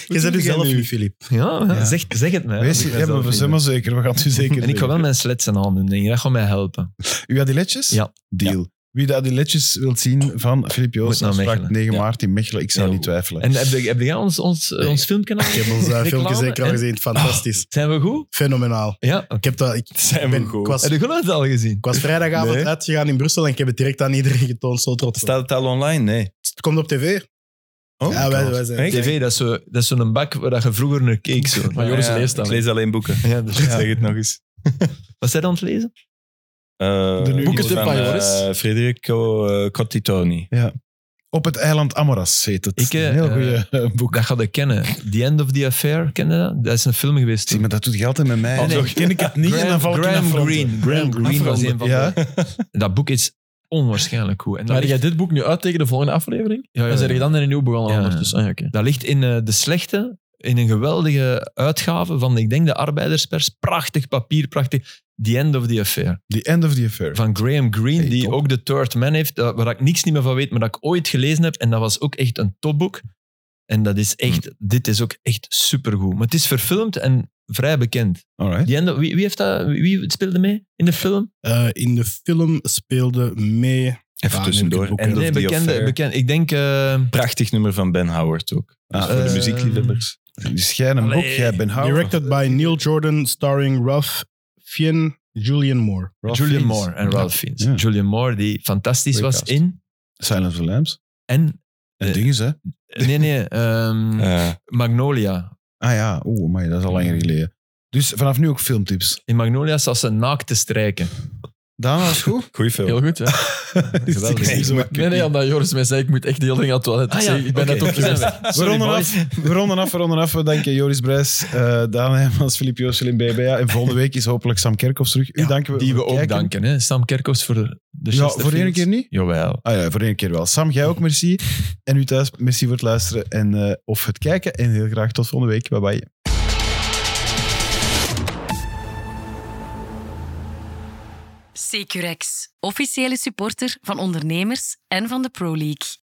F: Je zet u zelf nu, Filip.
E: Ja,
B: Ja.
E: Zeg, zeg het mij.
B: Wees,
E: want ik
B: ja, maar
E: ben zelf
B: we
E: niet
B: zijn maar zeker. We gaan het u zeker
E: doen. En ik ga wel mijn sletsen aan doen. Denk. je, Dat gaat mij helpen.
B: U had die ledjes?
E: Ja.
B: Deal. Wie de adiletjes wilt zien van Filip
E: Moet
B: Joost,
E: naar
B: afspraak
E: Mechelen.
B: 9
E: Ja.
B: maart in Mechelen. Ik zou
E: Ja.
B: niet twijfelen.
E: En heb, je- heb jij ons, ons, eh, ons filmpje al
F: Ik heb ons eh, filmpje zeker al gezien. Fantastisch.
E: Zijn we goed?
F: Fenomenaal.
E: Ja, oké.
F: Ik, heb dat, ik,
C: Zijn we
F: ben,
C: goed.
F: ik was,
E: Heb je geluid al gezien?
F: ik was vrijdagavond
C: Nee.
F: uitgegaan in Brussel en ik heb het direct aan iedereen getoond. Zo trots.
C: Staat het al online? Nee.
F: Het komt op tv.
C: Oh,
F: ja, wij, wij
C: Echt?
F: zijn.
E: TV, dat is zo- dat is zo'n bak waar dat je vroeger naar keek. Zo.
D: Maar Joris
C: Ah, ja,
D: leest dat.
C: Ik lees alleen boeken.
E: Ja, dus-
C: Zeg het nog eens.
E: Wat zijn dan aan het lezen?
C: Eh,
F: De nieuwe
D: boekentip
C: van
D: van
C: eh,
D: Joris.
C: Federico eh, Cottitoni.
B: Op het eiland Amaras heet het.
E: Ik, eh,
B: een heel goede boek.
E: Dat ga je kennen. The End of the Affair, ken je dat? Dat is een film geweest.
B: Zie, maar dat doet je altijd met mij.
E: Oh, nee.
B: Zo ken ik het niet en dan val ik in
E: Graham
B: affronten.
E: Greene. Graham Greene was een van
B: Ja.
E: de- Dat boek is onwaarschijnlijk goed. En dat,
D: Maar jij
E: ligt,
D: dit boek nu uit tegen de volgende aflevering?
E: ja, ja,
D: Dan zijn je dan in een nieuw begonnen
E: Ja, ja.
D: ondertussen. Ah, ja, oké.
E: dat ligt in eh, De Slechte, in een geweldige uitgave van, ik denk, de Arbeiderspers. Prachtig papier, prachtig. The End of the Affair.
B: The End of the Affair.
E: Van Graham Greene,
B: Hey,
E: die
B: top.
E: ook de Third Man heeft, dat- waar ik niks niet meer van weet, maar dat ik ooit gelezen heb. En dat was ook echt een topboek. En dat is echt,
D: Hm.
E: dit is ook echt supergoed. Maar het is verfilmd en vrij bekend.
B: Alright.
E: Die endo- wie, wie, heeft dat, wie- wie speelde mee in de film?
F: Eh, in de film speelde mee.
C: Even
F: Ah,
C: tussendoor.
F: neem ik het boek
C: En
F: wel.
E: Nee, bekende, bekende. Ik denk... eh,
C: Prachtig nummer van Ben Howard ook. Dus
B: Ah,
C: voor de
E: eh,
C: muziekliefhebbers.
B: Dus jij een
E: Allee.
B: boek, jij Ben Howard.
F: Directed by Neil Jordan, starring Ralph Fien, Julian Moore.
B: Ralph
E: Julian
B: Fiennes.
E: Moore en Ralph Fiennes.
B: Ja.
E: Julian Moore, die fantastisch
B: Goeie
E: was
B: cast.
E: in...
B: Silence of the Lambs.
E: En...
B: En
E: Eh.
B: dingen, hè.
E: Nee, nee. ehm,
C: Eh,
E: Magnolia.
B: Ah ja, oeh, maar dat is al langer geleden. Dus vanaf nu ook filmtips.
E: In Magnolia zat ze naakt te strijken.
B: Daan, was het goed?
C: goeie film.
D: Heel goed, hè?
E: Geweldig.
B: Ik zie-
D: Nee, nee, omdat Joris mij zei, ik moet echt de hele ding aan het toilet. Ik
E: Ah, ja.
D: zei, ik ben
E: Oké.
D: net opgezet.
B: We ronden, af, we ronden af, we ronden af. We danken Joris Brijs, eh Daan Heijmans, Filip Joosel in BBA. En volgende week is hopelijk Sam Kerkhoffs terug. U
E: Ja,
B: danken we
E: Die we
B: voor het
E: ook
B: kijken.
E: danken. Hè? Sam Kerkhoffs voor de
B: Ja,
E: Chesterfields.
B: voor de ene keer niet?
E: Jawel.
B: Ah ja, voor de ene keer wel. Sam, jij ook, merci. En u thuis, merci voor het luisteren en, eh, of het kijken. En heel graag tot volgende week. Bye bye.
A: Securex, officiële supporter van ondernemers en van de Pro League.